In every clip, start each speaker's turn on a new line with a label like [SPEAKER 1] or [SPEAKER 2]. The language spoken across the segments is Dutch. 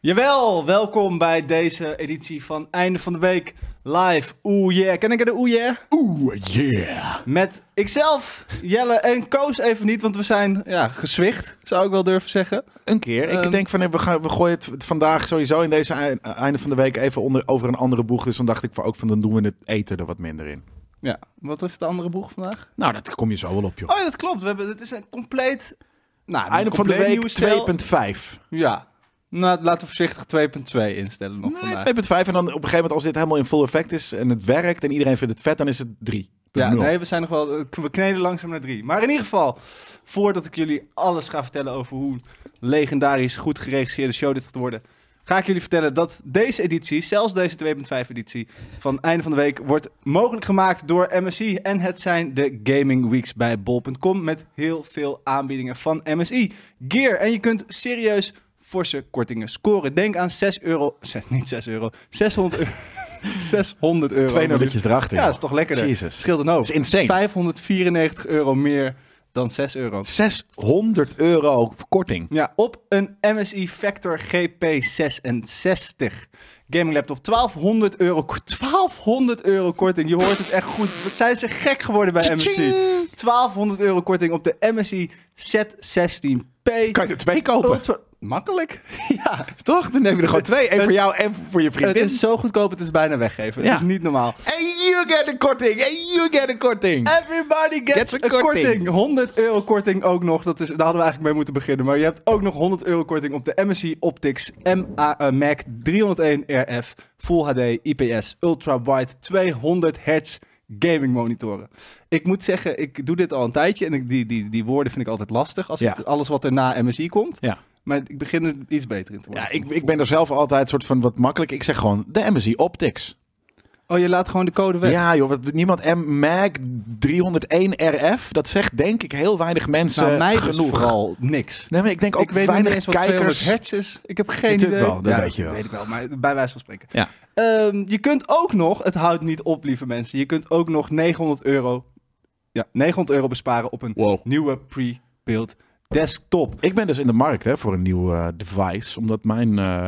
[SPEAKER 1] Jawel, welkom bij deze editie van Einde van de Week live. Oeh yeah, ken ik het de oeh yeah?
[SPEAKER 2] Oeh, yeah.
[SPEAKER 1] Met ikzelf, Jelle en Koos even niet, want we zijn ja, gezwicht, zou ik wel durven zeggen.
[SPEAKER 2] Een keer.
[SPEAKER 1] Ehm.
[SPEAKER 2] ik denk van, nee, we, gaan, we gooien het vandaag sowieso in deze ei- einde van de week even onder, over een andere boeg. Dus dan dacht ik van ook van, dan doen we het eten er wat minder in.
[SPEAKER 1] Ja, wat is de andere boeg vandaag?
[SPEAKER 2] Nou, dat kom je zo wel op, joh.
[SPEAKER 1] Oh ja, dat klopt. We hebben, het is een compleet... Nou, een
[SPEAKER 2] einde van de
[SPEAKER 1] compleet
[SPEAKER 2] week
[SPEAKER 1] nieuwe stijl.
[SPEAKER 2] 2.5.
[SPEAKER 1] Ja. Nou, laten we voorzichtig 2.2 instellen nog
[SPEAKER 2] Nee, 2.5.
[SPEAKER 1] vandaag.
[SPEAKER 2] En dan op een gegeven moment, als dit helemaal in full effect is en het werkt en iedereen vindt het vet, dan is het 3.
[SPEAKER 1] Ja, nee, we zijn nog wel. We kneden langzaam naar drie. Maar in ieder geval, voordat ik jullie alles ga vertellen over hoe legendarisch goed geregisseerde show dit gaat worden, ga ik jullie vertellen dat deze editie, zelfs deze 2.5 editie van einde van de week, wordt mogelijk gemaakt door MSI. En het zijn de Gaming Weeks bij bol.com met heel veel aanbiedingen van MSI. Gear. En je kunt serieus forse kortingen scoren. Denk aan 6 euro. zes- Niet 6 euro. 600 euro. 600 euro.
[SPEAKER 2] Twee nulletjes erachter.
[SPEAKER 1] Ja,
[SPEAKER 2] joh.
[SPEAKER 1] dat is toch lekkerder.
[SPEAKER 2] Jezus.
[SPEAKER 1] Scheelt een hoop.
[SPEAKER 2] Dat is insane.
[SPEAKER 1] 594 euro meer dan 6 euro.
[SPEAKER 2] 600 euro korting.
[SPEAKER 1] Ja, op een MSI Factor GP66 gaming laptop. 1200 euro, 1200 euro korting. Je hoort het echt goed. Wat zijn ze gek geworden bij MSI. 1200 euro korting op de MSI Z16P.
[SPEAKER 2] Kan je er twee kopen?
[SPEAKER 1] Ultra- Makkelijk. Ja,
[SPEAKER 2] Toch? Dan neem je er gewoon twee. Eén
[SPEAKER 1] Het-
[SPEAKER 2] voor jou en voor je
[SPEAKER 1] het
[SPEAKER 2] vriendin.
[SPEAKER 1] is zo goedkoop. Het is bijna weggeven.
[SPEAKER 2] Ja.
[SPEAKER 1] Het is niet normaal.
[SPEAKER 2] En you get een korting. En you get een korting.
[SPEAKER 1] Eh. Everybody gets,
[SPEAKER 2] Gets een
[SPEAKER 1] een korting.
[SPEAKER 2] korting.
[SPEAKER 1] 100 euro korting ook nog. Dat is, daar hadden we eigenlijk mee moeten beginnen. Maar je hebt ook nog 100 euro korting op de MSI Optics MA, eh, Mac 301 RF Full HD IPS Ultra Wide 200 Hz gaming monitoren. Ik moet zeggen, ik doe dit al een tijdje en ik, die, die, die woorden vind ik altijd lastig. Als
[SPEAKER 2] Ja.
[SPEAKER 1] het, alles wat er na MSI komt.
[SPEAKER 2] Ja.
[SPEAKER 1] Maar ik begin er iets beter in te worden.
[SPEAKER 2] Ja, ik, ik ben er zelf altijd soort van wat makkelijk. Ik zeg gewoon de MSI Optics.
[SPEAKER 1] Oh, je laat gewoon de code weg.
[SPEAKER 2] Ja joh, wat, niemand M Mac 301 RF, dat zegt denk ik heel weinig mensen
[SPEAKER 1] nou, mij genoeg.
[SPEAKER 2] genoeg.
[SPEAKER 1] vooral niks.
[SPEAKER 2] Nee, maar ik denk ook
[SPEAKER 1] ik weet niet
[SPEAKER 2] weinig
[SPEAKER 1] eens wat
[SPEAKER 2] kijkers.
[SPEAKER 1] 200 hertz is. Ik heb geen
[SPEAKER 2] Natuurlijk
[SPEAKER 1] idee.
[SPEAKER 2] wel, dat weet je wel.
[SPEAKER 1] Dat weet ik wel, maar bij wijze van spreken.
[SPEAKER 2] Ja.
[SPEAKER 1] Ehm, je kunt ook nog, het houdt niet op, lieve mensen. Je kunt ook nog 900 euro, ja, 900 euro besparen op een
[SPEAKER 2] Wow.
[SPEAKER 1] nieuwe pre-built desktop.
[SPEAKER 2] Ik ben dus in de markt hè, voor een nieuw eh, device, omdat mijn eh,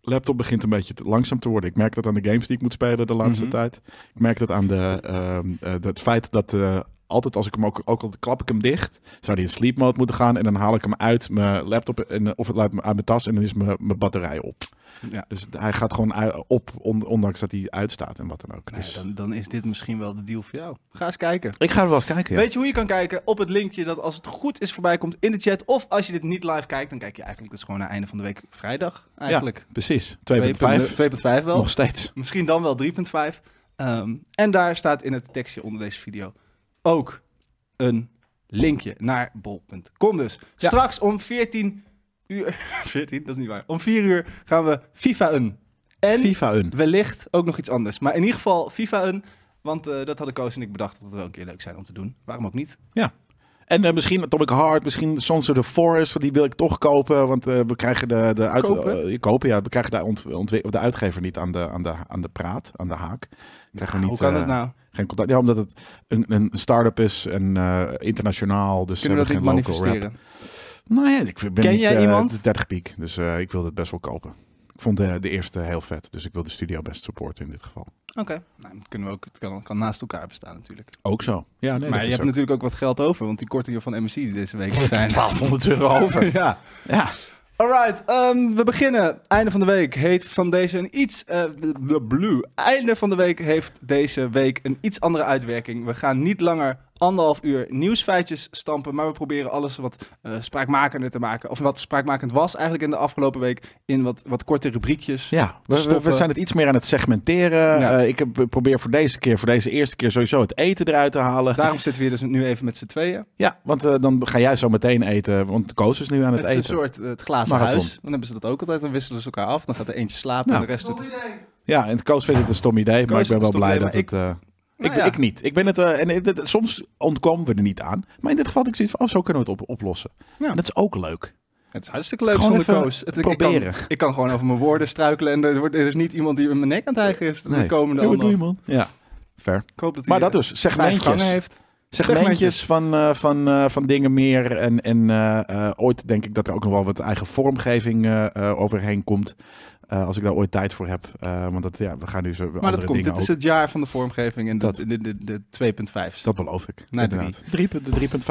[SPEAKER 2] laptop begint een beetje te- langzaam te worden. Ik merk dat aan de games die ik moet spelen de laatste
[SPEAKER 1] Mhm.
[SPEAKER 2] tijd. Ik merk dat aan de, ehm, eh, het feit dat eh, altijd als ik hem ook, ook al klap ik hem dicht, zou die in sleep mode moeten gaan en dan haal ik hem uit mijn laptop en, eh, of het uit mijn, uit mijn tas en dan is mijn, mijn batterij op.
[SPEAKER 1] Ja. Nou
[SPEAKER 2] Dus hij gaat gewoon ui- op, on- ondanks dat hij uitstaat en wat dan ook.
[SPEAKER 1] Nou ja,
[SPEAKER 2] Dus
[SPEAKER 1] dan, dan is dit misschien wel de deal voor jou. Ga eens kijken.
[SPEAKER 2] ik ga er wel eens kijken. ja.
[SPEAKER 1] Weet je hoe je kan kijken? Op het linkje dat als het goed is voorbij komt in de chat. Of als je dit niet live kijkt, dan kijk je eigenlijk dus gewoon naar einde van de week vrijdag. Eigenlijk.
[SPEAKER 2] Precies.
[SPEAKER 1] 2.5
[SPEAKER 2] 2.5.
[SPEAKER 1] 2.5 wel.
[SPEAKER 2] Nog steeds.
[SPEAKER 1] Misschien dan wel 3.5. Ehm, en daar staat in het tekstje onder deze video ook een linkje naar bol.com dus.
[SPEAKER 2] Ja.
[SPEAKER 1] Straks om 14 uur... 14, dat is niet waar. Om 4 uur gaan we FIFA een. En
[SPEAKER 2] FIFA een.
[SPEAKER 1] wellicht ook nog iets anders. Maar in ieder geval FIFA een. Want eh, dat hadden Koos en ik bedacht dat het wel een keer leuk zijn om te doen. Waarom ook niet?
[SPEAKER 2] En eh, misschien Atomic Heart, misschien Sons of the Forest, want die wil ik toch kopen. Want eh, we krijgen de, de, uit,
[SPEAKER 1] Kopen?
[SPEAKER 2] eh, kopen, ja, we krijgen de, ont, ontwi- de uitgever niet aan de, aan, de, aan de praat, aan de haak. Krijgen we niet,
[SPEAKER 1] Hoe kan
[SPEAKER 2] eh,
[SPEAKER 1] dat nou?
[SPEAKER 2] Geen contact. Ja, omdat het een, een start-up is en eh, internationaal. Dus
[SPEAKER 1] Kunnen we
[SPEAKER 2] we
[SPEAKER 1] dat niet
[SPEAKER 2] hebben geen local rep.
[SPEAKER 1] manifesteren?
[SPEAKER 2] Nou ja, ik ben
[SPEAKER 1] Ken
[SPEAKER 2] niet,
[SPEAKER 1] jij
[SPEAKER 2] eh,
[SPEAKER 1] iemand?
[SPEAKER 2] Het is 30 piek, dus eh, ik wilde het best wel kopen. Ik vond de, de eerste heel vet, dus ik wil de studio best supporten in dit geval.
[SPEAKER 1] Oké. Nou, dan kunnen we ook, het kan, kan naast elkaar bestaan natuurlijk.
[SPEAKER 2] Ook zo. Ja, nee,
[SPEAKER 1] maar
[SPEAKER 2] dat
[SPEAKER 1] je
[SPEAKER 2] is
[SPEAKER 1] hebt
[SPEAKER 2] ook.
[SPEAKER 1] natuurlijk ook wat geld over, want die kortingen van MSC die deze week zijn...
[SPEAKER 2] 1200 euro over.
[SPEAKER 1] ja.
[SPEAKER 2] ja.
[SPEAKER 1] Alright, ehm, we beginnen. Einde van de week heeft van deze een iets. eh, de- de blue. Einde van de week heeft deze week een iets andere uitwerking. We gaan niet langer anderhalf uur nieuwsfeitjes stampen. Maar we proberen alles wat eh spraakmakender te maken. Of wat spraakmakend was eigenlijk in de afgelopen week. In wat, wat korte rubriekjes.
[SPEAKER 2] ja. We- We, we,
[SPEAKER 1] stoppen.
[SPEAKER 2] zijn het iets meer aan het segmenteren.
[SPEAKER 1] Ja.
[SPEAKER 2] Eh, ik heb, ik probeer voor deze keer, voor deze eerste keer, sowieso het eten eruit te halen.
[SPEAKER 1] Daarom zitten we hier dus nu even met z'n tweeën.
[SPEAKER 2] Ja, want eh, dan ga jij zo meteen eten, want Koos is nu aan het,
[SPEAKER 1] Het is een
[SPEAKER 2] eten.
[SPEAKER 1] soort eh, het glazen
[SPEAKER 2] Marathon.
[SPEAKER 1] huis. Dan hebben ze dat ook altijd. Dan wisselen ze elkaar af. Dan gaat er eentje slapen
[SPEAKER 2] Nou.
[SPEAKER 1] en de rest doet...
[SPEAKER 2] Ja, en Koos vindt het een stom idee, maar ik
[SPEAKER 1] vindt
[SPEAKER 2] ben
[SPEAKER 1] het
[SPEAKER 2] wel
[SPEAKER 1] een
[SPEAKER 2] blij
[SPEAKER 1] stom
[SPEAKER 2] dat
[SPEAKER 1] idee,
[SPEAKER 2] het... eh, ik,
[SPEAKER 1] Nou ja.
[SPEAKER 2] ik niet. Ik ben het, eh, en het- het- soms ontkomen we er niet aan. Maar in dit geval had ik zoiets van, oh, zo kunnen we het op, oplossen.
[SPEAKER 1] Ja.
[SPEAKER 2] En dat is ook leuk.
[SPEAKER 1] Het is hartstikke leuk
[SPEAKER 2] Gewoon
[SPEAKER 1] zonder
[SPEAKER 2] even
[SPEAKER 1] koos. Het, Ik
[SPEAKER 2] proberen.
[SPEAKER 1] kan, ik kan gewoon over mijn woorden struikelen en er, wordt, er is niet iemand die in mijn nek aan het hijgen is. De komende
[SPEAKER 2] Ja, wat
[SPEAKER 1] anderhalf-
[SPEAKER 2] doe je, man? Ja, fair.
[SPEAKER 1] Ik hoop dat hij
[SPEAKER 2] Maar dat
[SPEAKER 1] eh,
[SPEAKER 2] dus,
[SPEAKER 1] vijf gangen
[SPEAKER 2] segmentjes.
[SPEAKER 1] heeft. Segmentjes.
[SPEAKER 2] segmentjes van, eh, van, eh, van dingen meer. En, en eh, eh, ooit denk ik dat er ook nog wel wat eigen vormgeving eh, eh, overheen komt. Eh, als ik daar ooit tijd voor heb. Eh, want dat, ja, we gaan nu zo
[SPEAKER 1] Maar
[SPEAKER 2] andere
[SPEAKER 1] dat komt.
[SPEAKER 2] dingen
[SPEAKER 1] Dit is
[SPEAKER 2] ook.
[SPEAKER 1] het jaar van de vormgeving en dat,
[SPEAKER 2] Dat.
[SPEAKER 1] de, de, de 2.5.
[SPEAKER 2] Dat beloof ik.
[SPEAKER 1] Nee,
[SPEAKER 2] inderdaad. Drie punt- de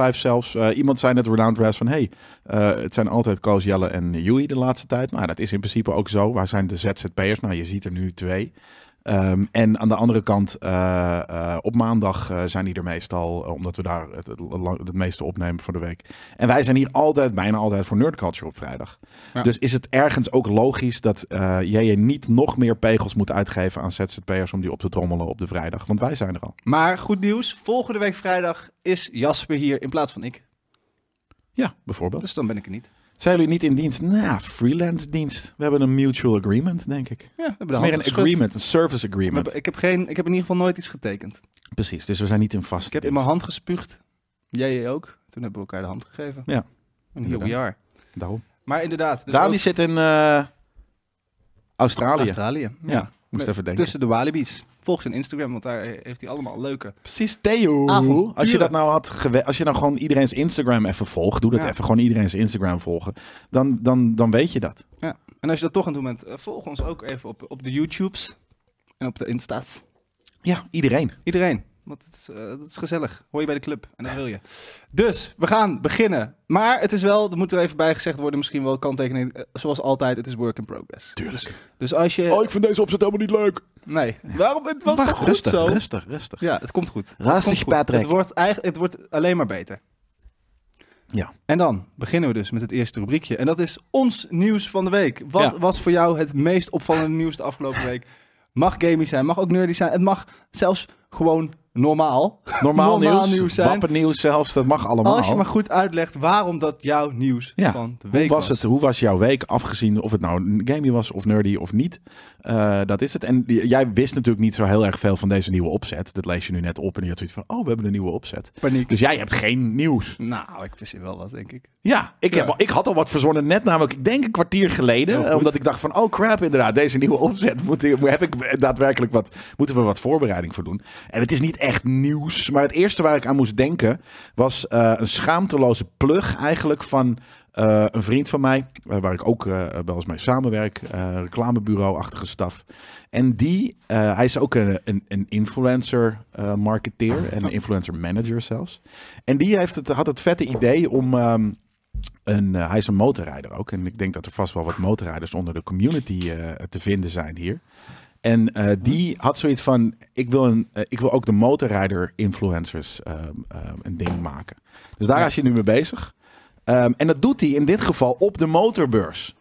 [SPEAKER 2] 3.5 zelfs. Eh, iemand zei net Renowned Rest van... hey, eh, het zijn altijd Koos, Jelle en Joey de laatste tijd. Nou, dat is in principe ook zo. Waar zijn de ZZP'ers? Nou, je ziet er nu twee. Ehm, en aan de andere kant, eh, eh, op maandag eh, zijn die er meestal... eh, omdat we daar het, het, lang- het meeste opnemen voor de week. En wij zijn hier altijd, bijna altijd voor Nerd Culture op vrijdag.
[SPEAKER 1] Ja.
[SPEAKER 2] Dus is het ergens ook logisch dat eh, jij je niet nog meer pegels moet uitgeven aan ZZP'ers... om die op te trommelen op de vrijdag? Want wij zijn er al.
[SPEAKER 1] Maar goed nieuws, volgende week vrijdag is Jasper hier in plaats van ik.
[SPEAKER 2] Ja, bijvoorbeeld.
[SPEAKER 1] Dus dan ben ik er niet.
[SPEAKER 2] Zijn jullie niet in dienst? Nou, freelance dienst. We hebben een mutual agreement, denk ik.
[SPEAKER 1] Ja, we hebben de
[SPEAKER 2] Het is
[SPEAKER 1] hand
[SPEAKER 2] meer een
[SPEAKER 1] geschud.
[SPEAKER 2] agreement, een service
[SPEAKER 1] We
[SPEAKER 2] agreement.
[SPEAKER 1] hebben- Ik heb, geen, ik heb in ieder geval nooit iets getekend.
[SPEAKER 2] Precies, dus we zijn niet in vast.
[SPEAKER 1] Ik heb in mijn hand gespuugd. Jij, jij ook. Toen hebben we elkaar de hand gegeven.
[SPEAKER 2] Ja,
[SPEAKER 1] En hier we
[SPEAKER 2] inderdaad.
[SPEAKER 1] are.
[SPEAKER 2] Daarom.
[SPEAKER 1] Maar inderdaad. dus
[SPEAKER 2] Daan
[SPEAKER 1] ook
[SPEAKER 2] die zit in eh, Australië.
[SPEAKER 1] Australië.
[SPEAKER 2] Ja, Dus- moest even denken.
[SPEAKER 1] Tussen de Walibi's. Volg zijn Instagram, want daar heeft hij allemaal leuke.
[SPEAKER 2] Precies, Theo.
[SPEAKER 1] Avonturen.
[SPEAKER 2] Als je dat nou had gewe- als je nou gewoon iedereen's Instagram even volgt, doe dat
[SPEAKER 1] Ja.
[SPEAKER 2] even, gewoon iedereen's Instagram volgen, dan, dan, dan weet je dat.
[SPEAKER 1] Ja. En als je dat toch aan het doen bent, eh, volg ons ook even op, op de YouTubes en op de Insta's.
[SPEAKER 2] Ja, iedereen.
[SPEAKER 1] Iedereen. Want het is, eh, dat is gezellig. Hoor je bij de club. En dat wil je. Dus, we gaan beginnen. Maar het is wel, dat moet er even bij gezegd worden, misschien wel kanttekening. eh, zoals altijd, het is work in progress.
[SPEAKER 2] Tuurlijk.
[SPEAKER 1] Dus als je...
[SPEAKER 2] Oh, ik vind deze opzet helemaal niet leuk.
[SPEAKER 1] Nee. Waarom? Het was
[SPEAKER 2] Wacht,
[SPEAKER 1] toch goed
[SPEAKER 2] rustig,
[SPEAKER 1] zo?
[SPEAKER 2] rustig, rustig.
[SPEAKER 1] Ja, het komt goed. Het
[SPEAKER 2] Rustig,
[SPEAKER 1] komt goed.
[SPEAKER 2] Patrick.
[SPEAKER 1] Het wordt, eigenlijk, het wordt alleen maar beter.
[SPEAKER 2] Ja.
[SPEAKER 1] En dan beginnen we dus met het eerste rubriekje. En dat is ons nieuws van de week. Wat
[SPEAKER 2] Ja.
[SPEAKER 1] was voor jou het meest opvallende nieuws de afgelopen week? Mag gaming zijn, mag ook nerdy zijn. Het mag zelfs gewoon normaal.
[SPEAKER 2] Normaal,
[SPEAKER 1] Normaal
[SPEAKER 2] nieuws,
[SPEAKER 1] nieuws zijn.
[SPEAKER 2] wappennieuws zelfs, dat mag allemaal.
[SPEAKER 1] Als je maar goed uitlegt waarom dat jouw nieuws
[SPEAKER 2] Ja.
[SPEAKER 1] van de week
[SPEAKER 2] Hoe was, het, hoe was jouw week, afgezien of het nou een gamey was of nerdy of niet? Eh, dat is het. En j- jij wist natuurlijk niet zo heel erg veel van deze nieuwe opzet. Dat lees je nu net op en je had zoiets van, oh, we hebben een nieuwe opzet.
[SPEAKER 1] Paniek.
[SPEAKER 2] Dus jij hebt geen nieuws.
[SPEAKER 1] Nou, ik verzin wel wat, denk ik.
[SPEAKER 2] Ja, ik, heb,
[SPEAKER 1] Ja.
[SPEAKER 2] al- ik had al wat verzonnen net namelijk, ik denk een kwartier geleden.
[SPEAKER 1] Heel goed.
[SPEAKER 2] eh, Omdat ik dacht van, oh crap, inderdaad, deze nieuwe opzet. Moet, ik- heb ik daadwerkelijk wat, moeten we wat voorbereiding voor doen. En het is niet echt nieuws. Maar het eerste waar ik aan moest denken was eh, een schaamteloze plug eigenlijk van eh, een vriend van mij. eh, waar ik ook eh, wel eens mee samenwerk. eh, reclamebureau-achtige staf. En die, eh, hij is ook een, een, een influencer-marketeer. en
[SPEAKER 1] Oh.
[SPEAKER 2] een influencer-manager zelfs. En die heeft het, had het vette idee om... ehm, een, eh, hij is een motorrijder ook. En ik denk dat er vast wel wat motorrijders onder de community eh, te vinden zijn hier. En eh, die had zoiets van: ik wil, een, eh, ik wil ook de motorrijder-influencers ehm, ehm, een ding maken. Dus daar
[SPEAKER 1] Ja.
[SPEAKER 2] is je nu mee bezig. Ehm, en dat doet hij in dit geval op de motorbeurs.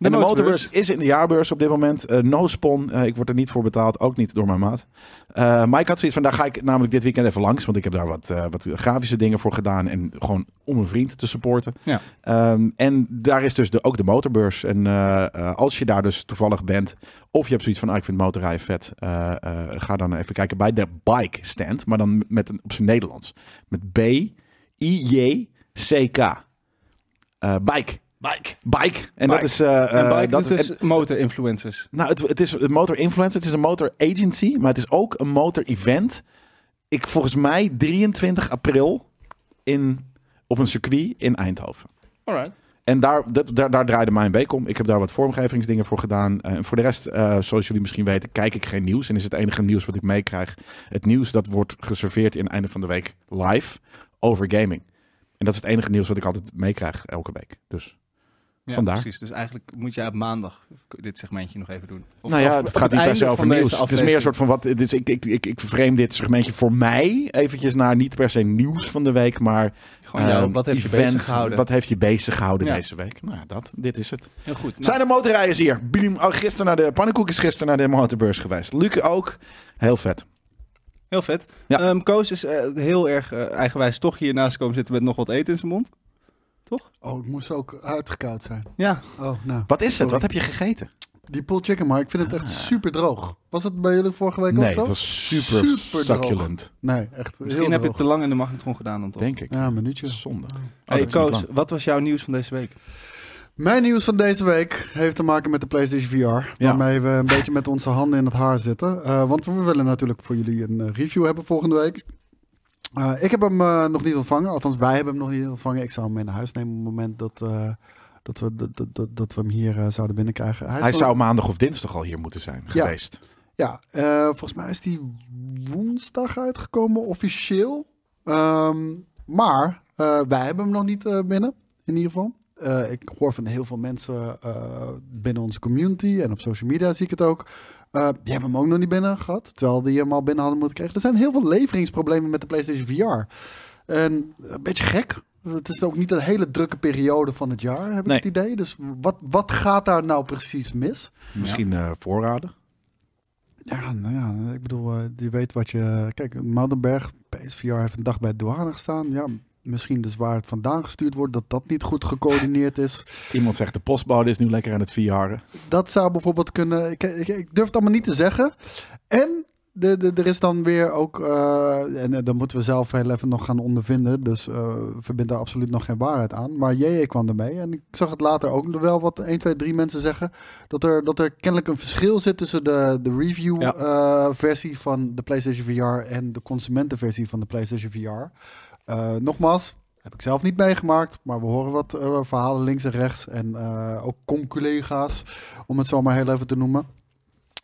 [SPEAKER 2] en de motorbeurs is in de jaarbeurs op dit moment. Eh, no spon. Eh, ik word er niet voor betaald. Ook niet door mijn maat. Eh, maar ik had zoiets van, daar ga ik namelijk dit weekend even langs. Want ik heb daar wat, eh, wat grafische dingen voor gedaan. En gewoon om een vriend te supporten.
[SPEAKER 1] Ja.
[SPEAKER 2] Ehm, en daar is dus de, ook de motorbeurs. En eh, eh, als je daar dus toevallig bent, of je hebt zoiets van, ah, ik vind motorrijden vet, eh, eh, ga dan even kijken bij de bike stand, maar dan met een, op zijn Nederlands. Met B, I, J, C, K. Eh, bike.
[SPEAKER 1] Bike.
[SPEAKER 2] Bike. En
[SPEAKER 1] Bike.
[SPEAKER 2] dat is... eh,
[SPEAKER 1] en
[SPEAKER 2] eh,
[SPEAKER 1] bike,
[SPEAKER 2] dat
[SPEAKER 1] dat is motor-influencers.
[SPEAKER 2] nou, het, het is een motor influencer, het is een motor agency, maar het is ook een motor event. Ik volgens mij 23 april in, op een circuit in Eindhoven.
[SPEAKER 1] Alright.
[SPEAKER 2] En daar, dat, daar, daar draaide mijn week om. Ik heb daar wat vormgevingsdingen voor gedaan. Eh, en voor de rest, eh, zoals jullie misschien weten, kijk ik geen nieuws. En is het enige nieuws wat ik meekrijg. Het nieuws dat wordt geserveerd in het einde van de week live over gaming. En dat is het enige nieuws wat ik altijd meekrijg elke week. Dus
[SPEAKER 1] Ja,
[SPEAKER 2] Vandaar.
[SPEAKER 1] precies. Dus eigenlijk moet jij op maandag dit segmentje nog even doen. Of-
[SPEAKER 2] nou
[SPEAKER 1] of
[SPEAKER 2] ja,
[SPEAKER 1] op
[SPEAKER 2] het gaat niet per
[SPEAKER 1] einde
[SPEAKER 2] se over
[SPEAKER 1] van deze
[SPEAKER 2] nieuws. Het is meer een soort van wat. Dus ik, ik, ik, ik frame dit segmentje voor mij eventjes naar niet per se nieuws van de week, maar.
[SPEAKER 1] aflevering. Gewoon jou,
[SPEAKER 2] ehm,
[SPEAKER 1] wat heeft je
[SPEAKER 2] event,
[SPEAKER 1] bezig gehouden?
[SPEAKER 2] Wat heeft je bezig gehouden
[SPEAKER 1] Ja.
[SPEAKER 2] deze week? Nou, dat, dit is het.
[SPEAKER 1] Heel goed. Nou,
[SPEAKER 2] Zijn er motorrijders hier? Biem, oh, gisteren naar de pannenkoek is gisteren naar de motorbeurs geweest. Luc ook. Heel vet.
[SPEAKER 1] Heel vet.
[SPEAKER 2] Ja.
[SPEAKER 1] Ehm, Koos is eh, heel erg eh, eigenwijs toch hier naast komen zitten met nog wat eten in zijn mond.
[SPEAKER 3] Oh, het moest ook uitgekoud zijn.
[SPEAKER 1] Ja.
[SPEAKER 3] Oh, nou.
[SPEAKER 2] Wat is het?
[SPEAKER 3] Sorry.
[SPEAKER 2] Wat heb je gegeten?
[SPEAKER 3] Die pulled chicken, maar ik vind het echt super droog. Was dat bij jullie vorige week ook
[SPEAKER 2] Ah. Nee,
[SPEAKER 3] zo?
[SPEAKER 2] het was super,
[SPEAKER 3] Super droog.
[SPEAKER 2] succulent.
[SPEAKER 3] Nee, echt
[SPEAKER 1] Misschien heb
[SPEAKER 3] heel
[SPEAKER 1] je
[SPEAKER 3] droog.
[SPEAKER 1] het te lang in de magnetron gedaan dan toch?
[SPEAKER 2] Denk ik.
[SPEAKER 3] Ja, Oh, een minuutje.
[SPEAKER 2] Zonde. Oh,
[SPEAKER 1] Hey,
[SPEAKER 2] dat is niet
[SPEAKER 1] Koos,
[SPEAKER 2] lang.
[SPEAKER 1] wat was jouw nieuws van deze week?
[SPEAKER 3] Mijn nieuws van deze week heeft te maken met de PlayStation VR.
[SPEAKER 2] Ja.
[SPEAKER 3] Waarmee we een beetje met onze handen in het haar zitten. Eh, want we willen natuurlijk voor jullie een eh, review hebben volgende week. Eh, ik heb hem eh, nog niet ontvangen. Althans, wij hebben hem nog niet ontvangen. Ik zou hem mee naar huis nemen op het moment dat, eh, dat, we, dat, dat- dat, dat we hem hier eh, zouden binnenkrijgen. is
[SPEAKER 2] Hij
[SPEAKER 3] nog-
[SPEAKER 2] zou maandag of dinsdag al hier moeten zijn geweest.
[SPEAKER 3] Ja, eh, volgens mij is die woensdag uitgekomen officieel. Ehm, maar eh, wij hebben hem nog niet eh, binnen, in ieder geval. Eh, ik hoor van heel veel mensen eh, binnen onze community en op social media zie ik het ook. eh, die hebben hem ook nog niet binnen gehad, terwijl die hem al binnen hadden moeten krijgen. Er zijn heel veel leveringsproblemen met de PlayStation VR. En eh, een beetje gek. Het is ook niet een hele drukke periode van het jaar, heb ik
[SPEAKER 2] Nee.
[SPEAKER 3] het idee. Dus wat, wat gaat daar nou precies mis?
[SPEAKER 2] Misschien eh, voorraden.
[SPEAKER 3] Ja, nou ja, ik bedoel, eh, je weet wat je... Kijk, Maldenberg, PSVR heeft een dag bij de douane gestaan. Ja, misschien dus waar het vandaan gestuurd wordt, dat dat niet goed gecoördineerd is.
[SPEAKER 2] Iemand zegt de postbode is nu lekker aan het VR'en.
[SPEAKER 3] Dat zou bijvoorbeeld kunnen... Ik, ik, ik durf het allemaal niet te zeggen. En de, de, er is dan weer ook... eh, en eh, dat moeten we zelf heel even nog gaan ondervinden. Dus eh verbind daar absoluut nog geen waarheid aan. Maar JJ kwam ermee. En ik zag het later ook nog wel wat 1, 2, 3 mensen zeggen. Dat er, dat er kennelijk een verschil zit tussen de, de
[SPEAKER 2] Ja.
[SPEAKER 3] review-versie van de PlayStation VR... en de consumentenversie van de PlayStation VR. Eh, nogmaals... Heb ik zelf niet meegemaakt, maar we horen wat eh, verhalen links en rechts. En eh, ook com-collega's, om het zo maar heel even te noemen.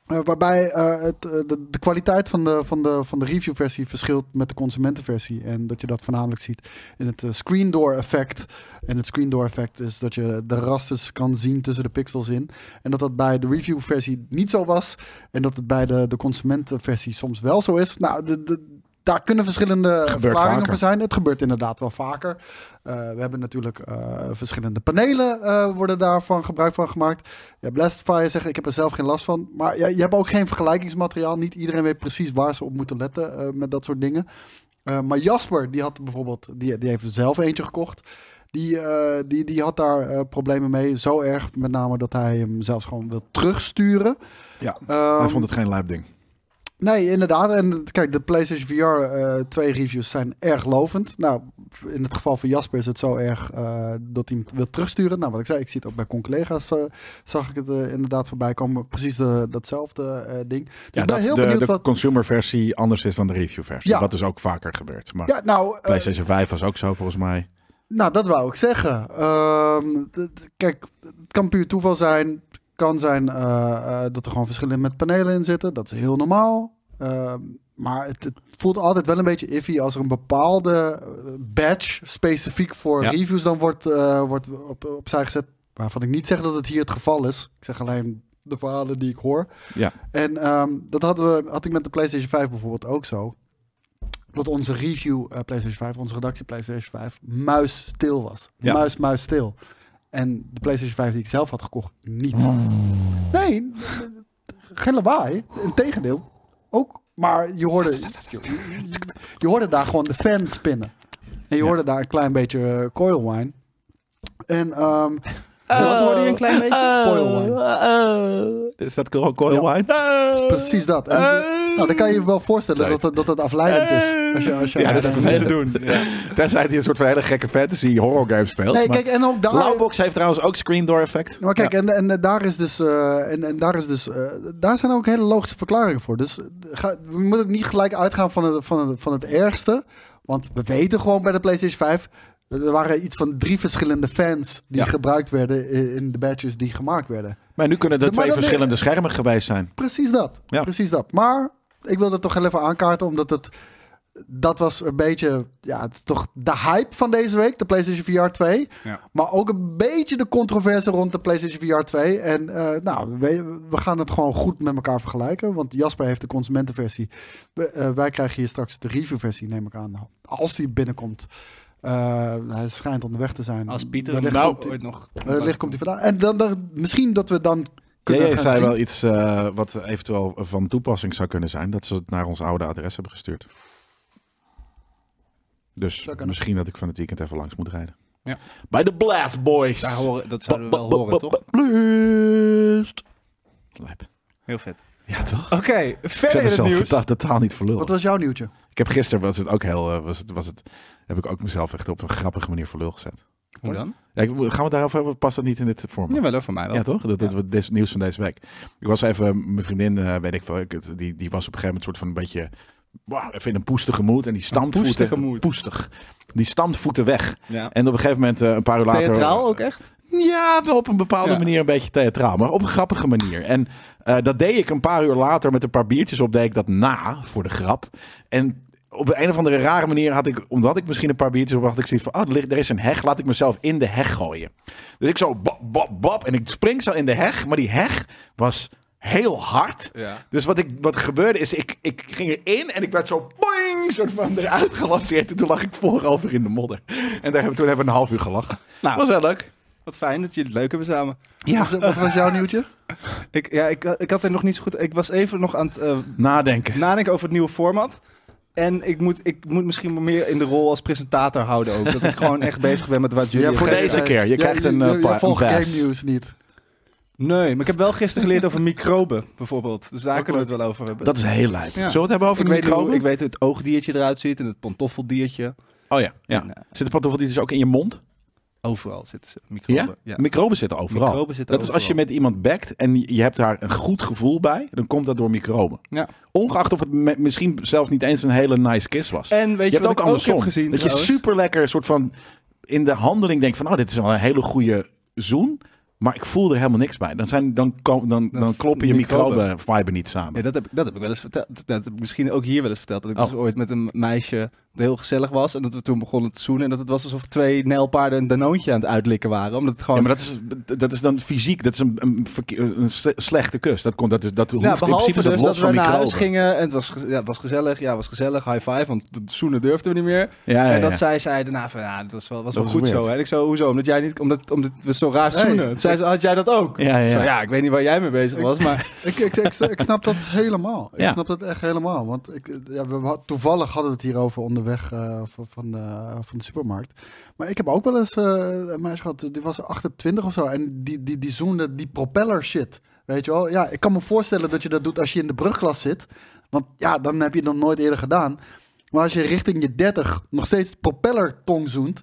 [SPEAKER 3] Eh, waarbij eh, het, eh, de, de kwaliteit van de, van de, van de reviewversie verschilt met de consumentenversie. En dat je dat voornamelijk ziet in het eh, screen door effect. En het screen door effect is dat je de rasters kan zien tussen de pixels in. En dat dat bij de reviewversie niet zo was. En dat het bij de, de consumentenversie soms wel zo is. Nou, de, de, daar kunnen verschillende verklaringen
[SPEAKER 2] vaker.
[SPEAKER 3] voor zijn. Het gebeurt inderdaad wel vaker. Eh, we hebben natuurlijk eh, verschillende panelen eh, worden daarvan gebruik van gemaakt. Ja, Blastfire zegt, ik heb er zelf geen last van. Maar ja, je hebt ook geen vergelijkingsmateriaal. Niet iedereen weet precies waar ze op moeten letten eh, met dat soort dingen. Eh, maar Jasper, die had bijvoorbeeld, die, die heeft er zelf eentje gekocht. Die, eh, die, die had daar eh, problemen mee. Zo erg, met name dat hij hem zelfs gewoon wil terugsturen.
[SPEAKER 2] Ja, hij
[SPEAKER 3] Ehm,
[SPEAKER 2] vond het geen lijpding.
[SPEAKER 3] Nee, inderdaad. En kijk, de PlayStation VR 2 reviews zijn erg lovend. Nou, in het geval van Jasper is het zo erg eh, dat hij hem wil terugsturen. Nou, wat ik zei, ik zie het ook bij collega's, eh, zag ik het eh, inderdaad voorbij komen. Precies de, datzelfde eh, ding. Dus
[SPEAKER 2] Ja,
[SPEAKER 3] ik ben
[SPEAKER 2] dat
[SPEAKER 3] heel
[SPEAKER 2] de,
[SPEAKER 3] benieuwd
[SPEAKER 2] de
[SPEAKER 3] wat...
[SPEAKER 2] consumerversie anders is dan de reviewversie.
[SPEAKER 3] Ja.
[SPEAKER 2] Dat is ook vaker gebeurd. Maar
[SPEAKER 3] Ja, nou, eh,
[SPEAKER 2] PlayStation 5 was ook zo volgens mij.
[SPEAKER 3] Nou, dat wou ik zeggen. Ehm, d- d- kijk, het kan puur toeval zijn. Het kan zijn eh, eh, dat er gewoon verschillen met panelen in zitten. Dat is heel normaal. Ehm, maar het, het voelt altijd wel een beetje iffy als er een bepaalde eh, badge specifiek voor
[SPEAKER 2] Ja.
[SPEAKER 3] reviews dan wordt, eh, wordt op, opzij gezet. Waarvan ik niet zeg dat het hier het geval is. Ik zeg alleen de verhalen die ik hoor.
[SPEAKER 2] Ja.
[SPEAKER 3] En ehm, dat hadden we, had ik met de PlayStation 5 bijvoorbeeld ook zo dat onze review eh, PlayStation 5, onze redactie PlayStation 5, muisstil was.
[SPEAKER 2] Ja.
[SPEAKER 3] Muis, muis stil. En de PlayStation 5 die ik zelf had gekocht, niet. Nee, geen lawaai. Integendeel, ook. Maar je hoorde, je, je hoorde daar gewoon de fan spinnen. En je hoorde daar een klein beetje eh, coil wine. En ehm,
[SPEAKER 4] Wat hoorde je een klein beetje?
[SPEAKER 3] Coil wine.
[SPEAKER 2] Is dat gewoon coil
[SPEAKER 3] Oh, Ja.
[SPEAKER 2] wine?
[SPEAKER 3] precies dat. En, nou, dan kan je je wel voorstellen dat,
[SPEAKER 2] Leuk.
[SPEAKER 3] dat, dat het afleidend is. Als je, als je
[SPEAKER 2] Oh. ja, dat is
[SPEAKER 3] als je-
[SPEAKER 2] niet te doen. Tenzij hij een soort van hele gekke fantasy horror game speelt.
[SPEAKER 3] Nee,
[SPEAKER 2] maar-
[SPEAKER 3] kijk, eh, oh. en ook daar...
[SPEAKER 2] Blauwbox heeft trouwens ook screen door effect.
[SPEAKER 3] Maar kijk,
[SPEAKER 2] Ja.
[SPEAKER 3] en, en eh, daar is dus, eh, en, en daar, is dus eh, daar zijn ook hele logische verklaringen voor. Dus eh, ga, we moeten ook niet gelijk uitgaan van het, van, het, van het ergste. Want we weten gewoon bij de PlayStation 5. Er waren iets van drie verschillende fans die
[SPEAKER 2] Ja.
[SPEAKER 3] gebruikt werden in, in de badges die gemaakt werden.
[SPEAKER 2] maar nu kunnen er
[SPEAKER 3] Maar
[SPEAKER 2] twee
[SPEAKER 3] dat-
[SPEAKER 2] verschillende schermen geweest zijn.
[SPEAKER 3] Precies dat.
[SPEAKER 2] Ja.
[SPEAKER 3] Precies dat. Maar ik wil dat toch heel even aankaarten, omdat het. Dat was een beetje, ja, het is toch de hype van deze week, de PlayStation VR 2.
[SPEAKER 1] Ja.
[SPEAKER 3] Maar ook een beetje de controverse rond de PlayStation VR 2. En eh, nou, we, we gaan het gewoon goed met elkaar vergelijken. Want Jasper heeft de consumentenversie. We- eh, wij krijgen hier straks de reviewversie, neem ik aan. Als die binnenkomt. Eh, hij schijnt onderweg te zijn.
[SPEAKER 1] Als Pieter
[SPEAKER 3] Wellicht
[SPEAKER 1] nou,
[SPEAKER 3] komt hij-
[SPEAKER 1] ooit nog...
[SPEAKER 3] wellicht komt hij vandaan. En dan, dan, misschien dat we dan kunnen
[SPEAKER 2] Jij
[SPEAKER 3] gaan
[SPEAKER 2] zei
[SPEAKER 3] zien-
[SPEAKER 2] wel iets eh, wat eventueel van toepassing zou kunnen zijn. Dat ze het naar ons oude adres hebben gestuurd. Dus
[SPEAKER 3] Dat kan.
[SPEAKER 2] misschien dat ik van het weekend even langs moet rijden.
[SPEAKER 1] Ja.
[SPEAKER 2] Bij de Blast Boys.
[SPEAKER 1] Daar horen, dat zouden we wel horen, toch?
[SPEAKER 2] Blast. Lijp.
[SPEAKER 1] Heel vet.
[SPEAKER 2] Ja, toch?
[SPEAKER 1] Oké,
[SPEAKER 2] Ik
[SPEAKER 1] verder
[SPEAKER 2] zet
[SPEAKER 1] in het
[SPEAKER 2] mezelf
[SPEAKER 1] nieuws.
[SPEAKER 2] verta- totaal niet voor lul.
[SPEAKER 3] Wat was jouw nieuwtje?
[SPEAKER 2] Ik heb gisteren was het ook heel... eh, was het, was het, heb ik ook mezelf echt op een grappige manier voor lul gezet.
[SPEAKER 1] Hoe dan?
[SPEAKER 2] Ja, ik, gaan we het daarover hebben? Past dat niet in dit format?
[SPEAKER 1] Ja, wel voor mij wel.
[SPEAKER 2] Ja, toch? Dat, dat we dit eh, nieuws van deze week. Ik was even, mijn vriendin, eh, weet ik wel, ik- die, die was op een gegeven moment soort van een beetje wow, even in een poestige moed. En die stampt
[SPEAKER 1] poestige
[SPEAKER 2] voeten-
[SPEAKER 1] mood.
[SPEAKER 2] Poestig. Die stampt voeten weg.
[SPEAKER 1] Ja.
[SPEAKER 2] En op een gegeven moment, eh, een paar uur later...
[SPEAKER 1] Theatraal ook echt?
[SPEAKER 2] Ja, wel op een bepaalde
[SPEAKER 1] Ja.
[SPEAKER 2] manier een beetje theatraal, maar op een grappige manier. En eh, dat deed ik een paar uur later met een paar biertjes op, deed ik dat na voor de grap. En op een of andere rare manier had ik, omdat ik misschien een paar biertjes op had, had ik zoiets van, oh, er, ligt, er is een heg, laat ik mezelf in de heg gooien. Dus ik zo, bap, bap, bap, en ik spring zo in de heg, maar die heg was heel hard.
[SPEAKER 1] Ja.
[SPEAKER 2] Dus wat, ik, wat gebeurde is, ik, ik ging erin en ik werd zo boing, soort van eruit gelanceerd. En toen lag ik voorover in de modder. En daar hebben, toen hebben we een half uur gelachen.
[SPEAKER 1] Nou.
[SPEAKER 2] was wel leuk.
[SPEAKER 1] Wat fijn dat jullie het leuk hebben samen.
[SPEAKER 2] Ja.
[SPEAKER 3] Wat was jouw nieuwtje?
[SPEAKER 1] Ik, ja, ik, ik had er nog niet zo goed... Ik was even nog aan het eh,
[SPEAKER 2] Nadenken.
[SPEAKER 1] nadenken over het nieuwe format. En ik moet, ik moet misschien wel meer in de rol als presentator houden ook. Dat ik gewoon echt bezig ben met wat jullie...
[SPEAKER 2] voor
[SPEAKER 1] gisteren-
[SPEAKER 2] deze keer. Je krijgt een, eh,
[SPEAKER 3] Je,
[SPEAKER 2] pa- een
[SPEAKER 3] volgt
[SPEAKER 2] pass.
[SPEAKER 3] game news niet.
[SPEAKER 1] Nee, maar ik heb wel gisteren geleerd over microben bijvoorbeeld. Dus daar
[SPEAKER 3] Ook
[SPEAKER 1] kunnen we het wel over hebben.
[SPEAKER 2] Dat is heel
[SPEAKER 1] Ja.
[SPEAKER 2] lijp. Zullen we het hebben over
[SPEAKER 1] ik,
[SPEAKER 2] de
[SPEAKER 1] weet hoe,
[SPEAKER 2] microben?
[SPEAKER 1] ik weet hoe het oogdiertje eruit ziet en het pantoffeldiertje.
[SPEAKER 2] Oh ja. ja.
[SPEAKER 1] En, eh,
[SPEAKER 2] Zit de pantoffel die dus ook in je mond?
[SPEAKER 1] overal zitten ze
[SPEAKER 2] Ja?
[SPEAKER 1] microben.
[SPEAKER 2] Microben zitten overal.
[SPEAKER 1] Microben zitten
[SPEAKER 2] dat is als je
[SPEAKER 1] overal.
[SPEAKER 2] met iemand bekt en je hebt daar een goed gevoel bij, dan komt dat door microben.
[SPEAKER 1] Ja.
[SPEAKER 2] Ongeacht of het me- misschien zelfs niet eens een hele nice kiss was.
[SPEAKER 1] En weet
[SPEAKER 2] je
[SPEAKER 1] je,
[SPEAKER 2] hebt
[SPEAKER 1] wat
[SPEAKER 2] ook
[SPEAKER 1] ik ook
[SPEAKER 2] andersom.
[SPEAKER 1] heb gezien?
[SPEAKER 2] dat je
[SPEAKER 1] trouwens?
[SPEAKER 2] super lekker soort van in de handeling denkt van, oh, dit is wel een hele goede zoen. Maar ik voel er helemaal niks bij. Dan, zijn, dan, ko- dan,
[SPEAKER 1] Dan
[SPEAKER 2] dan kloppen je
[SPEAKER 1] microben.
[SPEAKER 2] microben-vibe niet samen.
[SPEAKER 1] Ja, dat, heb, dat heb ik wel eens verteld. Dat heb ik misschien ook hier wel eens verteld. Dat ik
[SPEAKER 2] Oh.
[SPEAKER 1] dus ooit met een meisje dat heel gezellig was. En dat we toen begonnen te zoenen. En dat het was alsof twee nijlpaarden een danoontje aan het uitlikken waren. Omdat het gewoon...
[SPEAKER 2] Ja, maar dat is, dat is dan fysiek, dat is een, een, verke- een sle- slechte kus. Dat, komt, dat, is, dat hoeft
[SPEAKER 1] Ja,
[SPEAKER 2] in
[SPEAKER 1] behalve
[SPEAKER 2] principe is dat
[SPEAKER 1] dus
[SPEAKER 2] los
[SPEAKER 1] dat we
[SPEAKER 2] van
[SPEAKER 1] naar
[SPEAKER 2] microben.
[SPEAKER 1] huis gingen en het was, gez- ja, het was gezellig. Ja, het was gezellig. High five, want de zoenen durfden we niet meer.
[SPEAKER 2] Ja, ja,
[SPEAKER 1] En dat
[SPEAKER 2] ja.
[SPEAKER 1] zij zei daarna van, ja, dat was wel, was wel
[SPEAKER 2] Dat
[SPEAKER 1] goed
[SPEAKER 2] is weird.
[SPEAKER 1] zo. hè. En ik zo, hoezo? Omdat jij niet, omdat, omdat we zo raar
[SPEAKER 3] Nee.
[SPEAKER 1] zoenen. Toen zei ze, had jij dat ook?
[SPEAKER 2] Ja, ja,
[SPEAKER 1] Zo,
[SPEAKER 2] ja.
[SPEAKER 1] ja, ik weet niet waar jij mee bezig
[SPEAKER 3] Ik-
[SPEAKER 1] was, maar
[SPEAKER 3] Ik, ik, ik, ik snap dat helemaal. Ik
[SPEAKER 2] Ja.
[SPEAKER 3] snap dat echt helemaal. Want ik, ja, we, had- toevallig hadden we het hierover onderweg eh, van, van, de, van de supermarkt. Maar ik heb ook wel eens eh, een meisje gehad, die was 28 of zo. En die, die, die zoende die propeller shit. Weet je wel? Ja, ik kan me voorstellen dat je dat doet als je in de brugklas zit. Want ja, dan heb je dat nooit eerder gedaan. Maar als je richting je 30 nog steeds propellertong zoent.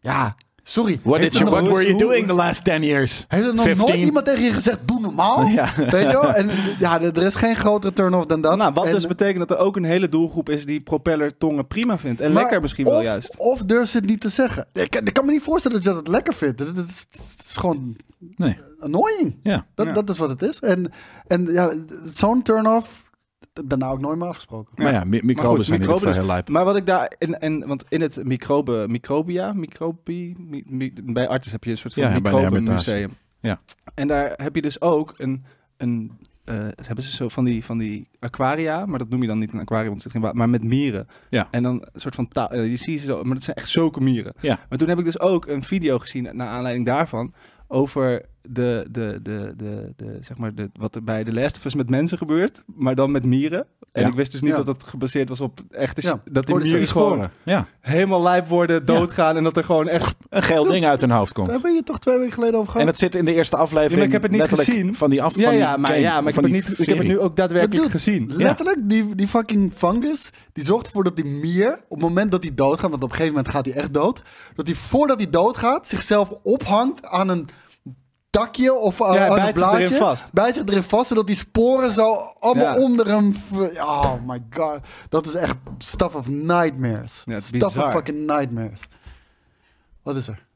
[SPEAKER 3] Ja, sorry.
[SPEAKER 2] What,
[SPEAKER 3] Heeft
[SPEAKER 2] did
[SPEAKER 3] er
[SPEAKER 2] you,
[SPEAKER 3] nog-
[SPEAKER 2] what were you
[SPEAKER 1] hoe-
[SPEAKER 2] doing the last 10 years?
[SPEAKER 3] heeft er nog
[SPEAKER 2] 15?
[SPEAKER 3] nooit iemand tegen je gezegd, doe normaal?
[SPEAKER 2] Ja.
[SPEAKER 3] Weet je wel? En ja, er is geen grotere turn-off dan dat.
[SPEAKER 1] nou, wat
[SPEAKER 3] En-
[SPEAKER 1] dus betekent dat er ook een hele doelgroep is die propellertongen prima vindt. En
[SPEAKER 3] maar
[SPEAKER 1] lekker misschien wel
[SPEAKER 3] of-
[SPEAKER 1] juist.
[SPEAKER 3] Of durf ze het niet te zeggen. Ik, kan- ik kan me niet voorstellen dat je dat lekker vindt. Het, het is, het is gewoon
[SPEAKER 2] Nee.
[SPEAKER 3] annoying.
[SPEAKER 2] Ja.
[SPEAKER 3] Dat,
[SPEAKER 1] Ja.
[SPEAKER 3] dat is wat het is. En, en ja, zo'n turn-off, d- daarna ook nooit meer afgesproken.
[SPEAKER 2] Maar ja, mi- microben
[SPEAKER 1] Maar goed,
[SPEAKER 2] zijn in ieder
[SPEAKER 1] microben
[SPEAKER 2] geval
[SPEAKER 1] is-
[SPEAKER 2] heel lijp.
[SPEAKER 1] Maar wat ik daar, en, en, want in het microbe, microbia, microbi, mi- mi- bij artis heb je een soort van
[SPEAKER 2] Ja, bij de
[SPEAKER 1] microbenmuseum.
[SPEAKER 2] Ja.
[SPEAKER 1] En daar heb je dus ook een, een eh, dat hebben ze zo van die, van die aquaria, maar dat noem je dan niet een aquarium, want er zit geen water, maar met mieren.
[SPEAKER 2] Ja.
[SPEAKER 1] En dan een soort van, ta- eh, je ziet ze zo, maar dat zijn echt zulke mieren.
[SPEAKER 2] Ja.
[SPEAKER 1] Maar toen heb ik dus ook een video gezien, naar aanleiding daarvan, over de, de, de, de, de, zeg maar de, wat er bij The Last of Us met mensen gebeurt, maar dan met mieren. En
[SPEAKER 2] Ja.
[SPEAKER 1] ik wist dus niet
[SPEAKER 3] Ja.
[SPEAKER 1] dat dat gebaseerd was op echte...
[SPEAKER 3] Ja,
[SPEAKER 1] s- dat die
[SPEAKER 3] voor de
[SPEAKER 1] mieren gewoon
[SPEAKER 2] Ja.
[SPEAKER 1] helemaal lijp worden, doodgaan en dat er gewoon echt...
[SPEAKER 2] Een geel ding uit hun hoofd
[SPEAKER 3] Daar
[SPEAKER 2] komt.
[SPEAKER 3] hebben we je toch twee weken geleden over
[SPEAKER 2] En
[SPEAKER 3] gehad.
[SPEAKER 2] dat zit in de eerste aflevering.
[SPEAKER 1] Ja, maar ik heb het niet
[SPEAKER 2] letterlijk
[SPEAKER 1] gezien.
[SPEAKER 2] Van die af,
[SPEAKER 1] Ja,
[SPEAKER 2] van die
[SPEAKER 1] ja, maar,
[SPEAKER 2] game,
[SPEAKER 1] ja, maar ik,
[SPEAKER 2] van
[SPEAKER 1] heb het
[SPEAKER 2] die
[SPEAKER 1] niet, ik heb het
[SPEAKER 2] serie.
[SPEAKER 1] nu ook daadwerkelijk
[SPEAKER 3] Maar dude,
[SPEAKER 1] gezien.
[SPEAKER 3] Letterlijk, die, die fucking fungus, die zorgt ervoor dat die mier, op het moment dat hij doodgaat, want op een gegeven moment gaat hij echt dood, dat hij voordat hij doodgaat zichzelf ophangt aan een takje of aan,
[SPEAKER 1] Ja, hij
[SPEAKER 3] aan een
[SPEAKER 1] bijt zich
[SPEAKER 3] blaadje.
[SPEAKER 1] erin vast.
[SPEAKER 3] Bijt zich erin vast, zodat die sporen zo allemaal
[SPEAKER 1] Ja.
[SPEAKER 3] onder hem... v- Oh my god, dat is echt stuff of nightmares.
[SPEAKER 1] Ja, het is
[SPEAKER 3] stuff
[SPEAKER 1] bizar.
[SPEAKER 3] of fucking nightmares. Wat is er?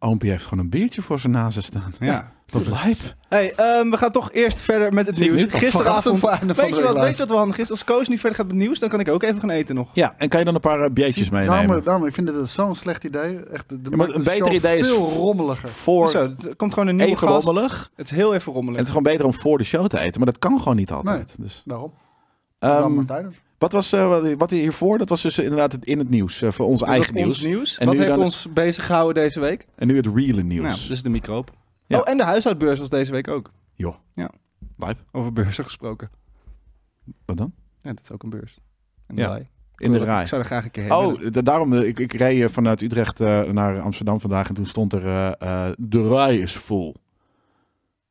[SPEAKER 2] Oompie heeft gewoon een biertje voor zijn nazen staan.
[SPEAKER 1] Ja.
[SPEAKER 2] Wat lijp.
[SPEAKER 1] Hey, ehm, we gaan toch eerst verder met het
[SPEAKER 2] Zie ik
[SPEAKER 1] nieuws.
[SPEAKER 2] nu al
[SPEAKER 1] Gisteravond,
[SPEAKER 3] verrassend voor einde van
[SPEAKER 1] weet,
[SPEAKER 3] de
[SPEAKER 1] je wat,
[SPEAKER 3] week.
[SPEAKER 1] weet je wat, Wan? Gisteren, als Koos niet verder gaat met het nieuws, dan kan ik ook even gaan eten nog.
[SPEAKER 2] Ja, en kan je dan een paar eh, biertjes meenemen?
[SPEAKER 3] Daarom, daarom, ik vind dit zo'n slecht idee. Echt, de, de
[SPEAKER 2] maar
[SPEAKER 3] maakt
[SPEAKER 2] een
[SPEAKER 3] de
[SPEAKER 2] beter
[SPEAKER 3] show
[SPEAKER 2] idee is-
[SPEAKER 3] veel rommeliger.
[SPEAKER 2] Voor
[SPEAKER 1] Zo, het komt gewoon een nieuwe
[SPEAKER 2] even
[SPEAKER 1] gast.
[SPEAKER 2] rommelig.
[SPEAKER 1] Het is heel even
[SPEAKER 2] En
[SPEAKER 1] rommelig.
[SPEAKER 2] het is gewoon beter om voor de show te eten. Maar dat kan gewoon niet altijd. Dus,
[SPEAKER 3] Daarom.
[SPEAKER 2] ehm,
[SPEAKER 3] Daarom Martijn.
[SPEAKER 2] Wat was eh, wat- wat hiervoor? Dat was dus inderdaad het in het nieuws. eh, voor ons
[SPEAKER 1] Dat is
[SPEAKER 2] eigen nieuws.
[SPEAKER 1] Ons nieuws.
[SPEAKER 2] En
[SPEAKER 1] wat
[SPEAKER 2] nu
[SPEAKER 1] heeft
[SPEAKER 2] dan-
[SPEAKER 1] ons bezig gehouden deze week?
[SPEAKER 2] En nu het reële nieuws.
[SPEAKER 1] Nou, dus de microop.
[SPEAKER 2] Ja.
[SPEAKER 1] Oh, en de huishoudbeurs was deze week ook.
[SPEAKER 2] Joh.
[SPEAKER 1] Ja.
[SPEAKER 2] Lijp.
[SPEAKER 1] Over beurzen gesproken.
[SPEAKER 2] Wat dan?
[SPEAKER 1] Ja, dat is ook een beurs. En
[SPEAKER 2] Ja.
[SPEAKER 1] ja. Rij.
[SPEAKER 2] In de
[SPEAKER 1] Ik wil-
[SPEAKER 2] rij.
[SPEAKER 1] Ik zou er graag een keer heen willen.
[SPEAKER 2] Oh, da- daarom. eh, Ik, ik reed eh, vanuit Utrecht eh, naar Amsterdam vandaag. En toen stond er. eh, eh, de rij is vol.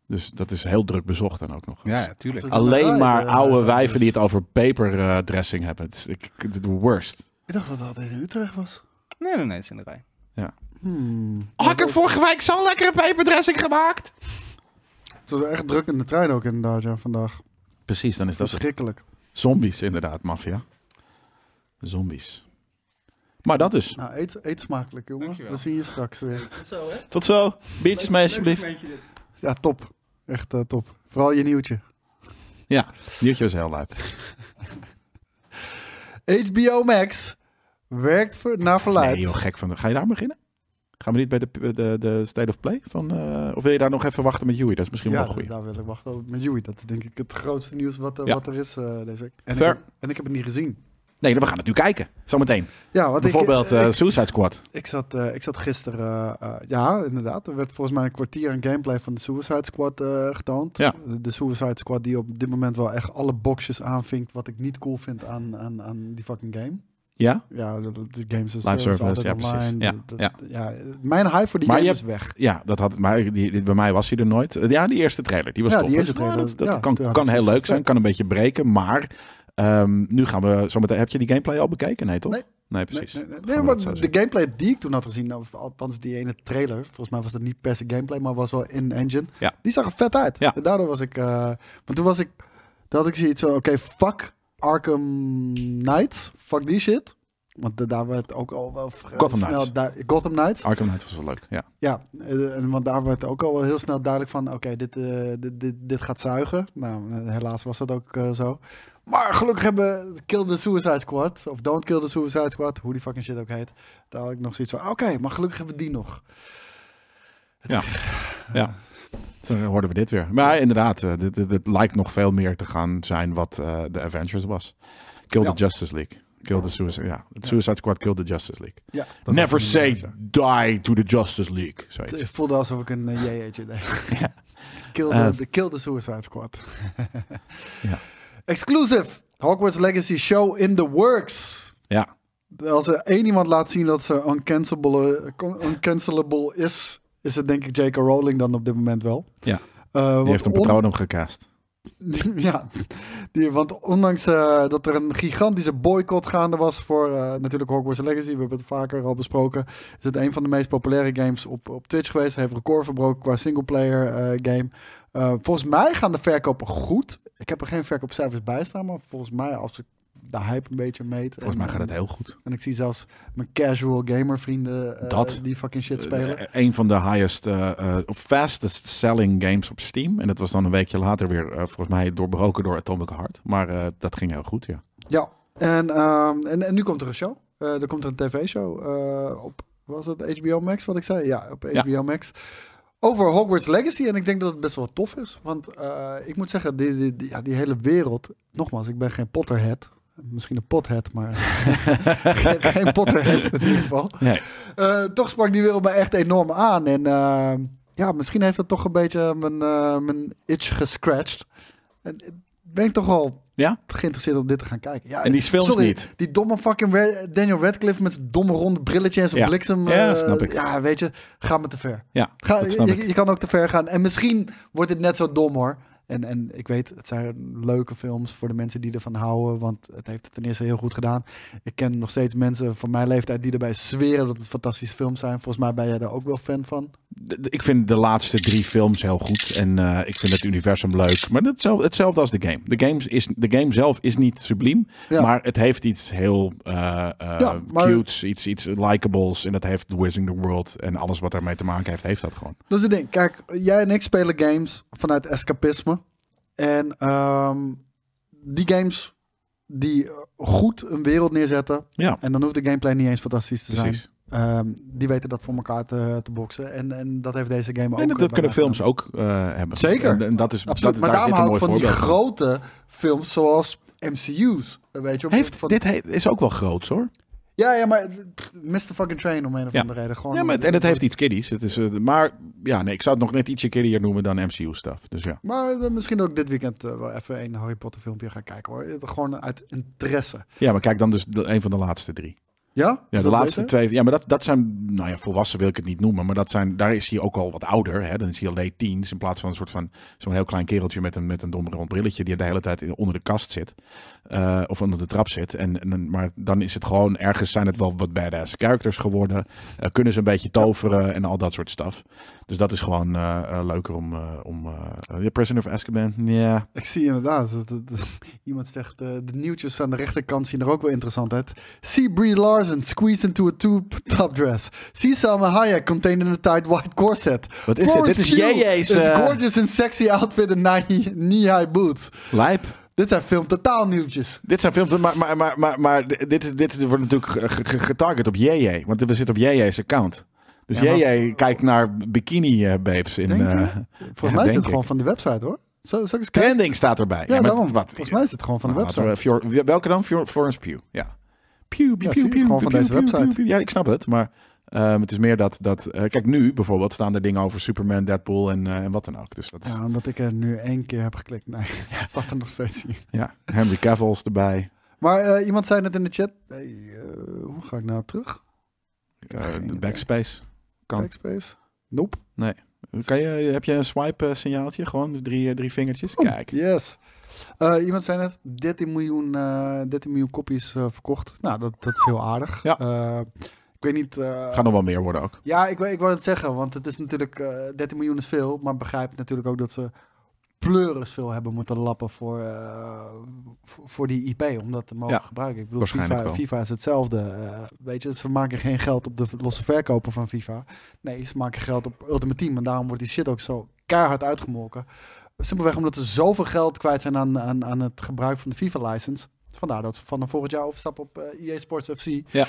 [SPEAKER 2] Dus dat is heel druk bezocht dan ook nog.
[SPEAKER 1] Ja, ja, tuurlijk.
[SPEAKER 3] Is het een
[SPEAKER 2] Alleen
[SPEAKER 3] rij,
[SPEAKER 2] maar
[SPEAKER 3] eh,
[SPEAKER 2] oude
[SPEAKER 3] huishoudbeurs?
[SPEAKER 2] wijven die het over paperdressing dressing hebben. Het is ik- ik- het worst.
[SPEAKER 3] Ik dacht dat dat in Utrecht was.
[SPEAKER 1] Nee, nee, nee, het is in de rij.
[SPEAKER 3] Hmm.
[SPEAKER 2] Had ik er vorige week zo'n lekkere paperdressing gemaakt?
[SPEAKER 3] Het was echt druk in de trein ook inderdaad, ja, vandaag.
[SPEAKER 2] Precies, dan is dat het.
[SPEAKER 3] Verschrikkelijk.
[SPEAKER 2] Zombies, inderdaad, maffia. Zombies. Maar dat dus.
[SPEAKER 3] Nou, eet, eet smakelijk, jongen.
[SPEAKER 1] Dankjewel.
[SPEAKER 3] We zien je straks weer.
[SPEAKER 1] Tot zo, hè?
[SPEAKER 2] Tot zo. Biertjes mee, alsjeblieft.
[SPEAKER 3] Ja, top. Echt eh, top. Vooral je nieuwtje.
[SPEAKER 2] Biertje was heel lijp.
[SPEAKER 3] HBO Max werkt voor, naar verluid.
[SPEAKER 2] Nee, joh, gek van. de- Ga je daar beginnen? Gaan we niet bij de, de, de State of Play? Van, eh, of wil je daar nog even wachten met Joey? Dat is misschien
[SPEAKER 3] ja,
[SPEAKER 2] wel goed.
[SPEAKER 3] daar wil ik wachten op met Joey. Dat is denk ik het grootste nieuws wat, eh,
[SPEAKER 2] Ja.
[SPEAKER 3] wat er is eh, deze week. En,
[SPEAKER 2] Fair.
[SPEAKER 3] Ik, heb- en ik heb het niet gezien.
[SPEAKER 2] Nee, we gaan het nu kijken. Zometeen.
[SPEAKER 3] Ja, wat
[SPEAKER 2] Bijvoorbeeld
[SPEAKER 3] ik,
[SPEAKER 2] eh,
[SPEAKER 3] ik,
[SPEAKER 2] Suicide Squad.
[SPEAKER 3] ik zat, eh, ik zat gisteren... eh, eh, ja, inderdaad. Er werd volgens mij een kwartier aan gameplay van de Suicide Squad eh, getoond.
[SPEAKER 2] Ja.
[SPEAKER 3] De, de Suicide Squad die op dit moment wel echt alle boxjes aanvinkt... wat ik niet cool vind aan, aan, aan die fucking game.
[SPEAKER 2] Ja?
[SPEAKER 3] Ja, de, de games is,
[SPEAKER 2] Live
[SPEAKER 3] eh, is
[SPEAKER 2] service,
[SPEAKER 3] altijd
[SPEAKER 2] ja, precies.
[SPEAKER 3] online.
[SPEAKER 2] Ja,
[SPEAKER 3] Dat-
[SPEAKER 2] ja.
[SPEAKER 3] ja, mijn hype voor die
[SPEAKER 2] Maar
[SPEAKER 3] game
[SPEAKER 2] je
[SPEAKER 3] is weg.
[SPEAKER 2] Ja, dat had, maar die, die- bij mij was hij er nooit. Eh, Ja, die eerste trailer, die was
[SPEAKER 3] Ja,
[SPEAKER 2] tof.
[SPEAKER 3] die eerste
[SPEAKER 2] Dus, maar
[SPEAKER 3] trailer,
[SPEAKER 2] dat dat
[SPEAKER 3] ja,
[SPEAKER 2] kan,
[SPEAKER 3] ja,
[SPEAKER 2] kan
[SPEAKER 3] dat
[SPEAKER 2] heel
[SPEAKER 3] is
[SPEAKER 2] leuk
[SPEAKER 3] vet.
[SPEAKER 2] zijn, kan een beetje breken. Maar ehm, nu gaan we zometeen... Heb je die gameplay al bekeken? Nee, toch?
[SPEAKER 3] Nee.
[SPEAKER 2] precies.
[SPEAKER 3] Nee, nee, nee.
[SPEAKER 2] Gaan we
[SPEAKER 3] Nee, maar
[SPEAKER 2] dat zo
[SPEAKER 3] de
[SPEAKER 2] zien.
[SPEAKER 3] gameplay die ik toen had gezien, nou, althans die ene trailer, volgens mij was dat niet per se gameplay, maar was wel in-engine.
[SPEAKER 2] Ja.
[SPEAKER 3] Die zag er vet uit.
[SPEAKER 2] Ja.
[SPEAKER 3] En daardoor was ik, eh, want toen was ik, toen had ik zoiets van, oké, fuck Arkham Knights, fuck die shit. Want eh, daar werd ook al wel vrij
[SPEAKER 2] Gotham
[SPEAKER 3] snel
[SPEAKER 2] Knights.
[SPEAKER 3] duidelijk- Gotham Knights.
[SPEAKER 2] Arkham Knight was wel leuk, ja.
[SPEAKER 3] Ja, eh, en want daar werd ook al wel heel snel duidelijk van, oké, dit, eh, dit, dit, dit gaat zuigen. Nou, eh, helaas was dat ook eh, zo. Maar gelukkig hebben Kill the Suicide Squad, of Don't Kill the Suicide Squad, hoe die fucking shit ook heet. Daar had ik nog zoiets van, oké, maar gelukkig hebben we die nog.
[SPEAKER 2] Toen eh, hoorden we dit weer. Maar inderdaad, eh, dit, dit, dit lijkt nog veel meer te gaan zijn wat eh The Avengers was. Kill
[SPEAKER 3] Ja.
[SPEAKER 2] the Justice League. Kill the Suicide... Ja, het Suicide Squad Kill the Justice League.
[SPEAKER 3] Ja, dat
[SPEAKER 2] Never
[SPEAKER 3] was
[SPEAKER 2] say
[SPEAKER 3] inderdaad zo.
[SPEAKER 2] die to the Justice League, zoiets.
[SPEAKER 3] Het voelde alsof ik een eh, jeetje deed.
[SPEAKER 2] Ja.
[SPEAKER 3] Kill, the,
[SPEAKER 2] Eh.
[SPEAKER 3] the- Kill the Suicide Squad.
[SPEAKER 2] Ja.
[SPEAKER 3] Exclusive! Hogwarts Legacy Show in the works.
[SPEAKER 2] Ja,
[SPEAKER 3] Als er één iemand laat zien dat ze uncancelable, eh, uncancelable is, is het denk ik J.K. Rowling dan op dit moment wel.
[SPEAKER 2] Ja.
[SPEAKER 3] Eh, want
[SPEAKER 2] die heeft een
[SPEAKER 3] on-
[SPEAKER 2] patroon gecast.
[SPEAKER 3] ja, die, want ondanks eh, dat er een gigantische boycott gaande was voor eh, natuurlijk Hogwarts Legacy, we hebben het vaker al besproken, is het een van de meest populaire games op, op Twitch geweest. Heeft record verbroken qua singleplayer eh, game. Eh, volgens mij gaan de verkopen goed. Ik heb er geen verkoopcijfers bij staan, maar volgens mij als ik de hype een beetje meet.
[SPEAKER 2] Volgens mij gaat het heel goed.
[SPEAKER 3] En ik zie zelfs mijn casual gamer vrienden eh,
[SPEAKER 2] Dat.
[SPEAKER 3] die fucking shit spelen.
[SPEAKER 2] Eh, een van de highest, eh, eh, fastest selling games op Steam. En dat was dan een weekje later weer, eh, volgens mij, doorbroken door Atomic Heart. Maar eh, dat ging heel goed, ja.
[SPEAKER 3] Ja, en, ehm, en, en nu komt er een show. Eh, er komt er een tv-show eh, op, was het HBO Max wat ik zei? Ja, op
[SPEAKER 2] Ja.
[SPEAKER 3] HBO Max. Over Hogwarts Legacy. En ik denk dat het best wel tof is. Want eh, ik moet zeggen, die, die, die- ja, die hele wereld... Nogmaals, ik ben geen Potterhead. Misschien een pothead, maar geen, geen Potterhead in ieder geval.
[SPEAKER 2] Nee.
[SPEAKER 3] Eh, toch sprak die wereld me echt enorm aan. En eh, ja, misschien heeft dat toch een beetje mijn, eh, mijn itch gescratcht. En eh, ben ik toch al
[SPEAKER 2] Ja?
[SPEAKER 3] geïnteresseerd om dit te gaan kijken. Ja,
[SPEAKER 2] En die films
[SPEAKER 3] sorry,
[SPEAKER 2] niet.
[SPEAKER 3] Die domme fucking Ra- Daniel Radcliffe met zijn domme ronde brilletje en zijn
[SPEAKER 2] Ja.
[SPEAKER 3] bliksem.
[SPEAKER 2] Ja,
[SPEAKER 3] eh,
[SPEAKER 2] snap ik.
[SPEAKER 3] Ja, weet je, ga me te ver.
[SPEAKER 2] Ja,
[SPEAKER 3] Ga,
[SPEAKER 2] dat snap
[SPEAKER 3] je,
[SPEAKER 2] ik.
[SPEAKER 3] je kan ook te ver gaan. En misschien wordt het net zo dom hoor. En, en ik weet, het zijn leuke films voor de mensen die ervan houden. Want het heeft het ten eerste heel goed gedaan. Ik ken nog steeds mensen van mijn leeftijd die erbij zweren dat het fantastische films zijn. Volgens mij ben jij daar ook wel fan van.
[SPEAKER 2] De- de- ik vind de laatste drie films heel goed. En eh, ik vind het universum leuk. Maar dat is hetzelfde, hetzelfde als de game. De game, is, de game zelf is niet subliem.
[SPEAKER 3] Ja.
[SPEAKER 2] Maar het heeft iets heel eh eh,
[SPEAKER 3] Ja, maar-
[SPEAKER 2] cutes, iets, iets likables. En dat heeft The Wizarding the World en alles wat daarmee te maken heeft, heeft dat gewoon.
[SPEAKER 3] Dat is het ding. Kijk, jij en ik spelen games vanuit escapisme. En ehm, die games die goed een wereld neerzetten.
[SPEAKER 2] Ja,
[SPEAKER 3] En dan hoeft de gameplay niet eens fantastisch te zijn.
[SPEAKER 2] precies.
[SPEAKER 3] Ehm, die weten dat voor elkaar te, te boksen. En, en dat heeft deze game ook.
[SPEAKER 2] En dat, dat
[SPEAKER 3] eh,
[SPEAKER 2] kunnen
[SPEAKER 3] bijna
[SPEAKER 2] films ook eh, hebben.
[SPEAKER 3] Zeker.
[SPEAKER 2] En, en dat is,
[SPEAKER 3] Absoluut,
[SPEAKER 2] dat,
[SPEAKER 3] maar
[SPEAKER 2] daar
[SPEAKER 3] daarom
[SPEAKER 2] zit een
[SPEAKER 3] hou
[SPEAKER 2] mooi
[SPEAKER 3] ik van die
[SPEAKER 2] voorbeeld van.
[SPEAKER 3] grote films zoals MCU's. Weet je, op-
[SPEAKER 2] Heeft,
[SPEAKER 3] van-
[SPEAKER 2] dit he- is ook wel groot hoor.
[SPEAKER 3] Ja, ja, maar eh, pff, Mr. Fucking Train om een of
[SPEAKER 2] Ja.
[SPEAKER 3] andere reden. Gewoon
[SPEAKER 2] Ja, maar het- en het heeft iets kiddies. Het is, eh, maar ja, nee, ik zou het nog net ietsje kiddier noemen dan MCU-stuff. Dus ja.
[SPEAKER 3] Maar eh, misschien ook dit weekend eh, wel even een Harry Potter filmpje gaan kijken hoor. Eh, Gewoon uit interesse.
[SPEAKER 2] ja, maar kijk dan dus de- een van de laatste drie.
[SPEAKER 3] Ja?
[SPEAKER 2] Ja,
[SPEAKER 3] Is
[SPEAKER 2] de
[SPEAKER 3] dat
[SPEAKER 2] laatste
[SPEAKER 3] beter?
[SPEAKER 2] twee. Ja, maar dat, dat zijn. Nou ja, volwassen wil ik het niet noemen. Maar dat zijn, daar is hij ook al wat ouder. Hè? Dan is hij al late teens. In plaats van een soort van. Zo'n heel klein kereltje met een, met een donderrond brilletje. Die de hele tijd in- onder de kast zit. eh, of onder de trap zit. En, en, dan- maar dan is het gewoon. Ergens zijn het wel wat badass characters geworden. Eh, kunnen ze een beetje toveren en al dat soort stuff. Dus dat is gewoon eh, eh, leuker om. eh, om eh, ja, Prisoner of Azkaban. Ja.
[SPEAKER 3] Ik zie inderdaad. dat- dat- dat- iemand zegt, eh, de nieuwtjes aan de rechterkant zien er ook wel interessant uit. See Brie Larson squeezed into a tube top dress. See Salma Hayek contained in a tight white corset.
[SPEAKER 2] Wat is dit? Dit is JJ's.
[SPEAKER 3] It's
[SPEAKER 2] eh,
[SPEAKER 3] gorgeous in sexy outfit and knee- knee-high boots.
[SPEAKER 2] Lijp.
[SPEAKER 3] Dit zijn film totaal nieuwtjes.
[SPEAKER 2] Dit zijn films, maar, maar, maar, maar, maar dit, is- dit wordt natuurlijk ge- ge- ge- getarget op JJ. Want we zitten op JJ's account. Dus
[SPEAKER 3] Ja, maar-
[SPEAKER 2] JJ kijkt naar bikini eh, babes in.
[SPEAKER 3] Denk je?
[SPEAKER 2] eh,
[SPEAKER 3] Volgens
[SPEAKER 2] Ja,
[SPEAKER 3] mij is
[SPEAKER 2] denk
[SPEAKER 3] dit
[SPEAKER 2] ik.
[SPEAKER 3] gewoon van de website hoor. Zal, zal ik eens kijken?
[SPEAKER 2] trending staat erbij.
[SPEAKER 3] Ja,
[SPEAKER 2] maar
[SPEAKER 3] daarom.
[SPEAKER 2] wat-
[SPEAKER 3] Volgens mij is dit gewoon van de
[SPEAKER 2] Nou,
[SPEAKER 3] website.
[SPEAKER 2] laten we Fior- welke dan? Fior- Florence Pugh. Ja. Pugh, Pugh,
[SPEAKER 3] Ja, zie je, het is gewoon van deze website.
[SPEAKER 2] Ja, ik snap het. Maar ehm, het is meer dat. dat eh, kijk, nu bijvoorbeeld staan er dingen over Superman, Deadpool en, eh, en wat dan ook. Dus dat is.
[SPEAKER 3] Ja, omdat ik er nu één keer heb geklikt. Nee, het staat er nog steeds in.
[SPEAKER 2] Ja. Henry Cavill's erbij.
[SPEAKER 3] Maar eh, iemand zei net in de chat. eh, eh, hoe ga ik nou terug?
[SPEAKER 2] Eh,
[SPEAKER 3] geen idee.
[SPEAKER 2] backspace. Kan.
[SPEAKER 3] Backspace? Nope.
[SPEAKER 2] Kan je, heb je een swipe eh, signaaltje? Gewoon drie, eh, drie vingertjes?
[SPEAKER 3] Oeh,
[SPEAKER 2] Kijk.
[SPEAKER 3] Oh, Yes. Eh, iemand zei net 13 miljoen, eh 13 miljoen kopies eh, verkocht. Nou, dat, dat is heel aardig.
[SPEAKER 2] Ja.
[SPEAKER 3] Eh, ik weet niet. eh,
[SPEAKER 2] Gaan nog wel meer worden ook.
[SPEAKER 3] Ja, ik, wou- ik wou het zeggen, want het is natuurlijk eh 13 miljoen is veel, maar begrijp natuurlijk ook dat ze pleuris veel hebben moeten lappen voor, eh, voor, voor die IP, om dat te mogen
[SPEAKER 2] Ja,
[SPEAKER 3] gebruiken. Ik bedoel,
[SPEAKER 2] waarschijnlijk
[SPEAKER 3] FIFA,
[SPEAKER 2] wel.
[SPEAKER 3] FIFA is hetzelfde. eh, weet je, ze maken geen geld op de losse verkopen van FIFA. Nee, ze maken geld op Ultimate Team en daarom wordt die shit ook zo keihard uitgemolken. Simpelweg omdat ze zoveel geld kwijt zijn aan, aan, aan het gebruik van de FIFA-license. Vandaar dat ze vanaf volgend jaar overstappen op eh, EA Sports FC.
[SPEAKER 2] Ja.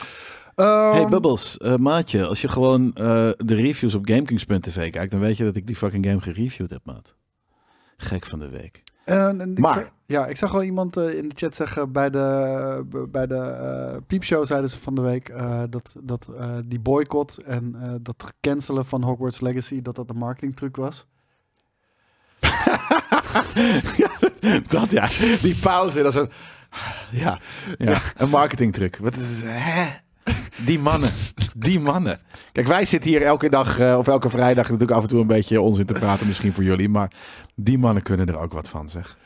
[SPEAKER 3] Ehm,
[SPEAKER 2] Hey Bubbles, eh, maatje, als je gewoon eh, de reviews op GameKings.tv kijkt, dan weet je dat ik die fucking game gereviewd heb, maat. Gek van de week.
[SPEAKER 3] Eh, en ik
[SPEAKER 2] Maar-
[SPEAKER 3] zag- ja, ik zag wel iemand eh, in de chat zeggen bij de, b- bij de eh, piepshow zeiden ze van de week eh, dat, dat eh, die boycott en eh, dat cancelen van Hogwarts Legacy, dat dat een marketingtruc was.
[SPEAKER 2] dat ja, die pauze, dat is een... Ja, ja, een marketingtruc. Wat is, hè? Die mannen, die mannen. Kijk, wij zitten hier elke dag eh, of elke vrijdag natuurlijk af en toe een beetje onzin te praten misschien voor jullie, maar die mannen kunnen er ook wat van, zeg.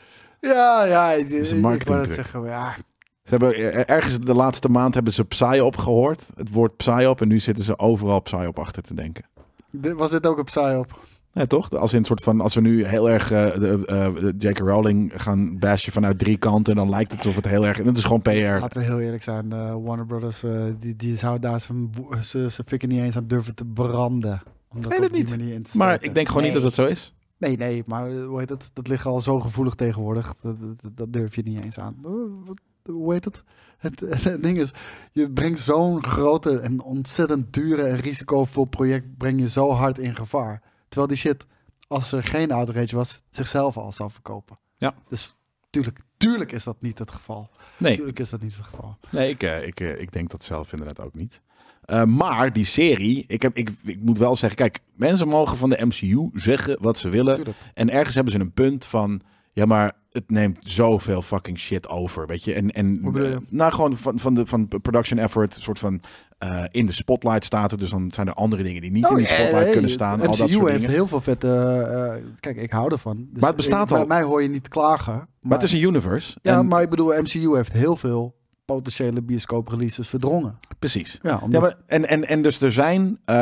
[SPEAKER 3] Ja, ja, ik,
[SPEAKER 2] is een
[SPEAKER 3] ik wou dat
[SPEAKER 2] marketingtruc.
[SPEAKER 3] zeggen. maar Ja,
[SPEAKER 2] Ze hebben eh, ergens de laatste maand hebben ze Psyop gehoord. Het woord Psyop. En nu zitten ze overal Psyop achter te denken.
[SPEAKER 3] dit- was dit ook een psyop?
[SPEAKER 2] Ja, toch? Als in een soort van als we nu heel erg eh, de, eh, de J.K. Rowling gaan bashen vanuit drie kanten, dan lijkt het alsof het heel erg. En het is gewoon PR.
[SPEAKER 3] Laten we heel eerlijk zijn, eh, Warner Brothers, eh, die, die zou daar zijn wo- ze- ze fikken niet eens aan durven te branden. Om dat
[SPEAKER 2] weet
[SPEAKER 3] op
[SPEAKER 2] het
[SPEAKER 3] die
[SPEAKER 2] niet.
[SPEAKER 3] manier in te
[SPEAKER 2] Maar
[SPEAKER 3] steken.
[SPEAKER 2] ik denk gewoon niet dat het zo is.
[SPEAKER 3] Nee, nee, maar eh, hoe heet het? Dat ligt al zo gevoelig tegenwoordig. Dat, dat, dat durf je niet eens aan. Eh, wat- Hoe heet het? Het, het ding is, je brengt zo'n grote en ontzettend dure en risicovol project breng je zo hard in gevaar. Terwijl die shit, als er geen outrage was, zichzelf al zou verkopen.
[SPEAKER 2] Ja.
[SPEAKER 3] Dus tuurlijk, tuurlijk is dat niet het geval.
[SPEAKER 2] Nee,
[SPEAKER 3] Tuurlijk is dat niet het geval.
[SPEAKER 2] nee ik, eh, ik, eh, ik denk dat zelf inderdaad ook niet. Eh, maar die serie, ik, heb, ik, ik moet wel zeggen, kijk, mensen mogen van de MCU zeggen wat ze willen.
[SPEAKER 3] Tuurlijk.
[SPEAKER 2] En ergens hebben ze een punt van. Ja, maar het neemt zoveel fucking shit over, weet je. En, en
[SPEAKER 3] Hoe bedoel je?
[SPEAKER 2] nou, gewoon van, van de van production effort, soort van eh, in de spotlight staat het. Dus dan zijn er andere dingen die niet in die
[SPEAKER 3] Oh, ja,
[SPEAKER 2] spotlight
[SPEAKER 3] nee,
[SPEAKER 2] kunnen
[SPEAKER 3] het
[SPEAKER 2] staan.
[SPEAKER 3] MCU
[SPEAKER 2] al dat soort
[SPEAKER 3] heeft
[SPEAKER 2] dingen.
[SPEAKER 3] heel veel vette... eh, kijk, ik hou ervan. Dus
[SPEAKER 2] Maar het bestaat
[SPEAKER 3] ik- bij
[SPEAKER 2] al.
[SPEAKER 3] mij hoor je niet klagen.
[SPEAKER 2] Maar het is een universe.
[SPEAKER 3] Ja,
[SPEAKER 2] en,
[SPEAKER 3] maar ik bedoel, MCU heeft heel veel potentiële bioscoop-releases verdrongen.
[SPEAKER 2] precies.
[SPEAKER 3] Ja,
[SPEAKER 2] Ja,
[SPEAKER 3] omdat...
[SPEAKER 2] maar, en, en, en dus er zijn, eh,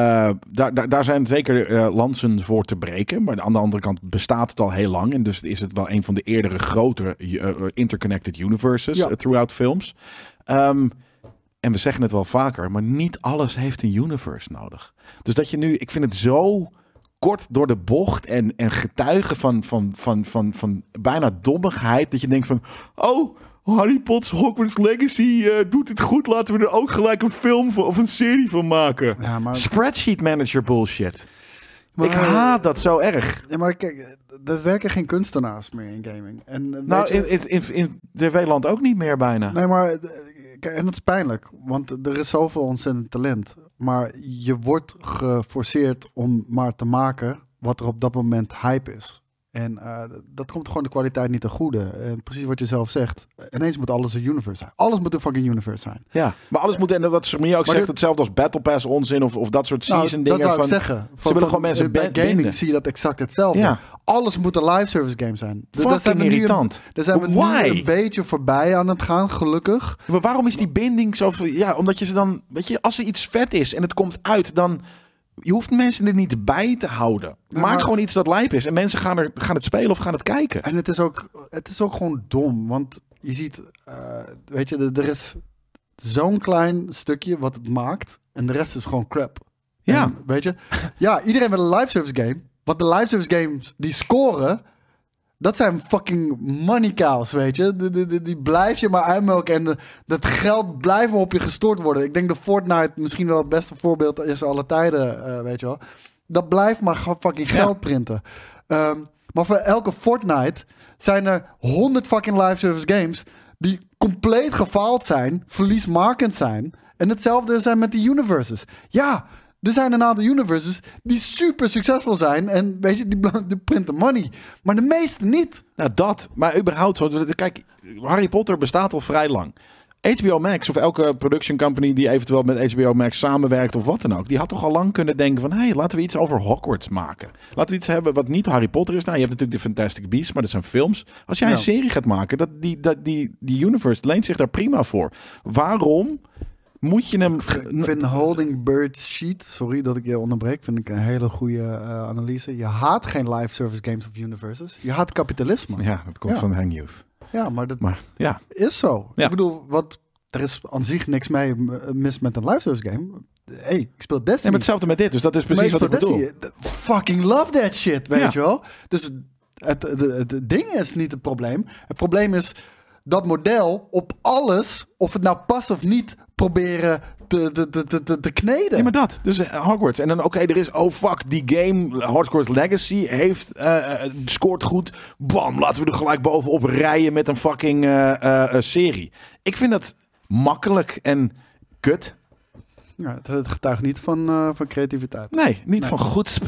[SPEAKER 2] daar, daar, daar zijn zeker eh, lansen voor te breken. Maar aan de andere kant bestaat het al heel lang. En dus is het wel een van de eerdere grotere eh, interconnected universes
[SPEAKER 3] Ja.
[SPEAKER 2] eh, throughout films. Ehm, en we zeggen het wel vaker, maar niet alles heeft een universe nodig. Dus dat je nu, ik vind het zo kort door de bocht en, en getuigen van, van, van, van, van bijna dommigheid. Dat je denkt van, oh, Harry Potter's Hogwarts Legacy eh, doet dit goed. Laten we er ook gelijk een film van, of een serie van maken.
[SPEAKER 3] Ja, maar,
[SPEAKER 2] Spreadsheet manager bullshit.
[SPEAKER 3] Maar-
[SPEAKER 2] ik haat dat zo erg.
[SPEAKER 3] ja, maar kijk, er werken geen kunstenaars meer in gaming. En, eh, weet
[SPEAKER 2] Nou,
[SPEAKER 3] je-
[SPEAKER 2] in, in, in, in TV-land ook niet meer bijna.
[SPEAKER 3] Nee, maar eh, kijk, en dat is pijnlijk, want er is zoveel ontzettend talent. Maar je wordt geforceerd om maar te maken wat er op dat moment hype is. En eh, dat komt gewoon de kwaliteit niet ten goede. En precies wat je zelf zegt. Ineens moet alles een universe zijn. Alles moet een fucking universe zijn.
[SPEAKER 2] Ja, maar alles moet, en wat Samir ook
[SPEAKER 3] Maar
[SPEAKER 2] zegt,
[SPEAKER 3] dit-
[SPEAKER 2] hetzelfde als Battle Pass onzin of, of dat soort
[SPEAKER 3] Nou,
[SPEAKER 2] season
[SPEAKER 3] dat
[SPEAKER 2] dingen.
[SPEAKER 3] wou ik
[SPEAKER 2] van,
[SPEAKER 3] zeggen. Van-
[SPEAKER 2] willen
[SPEAKER 3] van-
[SPEAKER 2] gewoon mensen
[SPEAKER 3] Bij
[SPEAKER 2] ban-
[SPEAKER 3] gaming
[SPEAKER 2] binden.
[SPEAKER 3] zie je dat exact hetzelfde.
[SPEAKER 2] Ja,
[SPEAKER 3] Alles moet een live service game zijn. Dus daar zijn
[SPEAKER 2] fucking
[SPEAKER 3] we nu een,
[SPEAKER 2] irritant.
[SPEAKER 3] daar zijn we nu
[SPEAKER 2] Why?
[SPEAKER 3] een beetje voorbij aan het gaan, gelukkig.
[SPEAKER 2] Maar waarom is die binding zo... ver- Ja, omdat je ze dan... Weet je, als er iets vet is en het komt uit, dan... Je hoeft mensen er niet bij te houden.
[SPEAKER 3] Ja,
[SPEAKER 2] Maak
[SPEAKER 3] maar-
[SPEAKER 2] gewoon iets dat lijp is. En mensen gaan, er, gaan het spelen of gaan het kijken.
[SPEAKER 3] En het is ook, het is ook gewoon dom. Want je ziet, eh, weet je, er- er is zo'n klein stukje wat het maakt. En de rest is gewoon crap.
[SPEAKER 2] Ja.
[SPEAKER 3] En, weet je? Ja, iedereen wil een live service game. Want de live service games die scoren. Dat zijn fucking money cows, weet je. Die, die, die- die blijf je maar uitmelken. En de- dat geld blijft maar op je gestort worden. Ik denk dat Fortnite misschien wel het beste voorbeeld is alle tijden, eh, weet je wel. Dat blijft maar gewoon fucking
[SPEAKER 2] Ja.
[SPEAKER 3] geld printen. Ehm, maar voor elke Fortnite zijn er 100 fucking live service games die compleet gefaald zijn, verliesmakend zijn. En hetzelfde zijn met die universes. Ja, er zijn een aantal universes die super succesvol zijn en weet je, die, bl- die printen money. Maar de meeste niet.
[SPEAKER 2] Nou, dat. Maar überhaupt, zo, kijk, Harry Potter bestaat al vrij lang. HBO Max of elke production company die eventueel met HBO Max samenwerkt of wat dan ook, die had toch al lang kunnen denken van, hé, hey, laten we iets over Hogwarts maken. Laten we iets hebben wat niet Harry Potter is. Nou, je hebt natuurlijk de Fantastic Beasts, maar dat zijn films. Als jij
[SPEAKER 3] Ja.
[SPEAKER 2] een serie gaat maken, dat, die, dat, die, die universe leent zich daar prima voor. Waarom moet je hem...
[SPEAKER 3] Ik vind Holding Bird Sheet, sorry dat ik je onderbreek, vind ik een hele goede eh, analyse. Je haat geen live service games of universes. Je haat kapitalisme. Ja,
[SPEAKER 2] Ja, dat komt
[SPEAKER 3] Ja.
[SPEAKER 2] van Hang Youth.
[SPEAKER 3] maar dat
[SPEAKER 2] Maar ja,
[SPEAKER 3] is zo.
[SPEAKER 2] Ja.
[SPEAKER 3] Ik bedoel, wat, er is aan zich niks mee eh, mis met een live service game. hey, ik speel
[SPEAKER 2] en
[SPEAKER 3] Destiny.
[SPEAKER 2] hetzelfde met dit, dus dat is precies
[SPEAKER 3] Meestal
[SPEAKER 2] wat ik bedoel.
[SPEAKER 3] dat die- Fucking love that shit, weet
[SPEAKER 2] Ja.
[SPEAKER 3] je wel. Dus het, het, het- het ding is niet het probleem. Het probleem is dat model op alles, of het nou past of niet, proberen te, te, te, te- te, te kneden.
[SPEAKER 2] Ja, maar dat. Dus eh, Hogwarts. En dan, oké, er is, oh fuck, die game, Hogwarts Legacy, heeft, eh, eh, scoort goed. Bam, laten we er gelijk bovenop rijden met een fucking eh, eh, eh, serie. Ik vind dat makkelijk en kut.
[SPEAKER 3] Ja, het, het getuigt niet van, eh, van creativiteit.
[SPEAKER 2] Nee, niet
[SPEAKER 3] Nee.
[SPEAKER 2] van goed.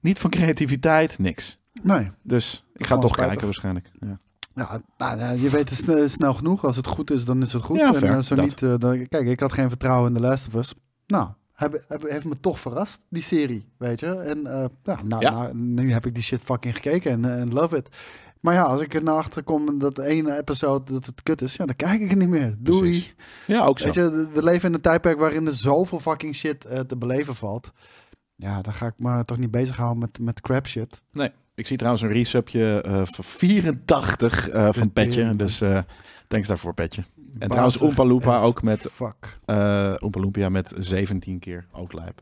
[SPEAKER 2] Niet van creativiteit, niks.
[SPEAKER 3] Nee.
[SPEAKER 2] Dus ik ga
[SPEAKER 3] Gewoon
[SPEAKER 2] toch
[SPEAKER 3] spijtig.
[SPEAKER 2] kijken waarschijnlijk. Ja.
[SPEAKER 3] Ja, nou, nou, je weet het sne- snel genoeg. Als het goed is, dan is het goed.
[SPEAKER 2] Ja,
[SPEAKER 3] en
[SPEAKER 2] fair,
[SPEAKER 3] eh, zo
[SPEAKER 2] dat.
[SPEAKER 3] niet. eh, dan, kijk, ik had geen vertrouwen in The Last of Us. Nou, heb, heb, heeft me toch verrast, die serie. Weet je? En eh, ja, nou,
[SPEAKER 2] Ja.
[SPEAKER 3] nou, nu heb ik die shit fucking gekeken en, eh, en love it. Maar ja, als ik erna achter kom dat één episode dat het kut is, ja, dan kijk ik er niet meer. Doei.
[SPEAKER 2] Precies. Ja, ook zo.
[SPEAKER 3] Weet je, we leven in een tijdperk waarin er zoveel fucking shit eh, te beleven valt. Ja, dan ga ik me toch niet bezighouden met, met crap shit.
[SPEAKER 2] Nee, ik zie trouwens een resubje eh, van 84 eh, van Petje. Dus eh, thanks daarvoor, Petje. En trouwens Oompa Loompa ook met
[SPEAKER 3] Fuck.
[SPEAKER 2] eh Oompa Loompia met 17 keer ook lijp.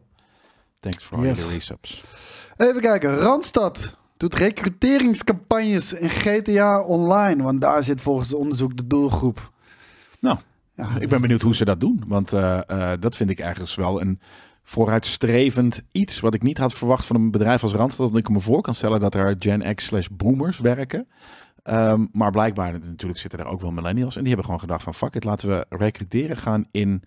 [SPEAKER 2] Thanks for all
[SPEAKER 3] Yes.
[SPEAKER 2] your resubs.
[SPEAKER 3] Even kijken, Randstad doet recruteringscampagnes in GTA Online, want daar zit volgens het onderzoek de doelgroep.
[SPEAKER 2] Nou,
[SPEAKER 3] ja,
[SPEAKER 2] Ik ben benieuwd hoe ze dat doen. Want eh, eh, dat vind ik ergens wel een vooruitstrevend iets... wat ik niet had verwacht van een bedrijf als Randstad. Omdat ik me voor kan stellen dat er Gen X slash boomers werken. Ehm, maar blijkbaar natuurlijk zitten er ook wel millennials. En die hebben gewoon gedacht van... fuck it, laten we recruteren gaan in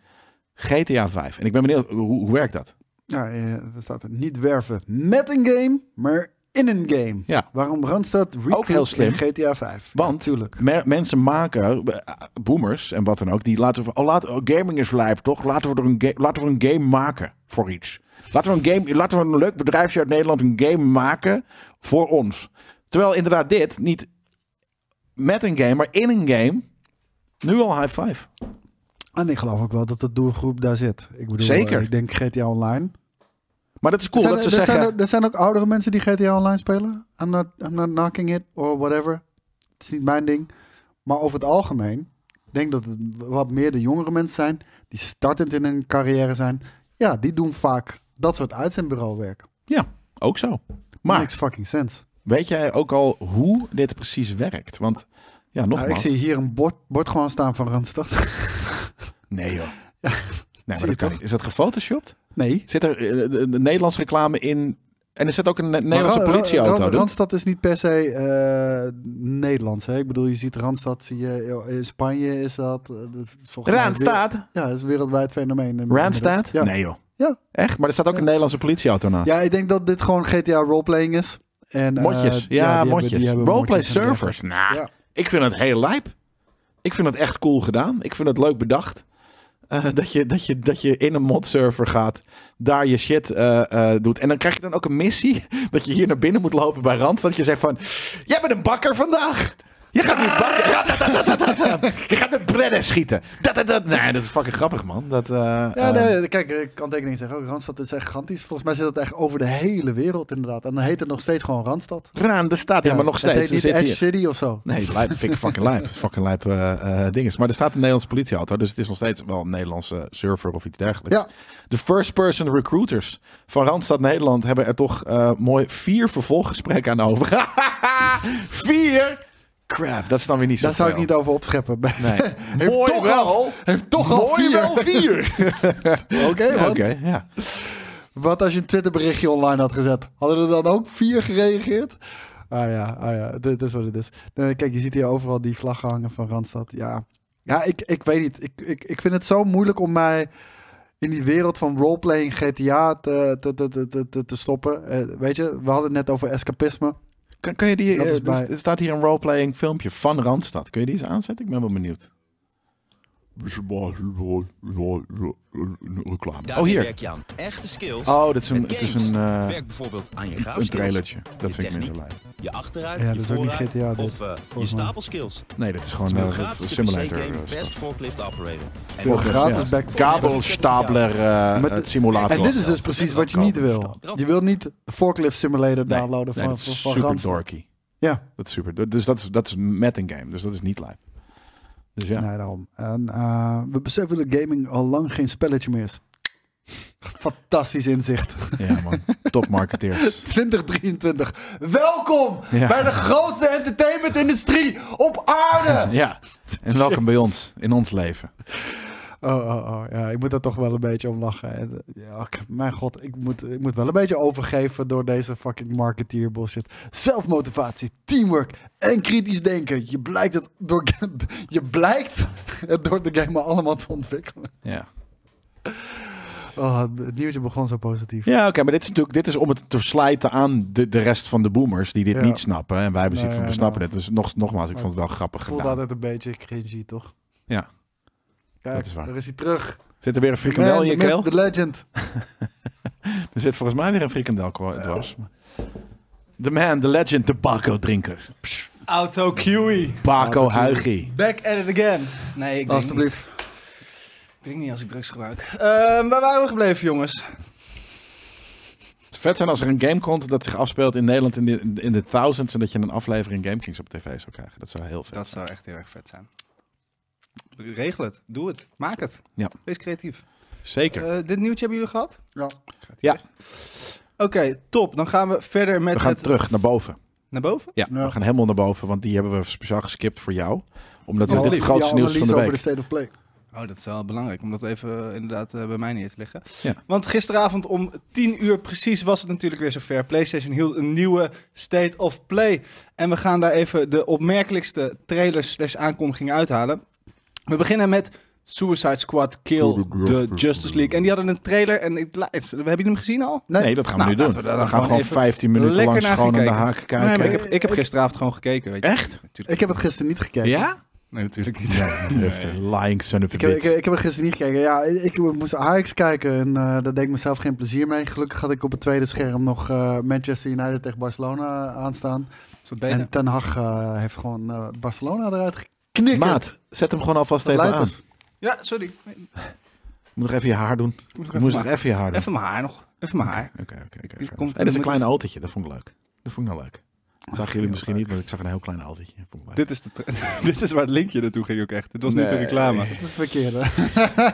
[SPEAKER 2] GTA 5. En ik ben benieuwd, hoe, hoe werkt dat?
[SPEAKER 3] ja, eh, er staat er niet werven met een game, maar in een game.
[SPEAKER 2] Ja.
[SPEAKER 3] Waarom Randstad recruit
[SPEAKER 2] Ook heel slim.
[SPEAKER 3] in GTA 5?
[SPEAKER 2] Want
[SPEAKER 3] natuurlijk.
[SPEAKER 2] me- mensen maken, eh, boomers en wat dan ook, die laten van, oh, laat, oh, gaming is lijp, toch? Laten we, er een ga- laten we een game maken voor iets. Laten we, een game, laten we een leuk bedrijfje uit Nederland een game maken voor ons. Terwijl inderdaad dit niet met een game, maar in een game, nu al high five.
[SPEAKER 3] En ik geloof ook wel dat de doelgroep daar zit. Ik bedoel,
[SPEAKER 2] Zeker.
[SPEAKER 3] eh, Ik denk GTA Online.
[SPEAKER 2] Maar dat is cool
[SPEAKER 3] Er zijn-
[SPEAKER 2] dat ze
[SPEAKER 3] er,
[SPEAKER 2] zeggen...
[SPEAKER 3] zijn, ook- er zijn ook oudere mensen die GTA Online spelen. I'm not, I'm not knocking it or whatever. Het is niet mijn ding. Maar over het algemeen, ik denk dat het wat meer de jongere mensen zijn die startend in hun carrière zijn. Ja, die doen vaak dat soort uitzendbureauwerk.
[SPEAKER 2] Ja, ook zo. Maar
[SPEAKER 3] Niks fucking sense.
[SPEAKER 2] weet jij ook al hoe dit precies werkt? Want ja,
[SPEAKER 3] Nou, ik
[SPEAKER 2] nogmaals.
[SPEAKER 3] zie hier een bord, bord gewoon staan van Randstad.
[SPEAKER 2] nee joh. Nee,
[SPEAKER 3] je
[SPEAKER 2] maar dat kan
[SPEAKER 3] toch?
[SPEAKER 2] niet. Is dat gefotoshopt?
[SPEAKER 3] Nee.
[SPEAKER 2] Zit er eh, de, de Nederlandse reclame in? En er zit ook een Ne- Nederlandse
[SPEAKER 3] Maar eh, Ra- Ra-
[SPEAKER 2] politieauto.
[SPEAKER 3] Ra-
[SPEAKER 2] dude.
[SPEAKER 3] Randstad is niet per se eh, Nederlands. Hè? Ik bedoel, je ziet Randstad, zie je, in Spanje is dat. eh, dat is volgens mij weer-
[SPEAKER 2] Randstad?
[SPEAKER 3] Ja, dat is een wereldwijd fenomeen. eh,
[SPEAKER 2] Randstad?
[SPEAKER 3] Ja.
[SPEAKER 2] Nee joh.
[SPEAKER 3] Ja.
[SPEAKER 2] Echt? Maar er staat ook
[SPEAKER 3] Ja.
[SPEAKER 2] een Nederlandse politieauto naast.
[SPEAKER 3] ja, ik denk dat dit gewoon GTA roleplaying is. En, eh,
[SPEAKER 2] Modjes.
[SPEAKER 3] die
[SPEAKER 2] ja,
[SPEAKER 3] hebben-
[SPEAKER 2] modjes.
[SPEAKER 3] die hebben
[SPEAKER 2] Roleplay
[SPEAKER 3] modjes en
[SPEAKER 2] servers. Nou,
[SPEAKER 3] Ja.
[SPEAKER 2] ik vind het heel lijp. Ik vind het echt cool gedaan. Ik vind het leuk bedacht. Eh, dat, je, dat, je, dat je in een mod server gaat, daar je shit eh, eh, doet. En dan krijg je dan ook een missie. Dat je hier naar binnen moet lopen bij Rand. Dat je zegt van, jij bent een bakker vandaag. Je gaat nu bakken. Je gaat met bredden schieten. Dat, dat, dat. Nee, dat is fucking grappig, man. Dat, eh,
[SPEAKER 3] Ja,
[SPEAKER 2] eh,
[SPEAKER 3] nee, kijk, ik kan tekening zeggen. Ook Randstad is echt gigantisch. Volgens mij zit dat echt over de hele wereld inderdaad. En dan heet het nog steeds gewoon Randstad.
[SPEAKER 2] Raan, er staat ja, maar nog steeds.
[SPEAKER 3] Het heet
[SPEAKER 2] er
[SPEAKER 3] niet
[SPEAKER 2] zit
[SPEAKER 3] Edge
[SPEAKER 2] hier.
[SPEAKER 3] City of zo.
[SPEAKER 2] Nee, lijp, vind ik fucking lijp. Het is Fucking lijp eh eh, dinges. Maar er staat een Nederlandse politieauto, dus het is nog steeds wel een Nederlandse server of iets dergelijks.
[SPEAKER 3] Ja.
[SPEAKER 2] De first-person recruiters van Randstad Nederland hebben er toch eh, mooi vier vervolggesprekken aan over. vier? Crap, dat is dan weer niet zo
[SPEAKER 3] Daar zou ik
[SPEAKER 2] veel.
[SPEAKER 3] niet over opscheppen.
[SPEAKER 2] Nee.
[SPEAKER 3] Heeft
[SPEAKER 2] mooi
[SPEAKER 3] toch
[SPEAKER 2] wel.
[SPEAKER 3] al- Heeft toch al
[SPEAKER 2] mooi
[SPEAKER 3] vier.
[SPEAKER 2] wel vier.
[SPEAKER 3] Oké,
[SPEAKER 2] Ja,
[SPEAKER 3] want
[SPEAKER 2] Oké, ja.
[SPEAKER 3] wat als je een Twitterberichtje online had gezet? Hadden er dan ook vier gereageerd? Ah ja, ah ja, dit is wat het is. Nee, kijk, je ziet hier overal die vlaggen hangen van Randstad. Ja, ja ik, ik weet niet. Ik, ik, ik vind het zo moeilijk om mij in die wereld van roleplaying GTA te, te, te, te, te, te stoppen. Eh, weet je, we hadden het net over escapisme.
[SPEAKER 2] Kan, kan je die,
[SPEAKER 3] Dat is
[SPEAKER 2] eh,
[SPEAKER 3] bij-
[SPEAKER 2] er staat hier een roleplaying filmpje van Randstad. Kun je die eens aanzetten? Ik ben wel benieuwd. Reclame.
[SPEAKER 5] Daar
[SPEAKER 2] Oh, hier.
[SPEAKER 5] werk je aan echte skills.
[SPEAKER 2] Oh, dat is een,
[SPEAKER 5] Met
[SPEAKER 2] het is
[SPEAKER 5] games.
[SPEAKER 2] een, eh,
[SPEAKER 5] Werk bijvoorbeeld aan je
[SPEAKER 2] een
[SPEAKER 5] grafskills,
[SPEAKER 2] trailertje. Dat
[SPEAKER 5] Je
[SPEAKER 2] vind ik minder
[SPEAKER 5] techniek.
[SPEAKER 2] lijp.
[SPEAKER 5] je achteruit,
[SPEAKER 3] Ja,
[SPEAKER 5] je
[SPEAKER 3] dat is ook niet
[SPEAKER 5] vooruit
[SPEAKER 3] GTA dit,
[SPEAKER 5] of eh, je
[SPEAKER 3] mij.
[SPEAKER 5] stapelskills.
[SPEAKER 2] Nee, dat is
[SPEAKER 5] Het
[SPEAKER 2] gewoon
[SPEAKER 5] is
[SPEAKER 2] eh,
[SPEAKER 5] een
[SPEAKER 2] een
[SPEAKER 5] gratis
[SPEAKER 2] simulator.
[SPEAKER 5] PC-game
[SPEAKER 2] eh,
[SPEAKER 5] Best Forklift Operator. En
[SPEAKER 3] Voor
[SPEAKER 5] ook
[SPEAKER 3] gratis back
[SPEAKER 2] Kabelstabler eh,
[SPEAKER 3] Met-
[SPEAKER 2] het simulator.
[SPEAKER 3] En dit is dus precies wat je niet wil. Je wil niet Forklift Simulator
[SPEAKER 2] Nee,
[SPEAKER 3] downloaden
[SPEAKER 2] nee,
[SPEAKER 3] van,
[SPEAKER 2] dat is
[SPEAKER 3] van, van
[SPEAKER 2] super
[SPEAKER 3] Randstad.
[SPEAKER 2] dorky.
[SPEAKER 3] Ja.
[SPEAKER 2] Dat is super. Dus dat is, dat is met een game. Dus dat is niet lijp. Dus ja.
[SPEAKER 3] Nee, daarom. En eh, we beseffen dat gaming al lang geen spelletje meer is. Fantastisch inzicht.
[SPEAKER 2] ja man. Top marketeers.
[SPEAKER 3] 2023. Welkom
[SPEAKER 2] Ja.
[SPEAKER 3] bij de grootste entertainmentindustrie op aarde.
[SPEAKER 2] Ja. En welkom bij ons. In ons leven.
[SPEAKER 3] Oh, oh, oh, ja, ik moet daar toch wel een beetje om lachen. En, eh, Ja, ik- mijn god, ik moet, ik moet wel een beetje overgeven door deze fucking marketeer bullshit. Zelfmotivatie, teamwork en kritisch denken. Je blijkt het door, je blijkt het door de game allemaal te ontwikkelen.
[SPEAKER 2] Ja.
[SPEAKER 3] Oh, het nieuwtje begon zo positief.
[SPEAKER 2] Ja, oké, maar dit is natuurlijk dit is om het te slijten aan de, de rest van de boomers die dit
[SPEAKER 3] Ja.
[SPEAKER 2] niet snappen. En wij hebben zoiets van, we
[SPEAKER 3] Nee, nou. nee,
[SPEAKER 2] snappen
[SPEAKER 3] nee.
[SPEAKER 2] dit. Dus nog, nogmaals, ik
[SPEAKER 3] Maar
[SPEAKER 2] vond het wel grappig
[SPEAKER 3] Ik voelde
[SPEAKER 2] gedaan.
[SPEAKER 3] altijd een beetje cringy, toch?
[SPEAKER 2] Ja.
[SPEAKER 3] Kijk,
[SPEAKER 2] Dat is waar.
[SPEAKER 3] daar is hij terug.
[SPEAKER 2] Zit er weer een frikandel
[SPEAKER 3] Man,
[SPEAKER 2] in je
[SPEAKER 3] the myth,
[SPEAKER 2] keel?
[SPEAKER 3] The legend.
[SPEAKER 2] Er zit volgens mij weer een frikandel kwa- dwars. The man, the legend, de Baco drinker.
[SPEAKER 1] Auto QE.
[SPEAKER 2] Baco Huigie.
[SPEAKER 1] Back at it again. Nee, ik drink niet.
[SPEAKER 3] Alsjeblieft.
[SPEAKER 1] Ik drink niet als ik drugs gebruik. Ehm, waar waren we gebleven, jongens?
[SPEAKER 2] Het vet zijn als er een game komt dat zich afspeelt in Nederland in de, in de thousands en dat je een aflevering Game Kings op tv zou krijgen. Dat zou heel vet
[SPEAKER 1] Dat zou echt heel erg vet zijn. Regel het. Doe het. Maak het.
[SPEAKER 2] Ja.
[SPEAKER 1] Wees creatief.
[SPEAKER 2] zijn. Zeker.
[SPEAKER 1] Eh, dit nieuwtje hebben jullie gehad?
[SPEAKER 3] Ja.
[SPEAKER 1] Gaat
[SPEAKER 2] Ja.
[SPEAKER 1] hier. Oké, top. Dan gaan we verder met
[SPEAKER 2] we gaan
[SPEAKER 1] het...
[SPEAKER 2] terug naar boven.
[SPEAKER 1] Naar boven?
[SPEAKER 2] Ja,
[SPEAKER 3] Ja.
[SPEAKER 2] we gaan helemaal naar boven, want die hebben we speciaal geskipt voor jou. Omdat
[SPEAKER 3] Ja,
[SPEAKER 2] dit het
[SPEAKER 3] lief.
[SPEAKER 2] grootste
[SPEAKER 3] Je
[SPEAKER 2] nieuws van de
[SPEAKER 3] analyse over
[SPEAKER 2] week.
[SPEAKER 3] de state of play.
[SPEAKER 1] Oh, dat is wel belangrijk om dat even eh, inderdaad eh, bij mij neer te leggen.
[SPEAKER 2] Ja.
[SPEAKER 1] Want gisteravond om 10 uur precies was het natuurlijk weer zover. PlayStation hield een nieuwe State of Play. En we gaan daar even de opmerkelijkste trailers slash aankondigingen uithalen. We beginnen met Suicide Squad Kill the Justice League. En die hadden een trailer. En ik, la- het- hebben jullie hem gezien al?
[SPEAKER 3] Nee.
[SPEAKER 2] Nee, dat gaan we
[SPEAKER 1] Nou,
[SPEAKER 2] nu doen.
[SPEAKER 1] laten we daar
[SPEAKER 2] we
[SPEAKER 1] dan
[SPEAKER 2] gaan
[SPEAKER 1] gewoon
[SPEAKER 2] gewoon
[SPEAKER 1] even
[SPEAKER 2] 15 minuten
[SPEAKER 1] lekker
[SPEAKER 2] lang
[SPEAKER 1] naar
[SPEAKER 2] schoon
[SPEAKER 1] gaan
[SPEAKER 2] aan de
[SPEAKER 1] kijken.
[SPEAKER 2] haak
[SPEAKER 1] Nee,
[SPEAKER 2] kijken.
[SPEAKER 1] maar ik, heb, ik heb gisteravond gewoon gekeken. Weet je.
[SPEAKER 2] Echt?
[SPEAKER 1] Natuurlijk.
[SPEAKER 3] Ik heb het gisteren niet gekeken.
[SPEAKER 2] Ja?
[SPEAKER 1] Nee, natuurlijk niet.
[SPEAKER 2] Ja, lying son of a
[SPEAKER 3] Ik heb,
[SPEAKER 2] bitch.
[SPEAKER 3] ik, ik heb het gisteren niet gekeken. Ja, ik, ik moest Ajax kijken en eh, daar deed ik mezelf geen plezier mee. Gelukkig had ik op het tweede scherm nog eh, Manchester United tegen Barcelona aanstaan.
[SPEAKER 1] Is dat beter?
[SPEAKER 3] En Ten Hag eh, heeft gewoon eh, Barcelona eruit geknikkerd.
[SPEAKER 2] Maat, zet hem gewoon alvast
[SPEAKER 3] Dat
[SPEAKER 2] even
[SPEAKER 3] lijkt
[SPEAKER 2] aan.
[SPEAKER 3] het.
[SPEAKER 1] Ja, sorry. Ik
[SPEAKER 2] Moet nog even je haar
[SPEAKER 1] moet
[SPEAKER 2] doen.
[SPEAKER 1] nog
[SPEAKER 2] Je
[SPEAKER 1] even
[SPEAKER 2] moest nog
[SPEAKER 1] mijn-
[SPEAKER 2] even je haar doen.
[SPEAKER 1] Even mijn haar nog. Even mijn haar.
[SPEAKER 2] Oké, oké, oké, oké.
[SPEAKER 1] Hier
[SPEAKER 2] En
[SPEAKER 1] komt
[SPEAKER 2] dat is
[SPEAKER 1] een-
[SPEAKER 2] een klein autootje, dat vond ik leuk. Dat vond ik nou leuk. Dat zagen jullie misschien niet, maar ik zag een heel klein autootje. Dat vond ik leuk.
[SPEAKER 1] Dit is, de tra- dit is waar het linkje naartoe ging ook echt. Dit was niet de
[SPEAKER 2] Nee.
[SPEAKER 1] reclame.
[SPEAKER 3] Dat is verkeerd. hè?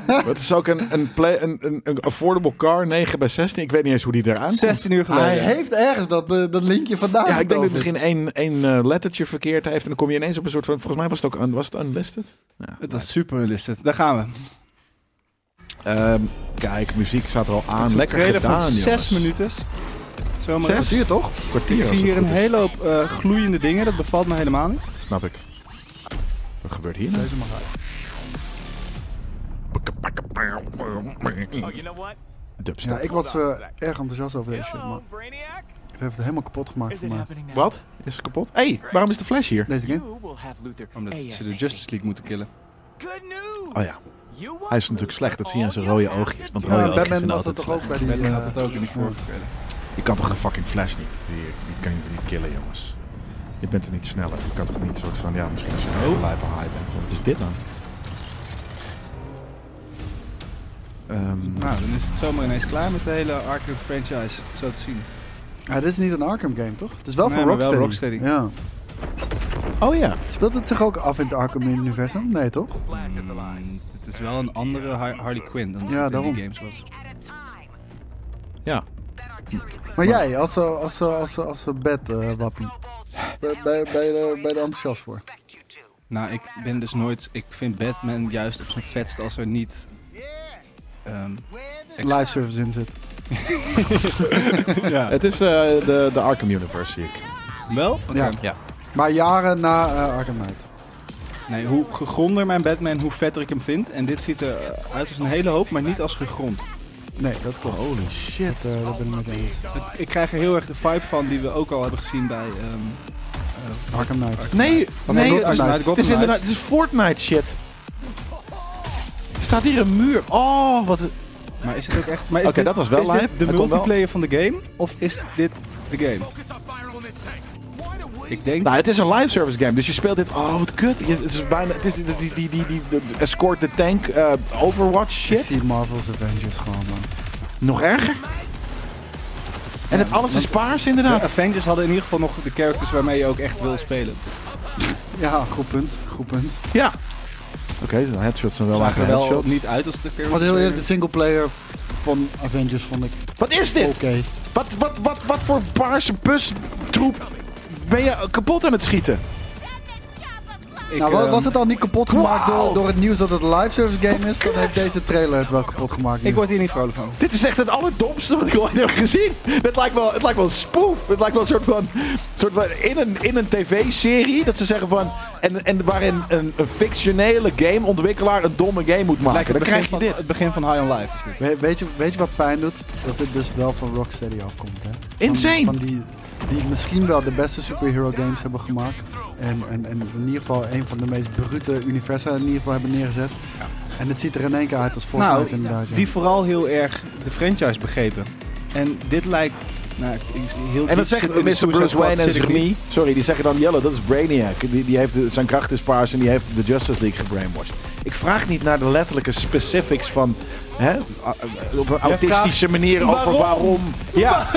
[SPEAKER 2] Maar Het is ook een, een, play, een, een, een affordable car, 9 bij 16. Ik weet niet eens hoe die eraan komt.
[SPEAKER 1] 16 uur geleden.
[SPEAKER 3] Hij heeft ergens dat, eh, dat linkje vandaan.
[SPEAKER 2] Ja, ik denk dat het
[SPEAKER 3] getoverd.
[SPEAKER 2] misschien één, één eh, lettertje verkeerd heeft. En dan kom je ineens op een soort van... Volgens mij was het ook un, was het unlisted. Ja,
[SPEAKER 1] Het was super realistic. Daar gaan we.
[SPEAKER 2] Ehm, kijk, muziek staat er al
[SPEAKER 1] Het is
[SPEAKER 2] aan.
[SPEAKER 1] een
[SPEAKER 2] Lekker
[SPEAKER 1] trailer
[SPEAKER 2] gedaan,
[SPEAKER 1] van
[SPEAKER 2] jongens.
[SPEAKER 1] 6 minuten. Zomaar.
[SPEAKER 3] Dat zie je toch?
[SPEAKER 2] Kwartier,
[SPEAKER 1] Ik
[SPEAKER 2] als
[SPEAKER 1] zie
[SPEAKER 2] het
[SPEAKER 1] hier
[SPEAKER 2] goed
[SPEAKER 1] een
[SPEAKER 2] is.
[SPEAKER 1] hele hoop eh, gloeiende dingen. Dat bevalt me helemaal niet.
[SPEAKER 2] Snap ik. Wat gebeurt hier nou?
[SPEAKER 3] Deze mag uit.
[SPEAKER 6] Oh, you know what?
[SPEAKER 2] Dubstep.
[SPEAKER 6] Oh,
[SPEAKER 3] Ja, nou ik was eh, erg enthousiast over deze shit, man.
[SPEAKER 6] Brainiac.
[SPEAKER 3] Het heeft het helemaal kapot gemaakt
[SPEAKER 6] Is
[SPEAKER 3] voor
[SPEAKER 6] it
[SPEAKER 3] mij.
[SPEAKER 6] happening now?
[SPEAKER 2] Wat? Is ze kapot? Hé, hey, waarom is de flash hier?
[SPEAKER 3] Deze game.
[SPEAKER 6] You will have Luther
[SPEAKER 1] Omdat ze de
[SPEAKER 6] ASAP.
[SPEAKER 1] Justice League moeten killen.
[SPEAKER 6] Good news.
[SPEAKER 2] Oh ja.
[SPEAKER 6] You will
[SPEAKER 2] Hij is natuurlijk slecht, dat zie je aan zijn
[SPEAKER 6] all you
[SPEAKER 2] rode
[SPEAKER 6] have
[SPEAKER 2] oogjes,
[SPEAKER 6] to
[SPEAKER 2] want
[SPEAKER 6] do.
[SPEAKER 2] rode
[SPEAKER 3] Oh, Ja,
[SPEAKER 2] oogjes
[SPEAKER 3] Eh, Batman
[SPEAKER 2] zijn
[SPEAKER 3] had het
[SPEAKER 2] altijd
[SPEAKER 3] toch ook bij
[SPEAKER 2] slecht.
[SPEAKER 3] die...
[SPEAKER 1] Batman had
[SPEAKER 3] eh,
[SPEAKER 1] het ook in die vorige killen.
[SPEAKER 2] Je kan toch een fucking flash niet? Die, die kan je toch niet killen, jongens? Je bent er niet sneller. Je kan toch niet soort van, ja, misschien als je een hele lijpe high bent. Wat is dit dan? Ehm,
[SPEAKER 1] Nou, dan is het zomaar ineens klaar met de hele Arkham franchise, zo te zien.
[SPEAKER 3] ja, dit is niet een Arkham game, toch? Het is wel
[SPEAKER 1] Nee,
[SPEAKER 3] van
[SPEAKER 1] maar wel
[SPEAKER 3] Rocksteady. Ja.
[SPEAKER 2] oh ja.
[SPEAKER 3] Speelt het zich ook af in het Arkham-universum? Nee, toch?
[SPEAKER 1] Mm, het is wel een andere Har- Harley Quinn dan
[SPEAKER 3] Ja,
[SPEAKER 1] ja,
[SPEAKER 3] daarom.
[SPEAKER 1] die games was.
[SPEAKER 2] Ja.
[SPEAKER 3] Maar jij, als, eh, als, eh, als, eh, als, eh, bed eh wappie, ben ben- ben je er- ben je er enthousiast voor?
[SPEAKER 1] Nou, ik ben dus nooit... Ik vind Batman juist op zijn vetst als er niet... ehm,
[SPEAKER 3] Live service in zit.
[SPEAKER 1] ja.
[SPEAKER 2] Het is eh, de, de Arkham Universe, zie ik.
[SPEAKER 1] Wel? Oké.
[SPEAKER 3] Ja. Maar jaren na eh, Arkham Knight.
[SPEAKER 1] Nee, hoe gegronder mijn Batman, hoe vetter ik hem vind. En dit ziet er eh, uit als een hele hoop, maar niet als gegrond.
[SPEAKER 3] Nee, dat klopt. Holy shit. Dat, eh, dat ben ik met je eens.
[SPEAKER 1] Het- ik krijg er heel erg de vibe van die we ook al hebben gezien bij... ehm,
[SPEAKER 3] Arkham Knight.
[SPEAKER 2] Nee,
[SPEAKER 3] nee,
[SPEAKER 2] nee,
[SPEAKER 3] Gotham
[SPEAKER 2] het is,
[SPEAKER 3] Knights.
[SPEAKER 2] het is inderdaad, het is Fortnite shit. Er staat hier een muur. Oh, wat... een-
[SPEAKER 1] maar is het ook echt... maar is
[SPEAKER 2] Oké,
[SPEAKER 1] dit-
[SPEAKER 2] dat was wel
[SPEAKER 1] is dit
[SPEAKER 2] live.
[SPEAKER 1] de
[SPEAKER 2] Hij kon wel-
[SPEAKER 1] multiplayer van de game? Of is dit de game? Ik denk...
[SPEAKER 2] Nou, het is een live service game, dus je speelt dit... Oh, wat kut. Je- het is bijna... Het is die, die, die, die, die, de escort the tank eh, Overwatch
[SPEAKER 3] Ik
[SPEAKER 2] shit.
[SPEAKER 3] zie Marvel's Avengers gewoon, man.
[SPEAKER 2] Nog erger. En het alles is paars, inderdaad.
[SPEAKER 1] De Avengers hadden in ieder geval nog de characters waarmee je ook echt wil spelen.
[SPEAKER 3] Ja, goed punt. Goed punt.
[SPEAKER 2] Ja. Oké, zijn headshots zijn wel
[SPEAKER 1] Zagen
[SPEAKER 2] eigen
[SPEAKER 1] er wel
[SPEAKER 2] headshots.
[SPEAKER 1] niet uit als de characters.
[SPEAKER 3] Want heel eerlijk, de singleplayer van Avengers vond ik
[SPEAKER 2] Wat is dit?
[SPEAKER 3] oké.
[SPEAKER 2] Wat, wat, wat, wat voor paarse bustroep ben je kapot aan het schieten?
[SPEAKER 1] Ik,
[SPEAKER 3] Nou, wa-
[SPEAKER 1] ehm,
[SPEAKER 3] was het al niet kapot gemaakt
[SPEAKER 2] Wauw.
[SPEAKER 3] door, door het nieuws dat het een live service game is, dan heeft deze trailer het wel kapot gemaakt.
[SPEAKER 1] Ik word hier niet vrolijk van.
[SPEAKER 2] Dit is echt het allerdomste wat ik ooit heb gezien. Het lijkt wel, het lijkt wel een spoof. Het lijkt wel een soort van... Soort van in een, in een tv-serie dat ze zeggen van... En, en waarin een, een fictionele gameontwikkelaar een domme game moet maken. Dan krijg je
[SPEAKER 1] van,
[SPEAKER 2] dit.
[SPEAKER 1] Het begin van High on Life. is dit.
[SPEAKER 3] We- weet, je, weet je wat pijn doet? Dat dit dus wel van Rocksteady afkomt, hè? Van-
[SPEAKER 2] Insane.
[SPEAKER 3] Van, die, die misschien wel de beste superhero games hebben gemaakt. En, en, en in ieder geval een van de meest brute universa in ieder geval hebben neergezet. En het ziet er in één keer uit als Fortnite
[SPEAKER 1] Nou,
[SPEAKER 3] inderdaad. ja.
[SPEAKER 1] die vooral heel erg de franchise begrepen. En dit lijkt... Nou, ik- ik- heel
[SPEAKER 2] En dat
[SPEAKER 1] diep
[SPEAKER 2] zegt
[SPEAKER 1] zitten in de
[SPEAKER 2] Mr.
[SPEAKER 1] Suicide
[SPEAKER 2] Bruce
[SPEAKER 1] Squad
[SPEAKER 2] Wayne en
[SPEAKER 1] zit ik niet.
[SPEAKER 2] Remy. Sorry, die zeggen dan Yellow, dat is Brainiac. Die, die heeft, de- zijn kracht is paars en die heeft de Justice League gebrainwashed. Ik vraag niet naar de letterlijke specifics van... Hè, a- a- op een autistische manier over waarom... Ja,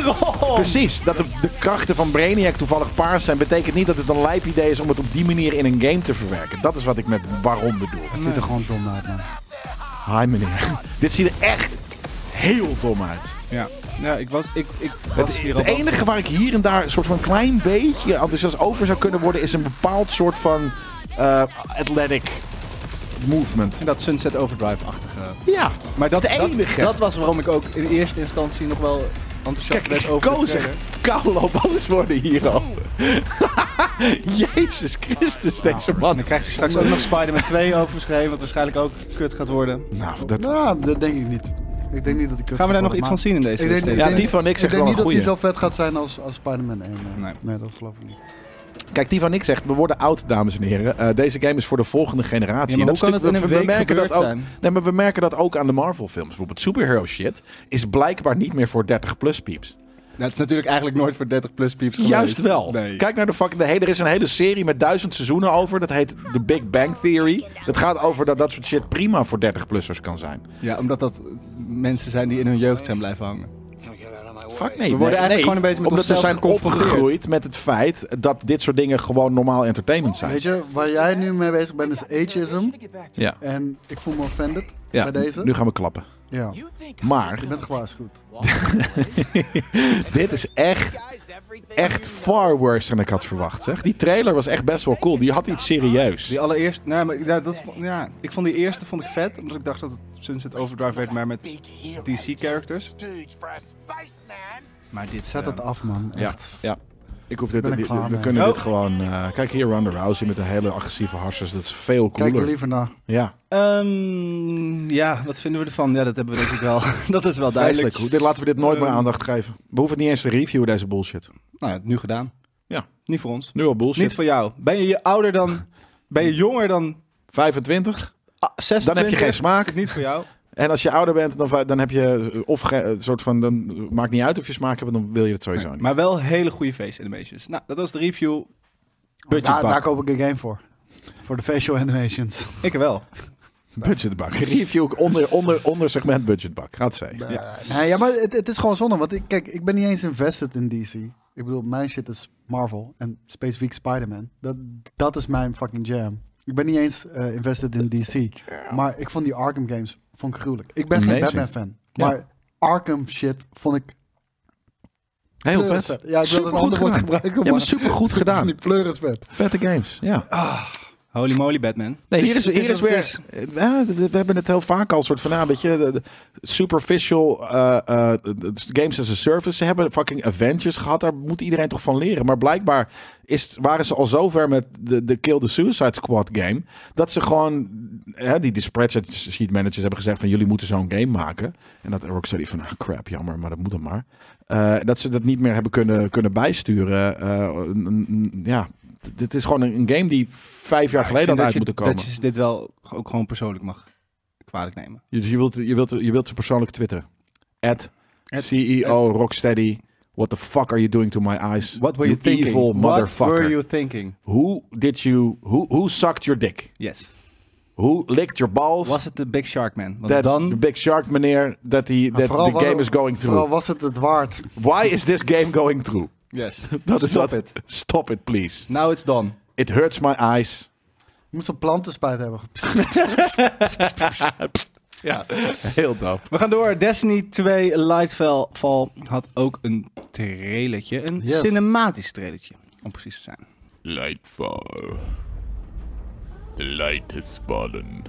[SPEAKER 2] precies. Dat de, de krachten van Brainiac toevallig paars zijn... betekent niet dat het een lijp idee is om het op die manier in een game te verwerken. Dat is wat ik met waarom bedoel.
[SPEAKER 3] Het ziet er gewoon dom uit, man.
[SPEAKER 2] Hi meneer. Dit ziet er echt heel dom uit.
[SPEAKER 1] Ja, ja ik was... Ik, ik
[SPEAKER 2] Het,
[SPEAKER 1] was hier al
[SPEAKER 2] het enige waar ik hier en daar een soort van klein beetje enthousiast over zou kunnen worden, is een bepaald soort van eh, athletic movement.
[SPEAKER 1] Dat Sunset Overdrive-achtige...
[SPEAKER 2] Ja,
[SPEAKER 1] Maar dat,
[SPEAKER 2] de
[SPEAKER 1] dat,
[SPEAKER 2] enige.
[SPEAKER 1] dat was waarom ik ook in eerste instantie nog wel enthousiast
[SPEAKER 2] Kijk,
[SPEAKER 1] was
[SPEAKER 2] ik
[SPEAKER 1] over de
[SPEAKER 2] koos echt
[SPEAKER 1] trailer.
[SPEAKER 2] koude boos worden hier al. Jezus Christus, deze
[SPEAKER 1] En
[SPEAKER 2] man.
[SPEAKER 1] dan krijgt hij straks ook nog Spider-Man 2 overgeschreven, wat waarschijnlijk ook kut gaat worden.
[SPEAKER 2] Nou, dat,
[SPEAKER 3] Nou, dat denk ik niet. Ik denk niet dat ik
[SPEAKER 1] Gaan we daar nog iets van zien in deze
[SPEAKER 3] Ik denk,
[SPEAKER 1] steeds?
[SPEAKER 3] ik
[SPEAKER 2] Ja,
[SPEAKER 3] denk-
[SPEAKER 2] die van ik zeg
[SPEAKER 3] denk
[SPEAKER 2] wel
[SPEAKER 3] niet
[SPEAKER 2] een
[SPEAKER 3] dat die zo
[SPEAKER 2] goeie.
[SPEAKER 3] vet gaat zijn als, als Spider-Man 1. Nee.
[SPEAKER 1] Nee.
[SPEAKER 3] Nee. dat geloof ik niet.
[SPEAKER 2] kijk, die van ik zegt, we worden oud, dames en heren. Eh, deze game is voor de volgende generatie.
[SPEAKER 1] Ja, maar
[SPEAKER 2] En dat
[SPEAKER 1] hoe
[SPEAKER 2] is
[SPEAKER 1] kan
[SPEAKER 2] natuurlijk-
[SPEAKER 1] het in een
[SPEAKER 2] we- we
[SPEAKER 1] week
[SPEAKER 2] merken dat
[SPEAKER 1] gebeurd
[SPEAKER 2] ook-
[SPEAKER 1] zijn?
[SPEAKER 2] Nee, maar we merken dat ook aan de Marvel films. Bijvoorbeeld superhero shit is blijkbaar niet meer voor 30 plus pieps.
[SPEAKER 1] Dat Nou, is natuurlijk eigenlijk nooit voor 30 plus pieps
[SPEAKER 2] Juist wel. Kijk naar de fucking... Hey, er is een hele serie met duizend seizoenen over. Dat heet The Big Bang Theory. Dat gaat over dat dat soort shit prima voor 30-plussers kan zijn.
[SPEAKER 1] Ja, omdat dat eh, mensen zijn die in hun jeugd zijn blijven hangen. We
[SPEAKER 2] Fuck nee.
[SPEAKER 1] worden
[SPEAKER 2] nee,
[SPEAKER 1] eigenlijk
[SPEAKER 2] nee.
[SPEAKER 1] gewoon een beetje met
[SPEAKER 2] Omdat we
[SPEAKER 1] onszelf
[SPEAKER 2] zijn
[SPEAKER 1] geconfronteerd.
[SPEAKER 2] opgegroeid met het feit dat dit soort dingen gewoon normaal entertainment zijn.
[SPEAKER 3] Weet je, waar jij nu mee bezig bent is ageism.
[SPEAKER 2] Ja.
[SPEAKER 3] En ik voel me offended
[SPEAKER 2] ja.
[SPEAKER 3] bij deze.
[SPEAKER 2] Nu gaan we klappen.
[SPEAKER 3] Ja,
[SPEAKER 2] Maar
[SPEAKER 3] je bent gewaarschuwd.
[SPEAKER 2] dit is echt, echt far worse dan ik had verwacht. Zeg. Die trailer was echt best wel cool. Die had iets serieus.
[SPEAKER 1] Die allereerst, nee, maar ja, dat, vond- ja, ik vond die eerste vond ik vet, omdat ik dacht dat het Sunset Overdrive werd, maar met DC characters. Maar dit
[SPEAKER 3] Zet
[SPEAKER 1] eh,
[SPEAKER 3] het af, man.
[SPEAKER 2] Ja,
[SPEAKER 3] Echt.
[SPEAKER 2] ja. Ik hoef dit,
[SPEAKER 3] ben er
[SPEAKER 2] dit-
[SPEAKER 3] klaar
[SPEAKER 2] we
[SPEAKER 3] mee.
[SPEAKER 2] kunnen
[SPEAKER 1] Oh.
[SPEAKER 2] dit gewoon... eh, kijk hier Ronda Rousey met een hele agressieve harsers. Dat is veel
[SPEAKER 3] Kijk
[SPEAKER 2] cooler.
[SPEAKER 3] er liever naar.
[SPEAKER 2] ja,
[SPEAKER 1] Ehm, ja, wat vinden we ervan? Ja, dat hebben we denk ik wel. dat is wel duidelijk.
[SPEAKER 2] duidelijk. Hoe- Dit, laten we dit nooit meer
[SPEAKER 1] Ehm.
[SPEAKER 2] aandacht geven. We hoeven niet eens te reviewen, deze bullshit.
[SPEAKER 1] Nou ja, nu gedaan.
[SPEAKER 2] Ja.
[SPEAKER 1] Niet voor ons.
[SPEAKER 2] Nu al bullshit.
[SPEAKER 1] Niet voor jou. Ben je je ouder dan... Ben je jonger dan
[SPEAKER 2] 25.
[SPEAKER 1] ah, 26?
[SPEAKER 2] Dan heb je geen smaak.
[SPEAKER 1] Is het niet voor jou.
[SPEAKER 2] En als je ouder bent, dan, va- dan heb je... eh, Of ge- een soort van... Dan eh, maakt niet uit of je smaak hebt, dan wil je het sowieso niet.
[SPEAKER 1] Maar wel hele goede face animations. Nou, dat was de review. Budget
[SPEAKER 3] Daar,
[SPEAKER 1] pak.
[SPEAKER 3] daar koop ik een game voor. Voor de facial animations.
[SPEAKER 1] Ik wel.
[SPEAKER 2] Budgetbak. Review onder, onder, onder segment budgetbak. Gaat zij.
[SPEAKER 3] Eh, nee, ja, maar het, het is gewoon zonde. Want ik, kijk, ik ben niet eens invested in DC. Ik bedoel, mijn shit is Marvel en specifiek Spider-Man. Dat, dat is mijn fucking jam. Ik ben niet eens eh, invested in DC. Maar ik vond die Arkham games vond ik gruwelijk. Ik ben geen
[SPEAKER 2] Amazing.
[SPEAKER 3] Batman-fan.
[SPEAKER 2] Ja.
[SPEAKER 3] Maar Arkham shit vond ik...
[SPEAKER 2] Heel
[SPEAKER 3] pleuris
[SPEAKER 2] vet.
[SPEAKER 3] Ja, ik wil een
[SPEAKER 2] Supergoed
[SPEAKER 3] ander woord
[SPEAKER 2] gedaan.
[SPEAKER 3] gebruiken,
[SPEAKER 2] Ja,
[SPEAKER 3] maar...
[SPEAKER 2] maar supergoed
[SPEAKER 3] Ik
[SPEAKER 2] gedaan.
[SPEAKER 3] vond die pleuris vet.
[SPEAKER 2] Vette games, ja.
[SPEAKER 1] Holy moly, Batman.
[SPEAKER 2] Nee, hier is,
[SPEAKER 1] Het
[SPEAKER 2] hier Ah, is
[SPEAKER 1] wat
[SPEAKER 2] weer...
[SPEAKER 1] het is.
[SPEAKER 2] Eh, Ja, we we hebben het heel vaak al soort van... ah, weet je, de- de superficial eh, eh, de- de games as a service. Ze hebben fucking Avengers gehad. Daar moet iedereen toch van leren. Maar blijkbaar is, waren ze al zover met de, de Kill the Suicide Squad game... dat ze gewoon... Hè, die, die spreadsheet managers hebben gezegd van... jullie moeten zo'n game maken. En dat Rocksteady van... ah, crap, jammer, maar dat moet dan maar. Eh, dat ze dat niet meer hebben kunnen, kunnen bijsturen. Eh, n- n- n- ja... Dit is gewoon een een game die vijf
[SPEAKER 1] Ja,
[SPEAKER 2] jaar
[SPEAKER 1] ik
[SPEAKER 2] geleden
[SPEAKER 1] vind
[SPEAKER 2] had
[SPEAKER 1] dat
[SPEAKER 2] uit moeten
[SPEAKER 1] je-
[SPEAKER 2] komen.
[SPEAKER 1] Dat je dit wel ook gewoon persoonlijk mag kwalijk nemen.
[SPEAKER 2] Je, je, wilt, je, wilt, je wilt ze persoonlijk twitteren. At CEO Rocksteady. What the fuck are you doing to my eyes?
[SPEAKER 1] What were you, thinking?
[SPEAKER 2] evil
[SPEAKER 1] What
[SPEAKER 2] motherfucker.
[SPEAKER 1] were you thinking?
[SPEAKER 2] Who did you... Who, who sucked your dick?
[SPEAKER 1] Yes.
[SPEAKER 2] Who licked your balls?
[SPEAKER 1] Was het de Big Shark Man? Want
[SPEAKER 2] that
[SPEAKER 1] dan...
[SPEAKER 2] the big shark meneer that, he, that
[SPEAKER 3] Vooral
[SPEAKER 2] the
[SPEAKER 3] was-
[SPEAKER 2] game is going
[SPEAKER 3] Vooral
[SPEAKER 2] through.
[SPEAKER 3] was het het waard.
[SPEAKER 2] Why is this game going through?
[SPEAKER 1] Yes.
[SPEAKER 2] Dat is
[SPEAKER 1] Stop
[SPEAKER 2] wat-
[SPEAKER 1] it.
[SPEAKER 2] Stop it, please.
[SPEAKER 1] Now it's done.
[SPEAKER 2] It hurts my eyes.
[SPEAKER 3] Je moet zo'n plantenspijt hebben.
[SPEAKER 2] Ja, heel dope.
[SPEAKER 1] We gaan door. Destiny 2 Lightfall Fall had ook een trailertje. Een
[SPEAKER 3] Yes.
[SPEAKER 1] cinematisch trailertje, om precies te zijn.
[SPEAKER 7] Lightfall. The light has fallen.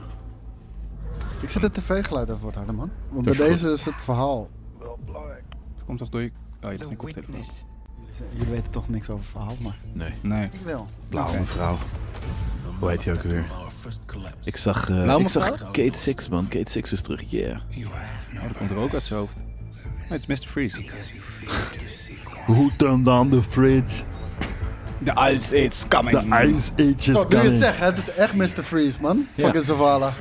[SPEAKER 3] Ik zet het tv-geluid even wat harder, man. Want bij
[SPEAKER 2] Dat is goed.
[SPEAKER 3] deze is het verhaal.
[SPEAKER 1] Dat komt toch door je... Oh, je hebt geen koptelefoon.
[SPEAKER 3] Jullie zijn- Jullie weten toch niks over het verhaal, maar...
[SPEAKER 2] Nee,
[SPEAKER 1] Nee.
[SPEAKER 3] Ik wel.
[SPEAKER 2] blauwe mevrouw. Hoe heet hij ook weer?
[SPEAKER 5] Our first collapse.
[SPEAKER 2] Ik zag, eh,
[SPEAKER 1] Blauwe
[SPEAKER 2] ik zag
[SPEAKER 1] mevrouw?
[SPEAKER 2] Kate Six, man. Kate Six is terug, yeah.
[SPEAKER 1] Nou, dat komt er ook uit zijn hoofd. Nee, het is Mr. Freeze.
[SPEAKER 2] Who turned down the fridge?
[SPEAKER 1] The Ice It's coming.
[SPEAKER 2] Ice Age
[SPEAKER 3] Zo, nu je het zegt, hè, het is echt Mr. Freeze, man. Fucking Zavala.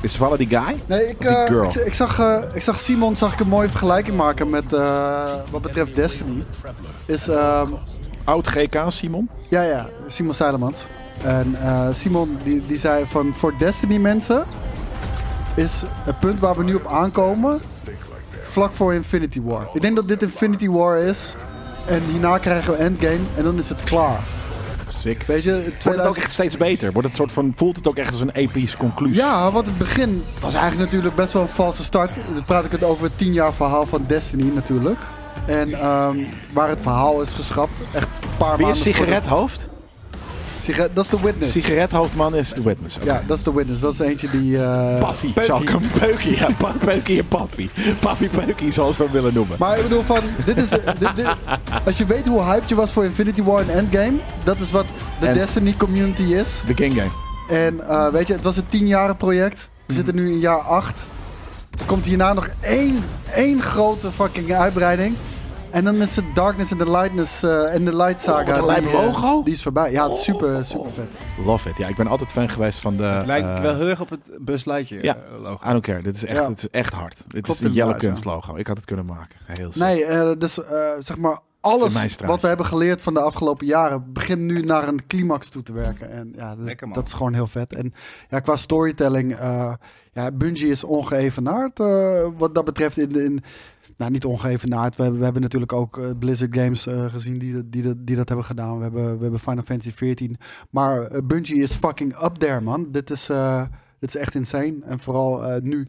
[SPEAKER 2] Is Valle die guy?
[SPEAKER 3] Nee, ik,
[SPEAKER 2] Die
[SPEAKER 3] eh,
[SPEAKER 2] girl.
[SPEAKER 3] ik, ik zag, eh, ik zag Simon zag ik een mooie vergelijking maken met eh, wat betreft Destiny. Is, ehm,
[SPEAKER 2] Oud GK, Simon?
[SPEAKER 3] ja, ja, Simon Seilemans. En eh, Simon die, die zei van voor Destiny mensen is het punt waar we nu op aankomen vlak voor Infinity War. Ik denk dat dit Infinity War is en hierna krijgen we Endgame en dan is het klaar.
[SPEAKER 2] Sick.
[SPEAKER 3] Weet je,
[SPEAKER 2] Wordt het ook
[SPEAKER 3] 2000...
[SPEAKER 2] echt steeds beter? Wordt het soort van, voelt het ook echt als een epische conclusie?
[SPEAKER 3] Ja, want het begin was eigenlijk natuurlijk best wel een valse start. Dan praat ik het over het 10 jaar verhaal van Destiny natuurlijk. En ehm, waar het verhaal is geschrapt. Echt een paar
[SPEAKER 2] Wie
[SPEAKER 3] maanden
[SPEAKER 2] is
[SPEAKER 3] sigaret?
[SPEAKER 2] sigarethoofd?
[SPEAKER 3] Sigaret, dat is The Witness.
[SPEAKER 2] Sigarethoofdman is de witness. oké.
[SPEAKER 3] Ja,
[SPEAKER 1] eh,
[SPEAKER 3] dat is The Witness. Dat is eentje die... eh,
[SPEAKER 2] Paffy, zal ik hem peukie, ja, pa- peukie en paffy. Paffy peukie, zoals we hem willen noemen.
[SPEAKER 3] Maar ik bedoel van, dit is, dit, dit- als je weet hoe hyped je was voor Infinity War en Endgame, dat is wat de
[SPEAKER 2] En-
[SPEAKER 3] Destiny community is.
[SPEAKER 2] De King Game.
[SPEAKER 3] En eh, weet je, het was een tienjaren project.
[SPEAKER 2] Mhm.
[SPEAKER 3] We zitten nu in jaar 8. Er komt hierna nog één, één grote fucking uitbreiding. En dan is de Darkness and the Lightness eh, en de Lightsaga.
[SPEAKER 2] Oh, wat een
[SPEAKER 3] die,
[SPEAKER 2] lijp
[SPEAKER 3] eh,
[SPEAKER 2] logo. Oh.
[SPEAKER 3] Die is voorbij. Ja, het is super, super vet.
[SPEAKER 2] Love it. Ja, ik ben altijd fan geweest van de...
[SPEAKER 1] Het lijkt
[SPEAKER 2] eh,
[SPEAKER 1] wel heel erg op het buslightje
[SPEAKER 2] ja.
[SPEAKER 1] eh, logo.
[SPEAKER 2] I don't care. Dit is echt,
[SPEAKER 3] Ja.
[SPEAKER 2] dit is echt hard. Dit
[SPEAKER 3] Klopt
[SPEAKER 2] is een Yellow
[SPEAKER 3] inderdaad, ja.
[SPEAKER 2] Kunst logo. Ik had het kunnen maken. Heel sick.
[SPEAKER 3] Nee, eh, dus eh, zeg maar
[SPEAKER 2] In mijn
[SPEAKER 3] alles
[SPEAKER 2] straat.
[SPEAKER 3] wat we hebben geleerd van de afgelopen jaren begint nu naar een climax toe te werken. En ja, dat,
[SPEAKER 1] Lekker, man.
[SPEAKER 3] dat is gewoon heel vet. En ja, qua storytelling, eh ja, Bungie is ongeëvenaard eh, wat dat betreft. In, de- in, nou, niet ongeëvenaard. We, hebben- we hebben natuurlijk ook eh, Blizzard Games eh, gezien die, dat- die, dat- die dat hebben gedaan. We hebben, we hebben Final Fantasy XIV. Maar eh, Bungie is fucking up there, man. Dit is, eh, dit is echt insane. En vooral eh, nu,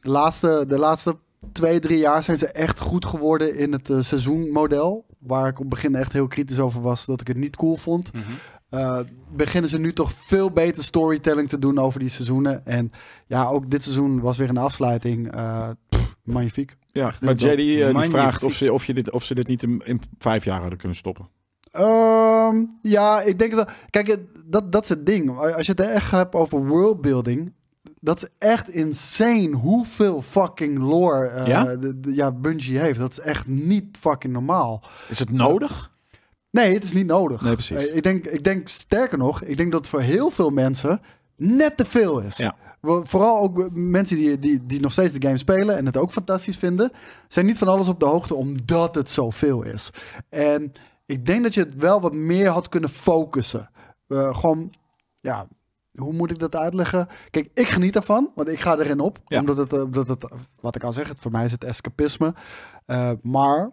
[SPEAKER 3] de laatste, de laatste twee, drie jaar zijn ze echt goed geworden in het eh, seizoenmodel. Waar ik op het begin echt heel kritisch over was dat ik het niet cool vond.
[SPEAKER 1] Mhm.
[SPEAKER 3] Eh, beginnen ze nu toch veel beter storytelling te doen over die seizoenen. En ja, ook dit seizoen was weer een afsluiting. Eh, pff, magnifiek.
[SPEAKER 2] Ja, maar JD eh, die
[SPEAKER 1] Magnifiek.
[SPEAKER 2] vraagt of ze, of, je dit, of ze dit niet in, in vijf jaar hadden kunnen stoppen.
[SPEAKER 3] Ehm, ja, ik denk dat. Kijk, het- dat, dat is het ding. Als je het echt hebt over worldbuilding. Dat is echt insane hoeveel fucking lore eh,
[SPEAKER 2] Ja?
[SPEAKER 3] de- de- ja, Bungie heeft. Dat is echt niet fucking normaal.
[SPEAKER 2] Is het nodig?
[SPEAKER 3] Nee, het is niet nodig.
[SPEAKER 2] Nee, precies.
[SPEAKER 3] Eh, ik, denk, ik denk sterker nog, ik denk dat het voor heel veel mensen net te veel is.
[SPEAKER 2] Ja.
[SPEAKER 3] Wel, Vooral ook eh, mensen die, die, die nog steeds de game spelen en het ook fantastisch vinden, zijn niet van alles op de hoogte omdat het zoveel is. En ik denk dat je het wel wat meer had kunnen focussen. Eh, gewoon, ja, hoe moet ik dat uitleggen? Kijk, ik geniet ervan, want ik ga erin op.
[SPEAKER 2] Ja.
[SPEAKER 3] Omdat het, eh, omdat het, eh, wat ik al zeg, het, voor mij is het escapisme. Eh, maar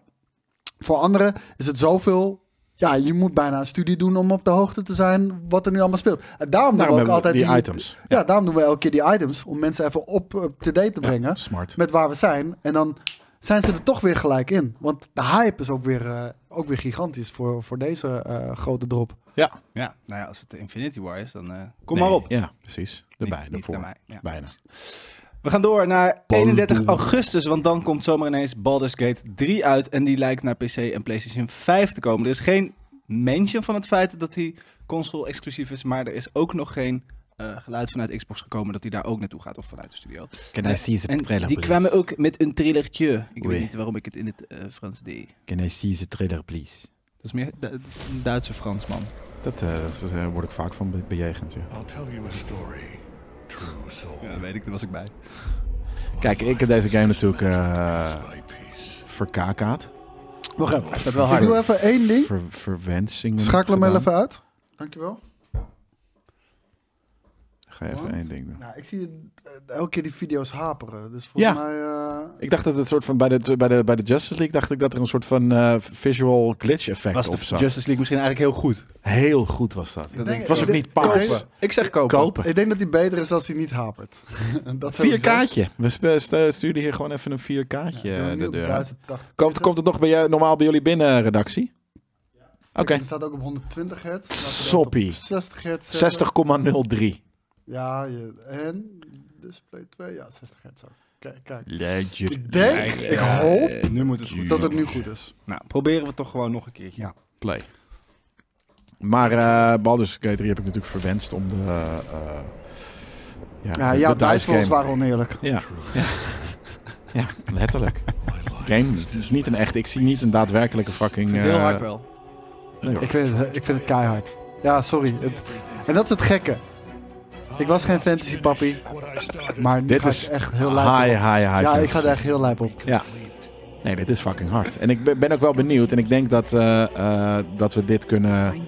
[SPEAKER 3] voor anderen is het zoveel. Ja, je moet bijna een studie doen om op de hoogte te zijn wat er nu allemaal speelt. En daarom,
[SPEAKER 2] Daarom
[SPEAKER 3] doen we
[SPEAKER 2] hebben
[SPEAKER 3] ook altijd
[SPEAKER 2] die items.
[SPEAKER 3] Ja, daarom doen we elke keer die items om mensen even op up to date te brengen
[SPEAKER 2] Smart.
[SPEAKER 3] met waar we zijn. En dan zijn ze er toch weer gelijk in. Want de hype is ook weer, eh, ook weer gigantisch voor, voor deze eh, grote drop.
[SPEAKER 2] Ja.
[SPEAKER 1] Ja, nou ja, als het Infinity War is, dan eh, kom
[SPEAKER 2] Nee,
[SPEAKER 1] maar op.
[SPEAKER 2] Ja, precies. Erbij,
[SPEAKER 1] Niet- niet
[SPEAKER 2] daarvoor.
[SPEAKER 1] naar mij, ja.
[SPEAKER 2] Bijna.
[SPEAKER 1] We gaan door naar 31
[SPEAKER 2] Baldur.
[SPEAKER 1] augustus, want dan komt zomaar ineens Baldur's Gate 3 uit. En die lijkt naar PC en PlayStation 5 te komen. Er is geen mention van het feit dat die console exclusief is, maar er is ook nog geen eh, geluid vanuit Xbox gekomen dat die daar ook naartoe gaat, of vanuit de studio.
[SPEAKER 8] Can I see the
[SPEAKER 1] En
[SPEAKER 8] trailer,
[SPEAKER 1] die
[SPEAKER 8] please?
[SPEAKER 1] kwamen ook met een trailertje. Ik
[SPEAKER 8] Oei.
[SPEAKER 1] weet niet waarom ik het in het eh, Frans deed.
[SPEAKER 8] Can I see the trailer, please?
[SPEAKER 1] Dat is meer Du- een Duitse Fransman.
[SPEAKER 2] Dat, eh, dat, eh, word ik vaak van be- bejegend. Ja.
[SPEAKER 3] Oh,
[SPEAKER 9] I'll tell you a story, true soul.
[SPEAKER 1] Ja, dat weet ik, daar was ik bij.
[SPEAKER 2] Kijk, ik heb deze game natuurlijk eh
[SPEAKER 9] My peace.
[SPEAKER 2] verkakaat.
[SPEAKER 3] Oh, Wacht even.
[SPEAKER 1] Staat wel
[SPEAKER 3] Ik
[SPEAKER 1] hard.
[SPEAKER 3] doe even één ding.
[SPEAKER 2] Ver, verwensingen.
[SPEAKER 3] Schakel hem
[SPEAKER 2] gedaan.
[SPEAKER 3] even uit. Dankjewel.
[SPEAKER 2] Ga even
[SPEAKER 3] Want-
[SPEAKER 2] één ding doen.
[SPEAKER 3] Nou, ik zie eh, elke keer die video's haperen. Dus volgens
[SPEAKER 2] Ja.
[SPEAKER 3] mij... eh,
[SPEAKER 2] Ik dacht dat het soort van bij de, bij de, bij de Justice League dacht ik dat er een soort van eh, visual glitch effect
[SPEAKER 1] Was de
[SPEAKER 2] op zat.
[SPEAKER 1] Justice League misschien eigenlijk heel goed?
[SPEAKER 2] Heel goed was dat.
[SPEAKER 1] Dat
[SPEAKER 3] denk
[SPEAKER 1] ik
[SPEAKER 2] Het was
[SPEAKER 1] ook.
[SPEAKER 2] ook niet paars.
[SPEAKER 1] Kopen. Ik zeg kopen.
[SPEAKER 2] Kopen.
[SPEAKER 3] ik denk dat die beter is als die niet hapert. dat
[SPEAKER 2] Vier kaartje. We sp- stu- sturen hier gewoon even een vier kaartje eh, de deur. uit. Komt, komt het nog bij jou, normaal bij jullie binnen, redactie? Oké.
[SPEAKER 3] Het staat ook op 120 hertz. Laten we dat op
[SPEAKER 2] Soppie.
[SPEAKER 3] 60 hertz. zetten.
[SPEAKER 2] 60,03.
[SPEAKER 3] Ja, je- en display 2. Ja, 60 hertz ook. Kijk, kijk.
[SPEAKER 2] Legend.
[SPEAKER 3] Ik denk, ik hoop
[SPEAKER 2] eh,
[SPEAKER 1] Nu moet het goed.
[SPEAKER 3] dat het nu goed is.
[SPEAKER 1] Nou, proberen we het toch gewoon nog een keertje.
[SPEAKER 2] Play. Maar eh Baldur's Gate 3 heb ik natuurlijk verwenst om de... eh, eh, ja,
[SPEAKER 3] Ja,
[SPEAKER 2] de-
[SPEAKER 3] ja
[SPEAKER 2] de dice
[SPEAKER 3] bijspels
[SPEAKER 2] game.
[SPEAKER 3] waren oneerlijk.
[SPEAKER 2] Ja. ja. Ja, letterlijk. Game, het is niet een echt... Ik zie niet een daadwerkelijke fucking...
[SPEAKER 1] Ik vind het heel
[SPEAKER 2] eh,
[SPEAKER 1] hard wel.
[SPEAKER 2] nee, hoor.
[SPEAKER 3] Ik vind, het, ik vind het keihard. Ja, sorry. Het- en dat is het gekke. Ik was geen fantasy pappie,
[SPEAKER 9] What I started.
[SPEAKER 3] maar nu
[SPEAKER 2] Dit
[SPEAKER 3] ga
[SPEAKER 2] is
[SPEAKER 3] ik echt heel lijp op.
[SPEAKER 2] high, high, high.
[SPEAKER 3] Ja, ik ga
[SPEAKER 2] fantasy.
[SPEAKER 3] er echt heel lijp op.
[SPEAKER 2] Ja. Nee, dit is fucking hard. En ik ben- ben ook wel benieuwd. En ik denk dat, eh, eh, dat we dit kunnen...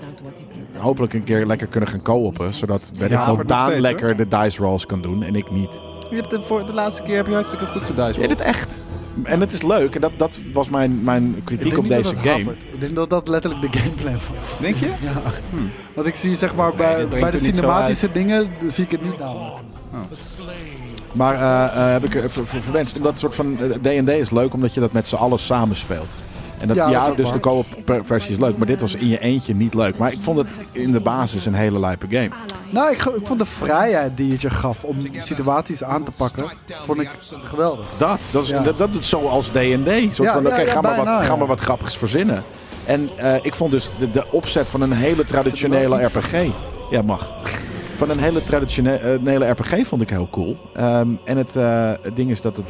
[SPEAKER 2] Hopelijk een keer lekker kunnen gaan co-oppen. Zodat weet
[SPEAKER 3] Ja,
[SPEAKER 2] ik wel,
[SPEAKER 1] maar nog
[SPEAKER 2] Daan
[SPEAKER 1] steeds,
[SPEAKER 2] lekker de dice rolls kan doen en ik niet.
[SPEAKER 1] Je hebt de, voor de laatste keer heb je hartstikke goed gedaan.
[SPEAKER 2] Ja, dit echt. En het is leuk. En dat, dat was mijn, mijn
[SPEAKER 3] Ik
[SPEAKER 2] kritiek
[SPEAKER 3] denk
[SPEAKER 2] op
[SPEAKER 3] niet dat
[SPEAKER 2] deze
[SPEAKER 3] het
[SPEAKER 2] game.
[SPEAKER 3] hapert. Ik denk dat dat letterlijk de gameplay was.
[SPEAKER 1] Denk je?
[SPEAKER 3] Want ik zie zeg maar bij,
[SPEAKER 1] dit brengt
[SPEAKER 3] bij de
[SPEAKER 1] er niet zo
[SPEAKER 3] cinematische dingen zie ik het niet namelijk.
[SPEAKER 2] Maar eh, eh, heb ik eh, ver- ver- verwenst. Omdat het soort van eh, D&D is leuk omdat je dat met z'n allen samen speelt. En dat,
[SPEAKER 3] Ja,
[SPEAKER 2] ja,
[SPEAKER 3] dat is ook
[SPEAKER 2] dus
[SPEAKER 3] waar.
[SPEAKER 2] de co-op per- versie is leuk. Maar dit was in je eentje niet leuk. Maar ik vond het in de basis een hele lijpe game.
[SPEAKER 3] Nou, ik, ge- ik vond de vrijheid die het je gaf om situaties aan te pakken, vond ik geweldig.
[SPEAKER 2] Dat, dat, is,
[SPEAKER 3] Ja.
[SPEAKER 2] dat, dat doet zo als D&D. Soort
[SPEAKER 3] Ja,
[SPEAKER 2] van,
[SPEAKER 3] ja,
[SPEAKER 2] oké,
[SPEAKER 3] ja,
[SPEAKER 2] ga, maar
[SPEAKER 3] bijna,
[SPEAKER 2] wat-
[SPEAKER 3] ja.
[SPEAKER 2] ga maar wat grappigs verzinnen. En eh, ik vond dus de, de opzet van een hele traditionele
[SPEAKER 3] Zit er
[SPEAKER 2] RPG... Ja, mag. Van een hele traditionele RPG vond ik heel cool. Ehm, en het, eh, het ding is dat het...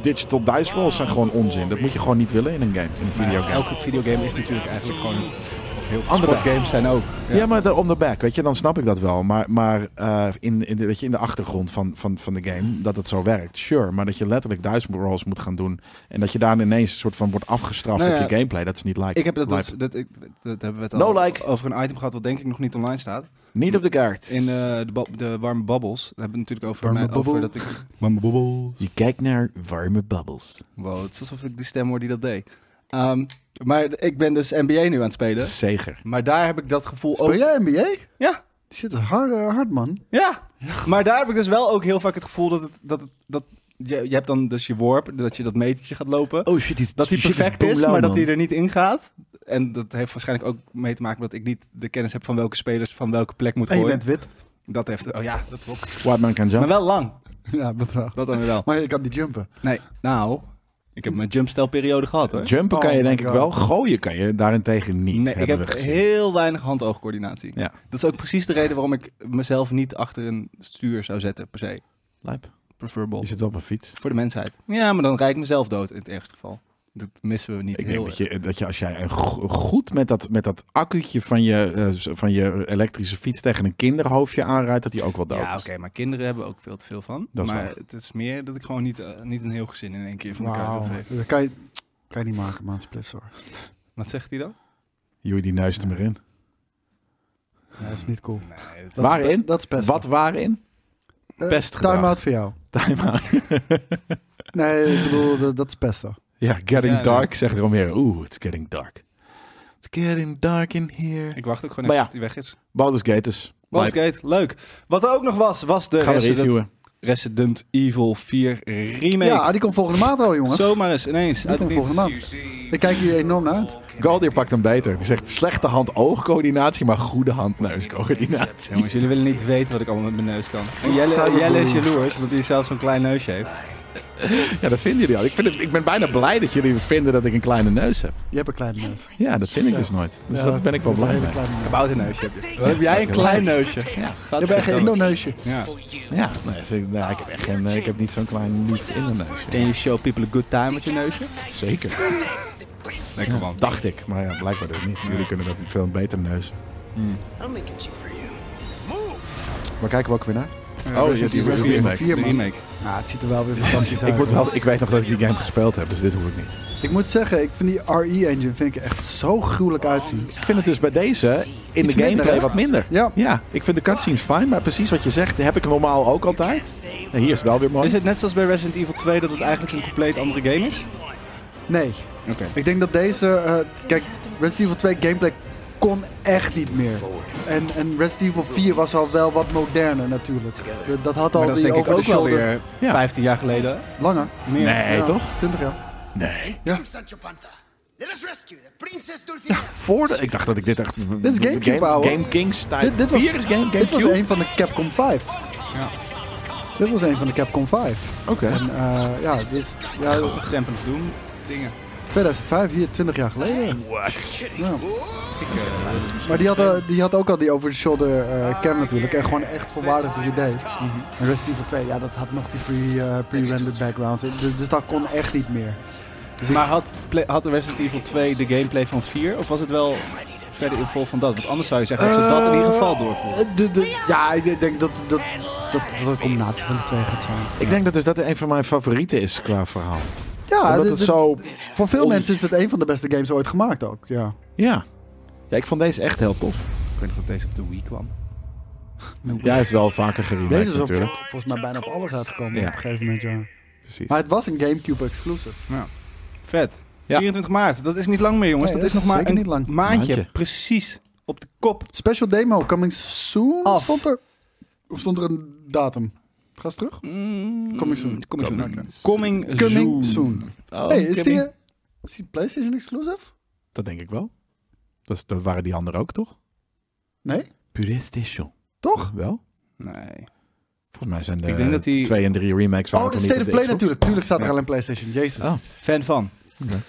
[SPEAKER 2] Digital dice rolls zijn gewoon onzin. Dat moet je gewoon niet willen in een game, in een videogame.
[SPEAKER 1] Elke videogame is natuurlijk eigenlijk gewoon... Of heel veel
[SPEAKER 2] Andere.
[SPEAKER 1] sportgames zijn ook.
[SPEAKER 2] Ja, maar de, on the back, weet je, dan snap ik dat wel. Maar, maar eh, in, in, de, weet je, in de achtergrond van, van, van de game, dat het zo werkt, sure. Maar dat je letterlijk duizend rolls moet gaan doen. En dat je daar ineens een soort van wordt afgestraft
[SPEAKER 1] Nou ja,
[SPEAKER 2] op je gameplay. Dat is niet like.
[SPEAKER 1] Ik heb dat, dat,
[SPEAKER 2] like-
[SPEAKER 1] dat, ik, dat hebben we het al
[SPEAKER 2] No like.
[SPEAKER 1] over een item gehad wat denk ik nog niet online staat.
[SPEAKER 2] niet op de kaart.
[SPEAKER 1] In eh, de, bab- de warme babbels. Daar hebben we het natuurlijk over,
[SPEAKER 3] Warme
[SPEAKER 1] mij, over
[SPEAKER 3] babbel.
[SPEAKER 1] dat ik...
[SPEAKER 3] Oh,
[SPEAKER 8] Je kijkt naar warme bubbles.
[SPEAKER 1] Wow, het is alsof ik die stem hoor die dat deed. Ehm, maar ik ben dus NBA nu aan het spelen.
[SPEAKER 2] Zeger.
[SPEAKER 1] Maar daar heb ik dat gevoel ook...
[SPEAKER 3] Speel jij NBA?
[SPEAKER 1] Ja.
[SPEAKER 3] Die zit hard, eh, hard man.
[SPEAKER 1] Ja, maar daar heb ik dus wel ook heel vaak het gevoel dat het... Dat het dat, je, je hebt dan dus je worp, dat je dat metertje gaat lopen.
[SPEAKER 8] Oh shit, is,
[SPEAKER 1] Dat hij
[SPEAKER 8] shit
[SPEAKER 1] perfect is,
[SPEAKER 8] boemlauw,
[SPEAKER 1] maar dat
[SPEAKER 8] man.
[SPEAKER 1] hij er niet in gaat. En dat heeft waarschijnlijk ook mee te maken dat ik niet de kennis heb van
[SPEAKER 2] Oh,
[SPEAKER 1] welke spelers van welke plek moet
[SPEAKER 3] En je
[SPEAKER 1] gooien.
[SPEAKER 3] bent wit.
[SPEAKER 1] Dat heeft... Oh ja, dat klopt.
[SPEAKER 2] White man can jump.
[SPEAKER 1] Maar wel lang.
[SPEAKER 3] Ja, dat wel.
[SPEAKER 1] Dat dan weer wel.
[SPEAKER 3] Maar je kan niet jumpen.
[SPEAKER 1] Nee, nou, ik heb mijn jumpstelperiode gehad hoor.
[SPEAKER 2] Jumpen
[SPEAKER 3] Oh
[SPEAKER 2] kan je
[SPEAKER 3] my
[SPEAKER 2] denk ik
[SPEAKER 3] God.
[SPEAKER 2] wel, gooien kan je daarentegen niet.
[SPEAKER 1] Nee, ik
[SPEAKER 2] hebben
[SPEAKER 1] heb
[SPEAKER 2] we gezien.
[SPEAKER 1] heel weinig hand-oogcoördinatie.
[SPEAKER 2] Ja.
[SPEAKER 1] Dat is ook precies de reden waarom ik mezelf niet achter een stuur zou zetten, per se.
[SPEAKER 2] Lijp.
[SPEAKER 1] Preferable.
[SPEAKER 2] Je zit wel op een fiets.
[SPEAKER 1] Voor de mensheid. Ja, maar dan rijd ik mezelf dood in het ergste geval. Dat missen we niet
[SPEAKER 2] Ik
[SPEAKER 1] heel
[SPEAKER 2] denk dat je, dat je als jij een go- goed met dat, met dat accuutje van je, eh, z- van je elektrische fiets tegen een kinderhoofdje aanrijdt, dat die ook wel dood
[SPEAKER 1] Ja, oké,
[SPEAKER 2] is.
[SPEAKER 1] maar kinderen hebben ook veel te veel van.
[SPEAKER 2] Dat is
[SPEAKER 1] maar
[SPEAKER 2] waar.
[SPEAKER 1] het is meer dat ik gewoon niet, eh, niet een heel gezin in één keer van elkaar
[SPEAKER 3] Wauw.
[SPEAKER 1] wow. geef.
[SPEAKER 3] Dat kan je, kan je niet maken, man. Splits hoor.
[SPEAKER 1] Wat zegt hij dan?
[SPEAKER 2] Joei, die neus er maar in.
[SPEAKER 3] Ja, dat is niet cool.
[SPEAKER 1] Nee, dat-
[SPEAKER 3] Dat is
[SPEAKER 2] Waarin?
[SPEAKER 3] pe- Dat is best.
[SPEAKER 2] Wat waarin?
[SPEAKER 3] Eh,
[SPEAKER 2] pestgedrag.
[SPEAKER 3] Time-out voor jou.
[SPEAKER 2] Time-out.
[SPEAKER 3] Nee, ik bedoel, dat, dat is pesten.
[SPEAKER 2] Ja, getting
[SPEAKER 1] Ja,
[SPEAKER 2] dark, zegt Romero. Oeh, it's getting dark. It's getting dark in here.
[SPEAKER 1] ik wacht ook gewoon even
[SPEAKER 2] Maar ja.
[SPEAKER 1] tot hij weg is.
[SPEAKER 2] Baldur's Gate dus. Lijp.
[SPEAKER 1] Wildgate, leuk. Wat er ook nog was, was de
[SPEAKER 2] Gaan we
[SPEAKER 1] Resident,
[SPEAKER 2] reviewen.
[SPEAKER 1] Resident Evil 4 remake.
[SPEAKER 3] Ja, die komt volgende maand al, jongens.
[SPEAKER 1] Zomaar eens, ineens.
[SPEAKER 3] die
[SPEAKER 1] uit
[SPEAKER 3] komt
[SPEAKER 1] het
[SPEAKER 3] volgende
[SPEAKER 1] niets.
[SPEAKER 3] maand. Ik kijk hier enorm naar uit.
[SPEAKER 2] Galdier pakt hem beter. Die zegt slechte hand-oogcoördinatie, maar goede hand-neuscoördinatie.
[SPEAKER 1] Jongens, jullie willen niet weten wat ik allemaal met mijn neus kan. En Jelle,
[SPEAKER 3] Cyberbullying.
[SPEAKER 1] Jelle is jaloers, omdat hij zelf zo'n klein neusje heeft.
[SPEAKER 2] Ja, dat vinden jullie al. Ik, vind het, ik ben bijna blij dat jullie vinden dat ik een kleine neus heb.
[SPEAKER 3] Je hebt een kleine neus.
[SPEAKER 2] Ja, dat vind ik dus nooit. Dus
[SPEAKER 3] Ja,
[SPEAKER 2] daar ben ik wel
[SPEAKER 3] je hebt
[SPEAKER 2] blij
[SPEAKER 3] een
[SPEAKER 2] mee.
[SPEAKER 3] hele kleine neus.
[SPEAKER 1] Kabouterneusje heb je. Wat heb jij een klein neusje? Ja.
[SPEAKER 3] Je hebt echt een Indoneusje.
[SPEAKER 1] Ja.
[SPEAKER 2] Ja, nee, vind ik, nou, ik heb echt geen, eh, ik heb niet zo'n klein lief in de neus.
[SPEAKER 1] Can you show people a good time met je neusje?
[SPEAKER 2] Zeker.
[SPEAKER 1] Lekker man.
[SPEAKER 2] Dacht ik, maar ja, blijkbaar dus niet. Jullie kunnen dat veel beter neus. Maar kijken we ook weer naar? Oh, ja, die wordt
[SPEAKER 3] Resident
[SPEAKER 2] een
[SPEAKER 3] Evil
[SPEAKER 2] remake.
[SPEAKER 3] 4, man.
[SPEAKER 1] remake.
[SPEAKER 3] Nou, het ziet er wel weer fantastisch uit.
[SPEAKER 2] Ik, word
[SPEAKER 3] hoor.
[SPEAKER 2] wel, ik weet nog dat ik die game gespeeld heb, dus dit hoef ik niet.
[SPEAKER 3] ik moet zeggen, ik vind die RE-engine vind ik er echt zo gruwelijk uitzien.
[SPEAKER 2] Ik vind het dus bij deze in
[SPEAKER 3] Iets
[SPEAKER 2] de gameplay
[SPEAKER 3] minder, hè?
[SPEAKER 2] wat minder.
[SPEAKER 3] Ja.
[SPEAKER 2] ja, ik vind de cutscenes fijn, maar precies wat je zegt heb ik normaal ook altijd. En hier is het wel weer mooi.
[SPEAKER 1] Is het net zoals bij Resident Evil 2 dat het eigenlijk een compleet andere game is?
[SPEAKER 3] Nee,
[SPEAKER 1] Oké.
[SPEAKER 3] ik denk dat deze... eh, kijk, Resident Evil 2 gameplay kon echt niet meer. En, en Resident Evil 4 was al wel wat moderner natuurlijk. Dat had al
[SPEAKER 1] Maar dat is
[SPEAKER 3] die
[SPEAKER 1] denk ik ook wel
[SPEAKER 3] over-the-shoulder-
[SPEAKER 1] weer
[SPEAKER 2] Ja.
[SPEAKER 1] 15 jaar geleden.
[SPEAKER 3] Langer.
[SPEAKER 1] Meer.
[SPEAKER 2] Nee,
[SPEAKER 3] Ja,
[SPEAKER 2] toch?
[SPEAKER 3] 20 jaar.
[SPEAKER 2] Nee.
[SPEAKER 3] Ja.
[SPEAKER 2] Voor de, ik dacht dat ik dit echt...
[SPEAKER 3] Dit is Gamecube, ouwe.
[SPEAKER 2] Game Kings tijd.
[SPEAKER 3] Dit, dit was,
[SPEAKER 2] Vier is Game,
[SPEAKER 3] dit was
[SPEAKER 2] Gamecube?
[SPEAKER 3] een van de Capcom 5. Dit was een van de Capcom 5.
[SPEAKER 2] Oké.
[SPEAKER 3] En eh, ja, dus ja,
[SPEAKER 1] Temple of Doom dingen.
[SPEAKER 3] 2005, hier 20 jaar geleden.
[SPEAKER 2] What?
[SPEAKER 3] Ja. Maar die had, eh, die had ook al die over-the-shoulder eh, cam natuurlijk. En gewoon echt volwaardig 3D.
[SPEAKER 2] Mhm.
[SPEAKER 3] En Resident Evil 2, ja, dat had nog die pre, eh, pre-rendered backgrounds. Dus, dus dat kon echt niet meer.
[SPEAKER 1] Maar had, Pla- had Resident Evil 2 de gameplay van 4? Of was het wel verder in vol van dat? Want anders zou je zeggen dat ze dat in ieder geval doorvoeren.
[SPEAKER 3] Eh, de- de- ja, ik denk dat dat, dat dat een combinatie van de twee gaat zijn.
[SPEAKER 2] Ik denk dat dus dat een van mijn favorieten is qua verhaal.
[SPEAKER 3] Ja,
[SPEAKER 2] Omdat
[SPEAKER 3] dit-
[SPEAKER 2] het
[SPEAKER 3] dit-
[SPEAKER 2] zo...
[SPEAKER 3] Voor veel
[SPEAKER 2] Om-
[SPEAKER 3] mensen is dit een van de beste games ooit gemaakt ook. Ja.
[SPEAKER 2] Ja. ja, ik vond deze echt heel tof.
[SPEAKER 1] Ik weet nog dat deze op de Wii kwam.
[SPEAKER 2] Ja, hij is wel vaker geremaked
[SPEAKER 3] Deze is op,
[SPEAKER 2] natuurlijk.
[SPEAKER 3] volgens mij bijna op alles uitgekomen
[SPEAKER 2] Ja.
[SPEAKER 3] op een gegeven moment. Ja.
[SPEAKER 2] Precies.
[SPEAKER 3] Maar het was een GameCube exclusive.
[SPEAKER 1] Vet.
[SPEAKER 2] Ja.
[SPEAKER 1] 24 maart, dat is niet lang meer jongens.
[SPEAKER 3] Nee,
[SPEAKER 1] dat,
[SPEAKER 3] dat
[SPEAKER 1] is nog
[SPEAKER 3] is
[SPEAKER 1] maar
[SPEAKER 3] zeker
[SPEAKER 1] een
[SPEAKER 3] niet lang.
[SPEAKER 1] maandje.
[SPEAKER 2] Maandje.
[SPEAKER 1] Precies op de kop.
[SPEAKER 3] Special demo coming soon.
[SPEAKER 1] Af.
[SPEAKER 3] Stond er, of stond er een datum? Ga eens terug. Coming soon.
[SPEAKER 1] Coming soon.
[SPEAKER 2] Coming
[SPEAKER 1] Coming, soon.
[SPEAKER 3] Coming soon.
[SPEAKER 2] Oh,
[SPEAKER 3] hey, is
[SPEAKER 2] Kimmy.
[SPEAKER 3] die, eh, is die PlayStation exclusive?
[SPEAKER 2] Dat denk ik wel. Dat, is- dat waren die anderen ook, toch?
[SPEAKER 3] Nee,
[SPEAKER 2] PlayStation.
[SPEAKER 3] toch?
[SPEAKER 2] Wel?
[SPEAKER 1] Nee.
[SPEAKER 2] Volgens mij zijn de
[SPEAKER 1] Ik denk dat die-
[SPEAKER 2] 2 en 3 remakes... waren
[SPEAKER 3] Oh, de
[SPEAKER 2] toen niet
[SPEAKER 3] State
[SPEAKER 2] op
[SPEAKER 3] of Play
[SPEAKER 2] Xbox.
[SPEAKER 3] natuurlijk. Tuurlijk staat er alleen PlayStation. Jezus.
[SPEAKER 2] Oh.
[SPEAKER 1] Fan van.
[SPEAKER 2] Oké.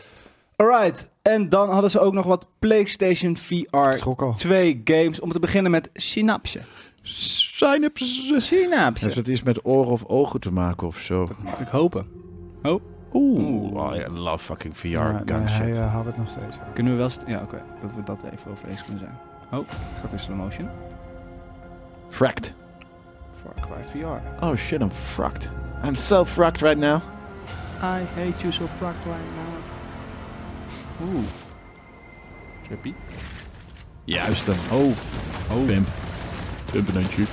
[SPEAKER 1] Alright. En dan hadden ze ook nog wat PlayStation VR
[SPEAKER 3] Schrok al.
[SPEAKER 1] 2 games. Om te beginnen met Synapse.
[SPEAKER 2] Synapses. Dus
[SPEAKER 1] Synapse.
[SPEAKER 2] het is met oren of ogen te maken of zo.
[SPEAKER 1] Mag ik hopen.
[SPEAKER 2] Oeh, oh, I love fucking VR
[SPEAKER 3] Maar, nee,
[SPEAKER 2] gunshot.
[SPEAKER 3] hij eh, houdt het nog steeds.
[SPEAKER 1] Kunnen we wel... st- Ja, oké. Dat we dat even over eens kunnen zijn. Oh, het gaat in slow motion.
[SPEAKER 2] Fracked.
[SPEAKER 1] Far Cry VR.
[SPEAKER 2] Oh shit, I'm fracked. I'm so fracked right now.
[SPEAKER 1] I hate you so fuck right now. Oeh. Trippy.
[SPEAKER 2] Juist hem. Oh. oh. Pimp. Pimp en een chip.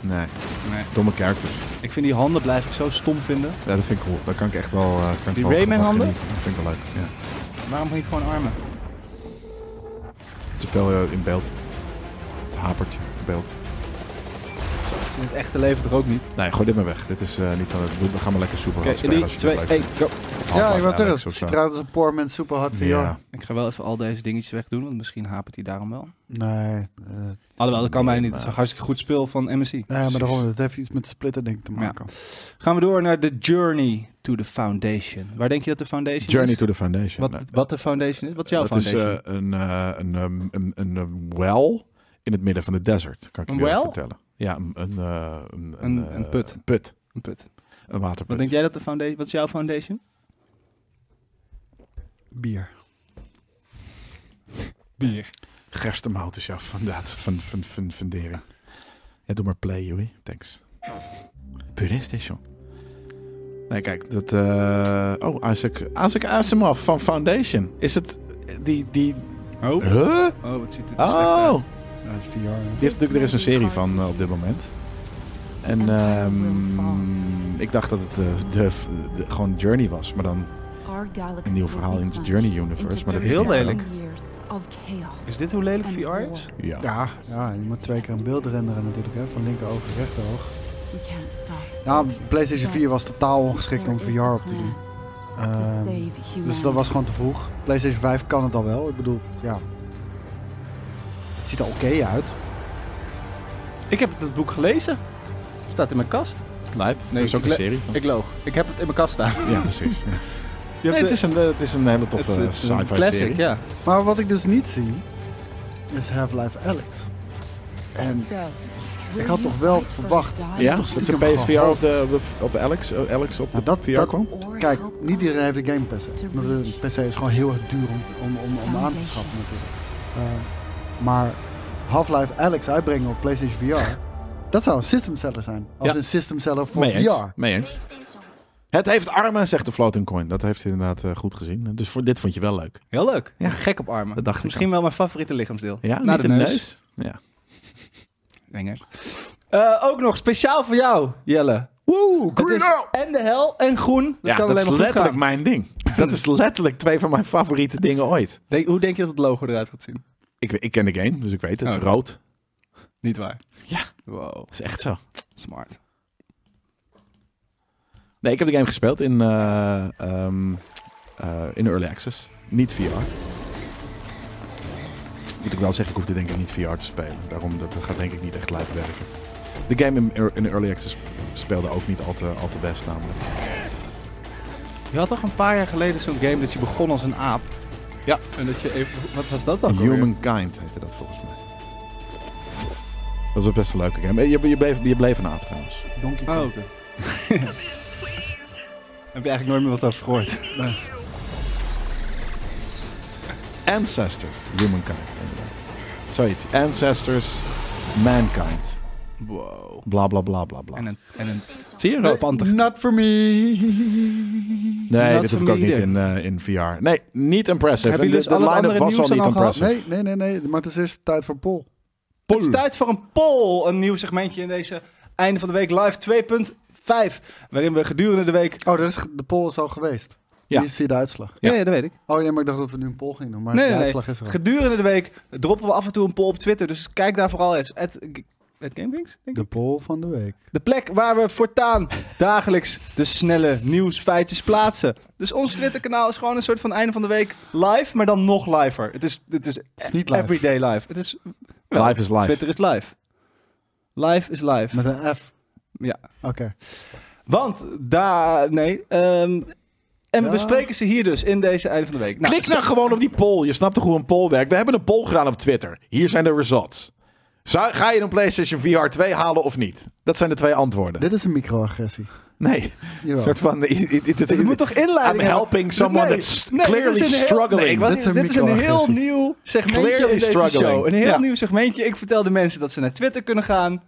[SPEAKER 2] Nee,
[SPEAKER 1] Nee.
[SPEAKER 2] domme characters.
[SPEAKER 1] Ik vind die handen blijf ik zo stom vinden.
[SPEAKER 2] Ja, dat vind ik cool. Daar kan ik echt wel... eh, kan ik
[SPEAKER 1] Die
[SPEAKER 2] wel
[SPEAKER 1] Rayman
[SPEAKER 2] van
[SPEAKER 1] handen?
[SPEAKER 2] genieten. Dat vind ik wel leuk, ja.
[SPEAKER 1] Waarom niet gewoon armen?
[SPEAKER 2] Het is te veel eh, in beeld. Het hapert je in beeld.
[SPEAKER 1] Dat is in het echte leven toch ook niet?
[SPEAKER 2] Nee, gooi dit maar weg. Dit is eh, niet aan het doen. We gaan maar lekker super
[SPEAKER 1] Oké,
[SPEAKER 2] hard
[SPEAKER 1] in
[SPEAKER 2] spelen
[SPEAKER 1] 3,
[SPEAKER 2] als je dat
[SPEAKER 1] 2,
[SPEAKER 2] leuk
[SPEAKER 1] 1,
[SPEAKER 2] vindt.
[SPEAKER 1] go.
[SPEAKER 3] Ja,
[SPEAKER 2] Half-Life
[SPEAKER 3] ik wou zeggen,
[SPEAKER 2] Alex
[SPEAKER 3] het
[SPEAKER 2] of zo.
[SPEAKER 3] ziet eruit als een poor man super hard VR.
[SPEAKER 2] Ja.
[SPEAKER 1] Ik ga wel even al deze dingetjes wegdoen, want misschien hapert hij daarom wel.
[SPEAKER 3] Nee, eh,
[SPEAKER 1] Alhoewel, dat kan mij niet. Het is een
[SPEAKER 8] Maar-
[SPEAKER 1] hartstikke goed speel van MSI.
[SPEAKER 3] Nee, maar daarom, het heeft iets met splitter denk ik te maken.
[SPEAKER 1] Gaan we door naar The Journey to the Foundation. Waar denk je dat de Foundation
[SPEAKER 2] Journey
[SPEAKER 1] is?
[SPEAKER 2] to the Foundation.
[SPEAKER 1] Wat,
[SPEAKER 2] Nou,
[SPEAKER 1] wat de Foundation is? Wat is jouw
[SPEAKER 2] dat is
[SPEAKER 1] Foundation?
[SPEAKER 2] eh, een, eh, een, ehm, een, een, een well in het midden van de desert, kan ik
[SPEAKER 1] Een
[SPEAKER 2] je
[SPEAKER 1] well?
[SPEAKER 2] vertellen. Ja, een, een, eh, een,
[SPEAKER 1] Een- een
[SPEAKER 2] eh,
[SPEAKER 1] put.
[SPEAKER 2] Een put,
[SPEAKER 1] Een put.
[SPEAKER 2] een waterput.
[SPEAKER 1] Wat denk jij dat de Foundation... Wat is jouw Foundation?
[SPEAKER 3] Bier.
[SPEAKER 1] Bier.
[SPEAKER 2] Gerstenmout is jouw fundaat, van, van, van, fundering. Ja, doe maar play, Joey. Thanks. PlayStation. Nee, kijk, dat... eh oh, Isaac, Isaac Asimov van Foundation. Is het die... die
[SPEAKER 1] Oh,
[SPEAKER 2] huh?
[SPEAKER 1] oh wat ziet dit er slecht uit.
[SPEAKER 2] Oh!
[SPEAKER 3] Ja, dat is VR. hè.
[SPEAKER 2] Die is natuurlijk, er is een serie van eh, op dit moment. En ehm, ik dacht dat het eh, de, de- gewoon Journey was, maar dan een nieuw verhaal in het Journey Universe. Maar dat is
[SPEAKER 1] Heel
[SPEAKER 2] niet zo.
[SPEAKER 1] lelijk. Is dit hoe lelijk VR is?
[SPEAKER 2] Ja.
[SPEAKER 3] Ja, ja, je moet twee keer een beeld renderen natuurlijk, hè? van linker oog en rechter oog. Nou, PlayStation 4 was totaal ongeschikt om VR op te doen. Ehm, dus dat was gewoon te vroeg. PlayStation 5 kan het al wel. Ik bedoel, ja. Het ziet er oké uit.
[SPEAKER 1] Ik heb dat boek gelezen. Staat in mijn kast.
[SPEAKER 2] Lijp.
[SPEAKER 1] Nee,
[SPEAKER 2] er is ook
[SPEAKER 1] ik
[SPEAKER 2] een
[SPEAKER 1] le-
[SPEAKER 2] serie van.
[SPEAKER 1] Ik loog. Ik heb het in mijn kast staan.
[SPEAKER 2] Ja, precies. Ja.
[SPEAKER 1] Je
[SPEAKER 2] Nee, het, is een, eh, het is een hele
[SPEAKER 1] het,
[SPEAKER 2] toffe
[SPEAKER 1] het is een
[SPEAKER 2] sci-fi
[SPEAKER 1] classic,
[SPEAKER 2] serie.
[SPEAKER 1] ja.
[SPEAKER 3] Maar wat ik dus niet zie, is Half-Life Alex. En ik had toch wel verwacht.
[SPEAKER 2] Ja,
[SPEAKER 3] Toch
[SPEAKER 2] dat is een
[SPEAKER 3] stiekem
[SPEAKER 2] PSVR op de, op de, op de Alex, eh, Alex op
[SPEAKER 3] Nou,
[SPEAKER 2] de
[SPEAKER 3] dat-
[SPEAKER 2] VR
[SPEAKER 3] dat-
[SPEAKER 2] kwam.
[SPEAKER 3] Kijk, niet iedereen heeft de Game Pass. hè. Omdat de PC is gewoon heel erg duur om, om, om, om aan te schaffen natuurlijk. Eh, maar Half-Life Alex uitbrengen op PlayStation VR, dat zou een system seller zijn. Als
[SPEAKER 2] Ja.
[SPEAKER 3] een system seller voor
[SPEAKER 2] Mee eens.
[SPEAKER 3] VR.
[SPEAKER 2] Mee eens. Het heeft armen, zegt de floating coin. Dat heeft hij inderdaad eh, goed gezien. Dus voor dit vond je wel leuk.
[SPEAKER 1] Heel leuk.
[SPEAKER 2] Ja.
[SPEAKER 1] Gek op armen.
[SPEAKER 2] Dat dacht ik
[SPEAKER 1] Misschien wel mijn favoriete lichaamsdeel.
[SPEAKER 2] Ja,
[SPEAKER 1] Na
[SPEAKER 2] niet de neus. Ja.
[SPEAKER 1] Enger. Eh, ook nog speciaal voor jou, Jelle. Woe,
[SPEAKER 2] green out!
[SPEAKER 1] En de hel en groen. Dat
[SPEAKER 2] ja,
[SPEAKER 1] kan
[SPEAKER 2] dat
[SPEAKER 1] alleen
[SPEAKER 2] is
[SPEAKER 1] maar goed
[SPEAKER 2] letterlijk
[SPEAKER 1] gaan.
[SPEAKER 2] mijn ding. Dat is letterlijk twee van mijn favoriete dingen ooit.
[SPEAKER 1] Denk- hoe denk je dat het logo eruit gaat zien?
[SPEAKER 2] Ik, ik ken de game, dus ik weet het.
[SPEAKER 1] Oh.
[SPEAKER 2] Rood. Dat
[SPEAKER 1] Niet waar.
[SPEAKER 2] Ja.
[SPEAKER 1] Wow,
[SPEAKER 2] is echt zo.
[SPEAKER 1] smart.
[SPEAKER 2] Nee, ik heb de game gespeeld in, eh, ehm, eh, in Early Access. Niet VR. Moet ik wel zeggen, ik hoefde denk ik niet VR te spelen. Daarom dat dat gaat denk ik niet echt live werken. De game in, Ear- in Early Access speelde ook niet al te, al te best namelijk.
[SPEAKER 1] Je had toch een paar jaar geleden zo'n game dat je begon als een aap?
[SPEAKER 2] Ja.
[SPEAKER 1] En dat je even... Wat was dat dan? alweer?
[SPEAKER 2] Humankind heette dat volgens mij. Dat was best een leuke game. Eh, Je, je, bleef, je bleef een aap trouwens.
[SPEAKER 3] Donkey Kong.
[SPEAKER 1] Oh, oké. Heb je eigenlijk nooit meer wat over gehoord.
[SPEAKER 2] Ancestors, Humankind inderdaad. Zoiets. Ancestors, Mankind.
[SPEAKER 1] Wow.
[SPEAKER 2] Bla bla bla bla bla.
[SPEAKER 1] En een, en een
[SPEAKER 2] Zie je
[SPEAKER 1] rood
[SPEAKER 2] rood?
[SPEAKER 1] panter.
[SPEAKER 3] Not for me.
[SPEAKER 2] Nee,
[SPEAKER 1] Not
[SPEAKER 2] dat
[SPEAKER 1] for
[SPEAKER 2] hoef ik ook
[SPEAKER 1] me
[SPEAKER 2] niet
[SPEAKER 1] either.
[SPEAKER 2] in, eh, in VR. Nee, niet impressive.
[SPEAKER 1] Hebben
[SPEAKER 2] En
[SPEAKER 1] jullie dus
[SPEAKER 2] de,
[SPEAKER 1] al
[SPEAKER 2] de
[SPEAKER 1] het
[SPEAKER 2] line-up
[SPEAKER 1] andere
[SPEAKER 2] was
[SPEAKER 1] nieuws dan
[SPEAKER 2] al niet
[SPEAKER 1] al gehad?
[SPEAKER 2] impressive.
[SPEAKER 3] Nee, nee, nee, nee. Maar het is eerst tijd voor Pol.
[SPEAKER 1] Het is tijd voor een poll. Een nieuw segmentje in deze einde van de week live 2.5. Waarin we gedurende de week...
[SPEAKER 3] Oh, er is, ge- de Pol is al geweest.
[SPEAKER 2] Ja.
[SPEAKER 3] Hier zie je de uitslag.
[SPEAKER 2] Ja.
[SPEAKER 1] Nee, dat weet ik.
[SPEAKER 3] Oh ja, maar ik dacht dat we nu een poll gingen doen. Maar
[SPEAKER 1] Nee,
[SPEAKER 3] de
[SPEAKER 1] nee,
[SPEAKER 3] uitslag is er al.
[SPEAKER 1] Gedurende de week droppen we af en toe een poll op Twitter. Dus kijk daar vooral eens. Het GameKings? denk ik.
[SPEAKER 3] De poll van de week.
[SPEAKER 1] De plek waar we voortaan dagelijks de snelle nieuwsfeitjes plaatsen. Dus ons Twitter-kanaal is gewoon een soort van einde van de week live, maar dan nog liver. Het is, het is
[SPEAKER 3] Het is niet live.
[SPEAKER 1] everyday live. Het is,
[SPEAKER 2] Live is live.
[SPEAKER 1] Twitter is live. Live is live.
[SPEAKER 3] Met een F.
[SPEAKER 1] Ja.
[SPEAKER 3] Oké.
[SPEAKER 1] Want daar... Nee. ehm, en we
[SPEAKER 3] Ja.
[SPEAKER 1] bespreken ze hier dus in deze einde van de week. Nou,
[SPEAKER 2] Klik nou gewoon op die poll. Je snapt toch hoe een poll werkt? We hebben een poll gedaan op Twitter. Hier zijn de results. Zou- ga je een PlayStation VR 2 halen of niet? Dat zijn de twee antwoorden.
[SPEAKER 3] Dit is een microagressie.
[SPEAKER 2] Nee. Een
[SPEAKER 3] Jawel.
[SPEAKER 2] soort van... i- i- i- dit-
[SPEAKER 1] Het moet toch inleiding
[SPEAKER 2] I'm helping someone
[SPEAKER 1] Nee,
[SPEAKER 2] that's
[SPEAKER 1] nee,
[SPEAKER 2] clearly
[SPEAKER 1] dit is een heel-
[SPEAKER 2] struggling.
[SPEAKER 1] nee, ik was
[SPEAKER 3] Dit
[SPEAKER 1] niet-
[SPEAKER 3] is een
[SPEAKER 1] dit is een heel
[SPEAKER 3] microagressie.
[SPEAKER 1] nieuw segmentje
[SPEAKER 2] Clearly
[SPEAKER 1] in deze
[SPEAKER 2] struggling.
[SPEAKER 1] show. Een heel
[SPEAKER 2] Ja.
[SPEAKER 1] nieuw segmentje. Ik vertel de mensen dat ze naar Twitter kunnen gaan.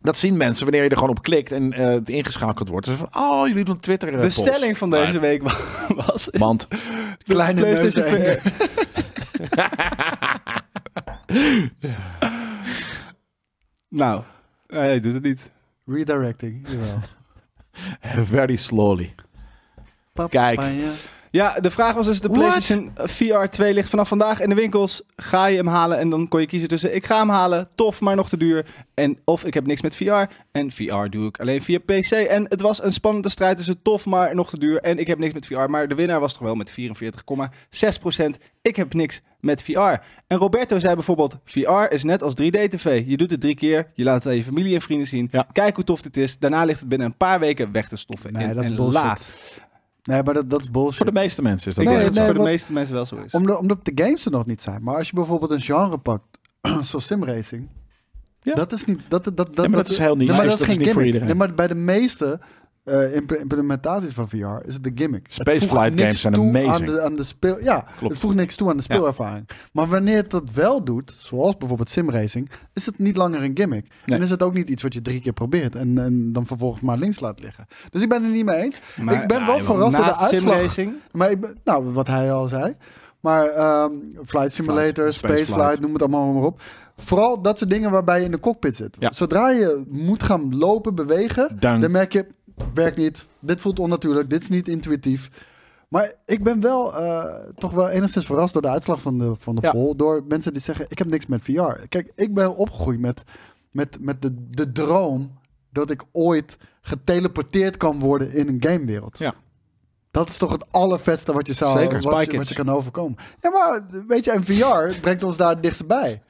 [SPEAKER 2] Dat zien mensen wanneer je er gewoon op klikt en eh, het ingeschakeld wordt. Dus van, oh, jullie doen Twitter eh,
[SPEAKER 1] De
[SPEAKER 2] polls.
[SPEAKER 1] stelling van deze week wa- was... is
[SPEAKER 2] Want
[SPEAKER 1] dat
[SPEAKER 3] Kleine
[SPEAKER 1] PlayStation
[SPEAKER 3] neuzen en-
[SPEAKER 1] VR Nou, hij doet het niet.
[SPEAKER 3] Redirecting, jawel.
[SPEAKER 2] very slowly.
[SPEAKER 3] Papa,
[SPEAKER 2] Kijk.
[SPEAKER 3] ja.
[SPEAKER 1] Ja, de vraag was dus, de
[SPEAKER 8] What?
[SPEAKER 1] PlayStation VR 2 ligt vanaf vandaag in de winkels. Ga je hem halen? En dan kon je kiezen tussen, ik ga hem halen, tof, maar nog te duur. En of ik heb niks met VR. En VR doe ik alleen via PC. En het was een spannende strijd tussen tof, maar nog te duur. En ik heb niks met VR. Maar de winnaar was toch wel met 44,6%. Ik heb niks met VR. En Roberto zei bijvoorbeeld, VR is net als 3D-tv. Je doet het drie keer, je laat het aan je familie en vrienden zien.
[SPEAKER 2] Ja.
[SPEAKER 1] Kijk hoe tof dit is. Daarna ligt het binnen een paar weken weg te stoffen.
[SPEAKER 3] Nee,
[SPEAKER 1] in
[SPEAKER 3] dat is
[SPEAKER 1] een
[SPEAKER 3] bullshit.
[SPEAKER 1] la.
[SPEAKER 3] Nee, maar dat, dat is bullshit.
[SPEAKER 2] Voor de meeste mensen is dat
[SPEAKER 1] Ik
[SPEAKER 3] Nee,
[SPEAKER 1] denk dat het
[SPEAKER 3] nee,
[SPEAKER 1] voor de
[SPEAKER 3] wat-
[SPEAKER 1] meeste mensen wel zo is.
[SPEAKER 3] Omdat, omdat de games er nog niet zijn. Maar als je bijvoorbeeld een genre pakt, zoals simracing.
[SPEAKER 2] Ja.
[SPEAKER 3] Dat is niet. Dat, dat, dat,
[SPEAKER 2] Ja, maar dat is heel niche,
[SPEAKER 3] Nee, maar
[SPEAKER 2] dus
[SPEAKER 3] dat is
[SPEAKER 2] dat is
[SPEAKER 3] geen
[SPEAKER 2] niet voor
[SPEAKER 3] gimmick.
[SPEAKER 2] iedereen.
[SPEAKER 3] Nee, maar bij de meeste eh, imp- implementaties van VR is het de gimmick. Het
[SPEAKER 2] Spaceflight
[SPEAKER 3] voegt niks
[SPEAKER 2] games zijn
[SPEAKER 3] toe
[SPEAKER 2] amazing.
[SPEAKER 3] Aan de, aan de speel, ja,
[SPEAKER 2] Klopt.
[SPEAKER 3] het voegt niks toe aan de speelervaring. Maar wanneer het dat wel doet, zoals bijvoorbeeld simracing, is het niet langer een gimmick.
[SPEAKER 2] Nee.
[SPEAKER 3] En is het ook niet iets wat je drie keer probeert en, en dan vervolgens maar links laat liggen. Dus ik ben het niet mee eens. ik ben wel verrast door de
[SPEAKER 1] Naast
[SPEAKER 3] uitslag.
[SPEAKER 1] simracing-
[SPEAKER 3] Maar ik ben- nou, wat hij al zei. Maar ehm, Flight Simulator,
[SPEAKER 2] Flight,
[SPEAKER 3] Spaceflight,
[SPEAKER 2] Spaceflight.
[SPEAKER 3] noem het allemaal maar op. Vooral dat soort dingen waarbij je in de cockpit zit.
[SPEAKER 2] Ja.
[SPEAKER 3] Zodra je moet gaan lopen, bewegen,
[SPEAKER 2] Dank.
[SPEAKER 3] dan merk je, werkt niet. Dit voelt onnatuurlijk, dit is niet intuïtief. Maar ik ben wel eh, toch wel enigszins verrast door de uitslag van de, van de
[SPEAKER 2] Ja.
[SPEAKER 3] poll. Door mensen die zeggen, ik heb niks met VR. Kijk, ik ben opgegroeid met, met, met de, de droom dat ik ooit geteleporteerd kan worden in een gamewereld.
[SPEAKER 2] Ja.
[SPEAKER 3] Dat is toch het allervetste wat je zou
[SPEAKER 2] Zeker.
[SPEAKER 3] wat,
[SPEAKER 1] Spy
[SPEAKER 3] je, wat
[SPEAKER 1] Kids.
[SPEAKER 3] je kan overkomen. Ja, maar weet je, en VR brengt ons daar het dichtst bij.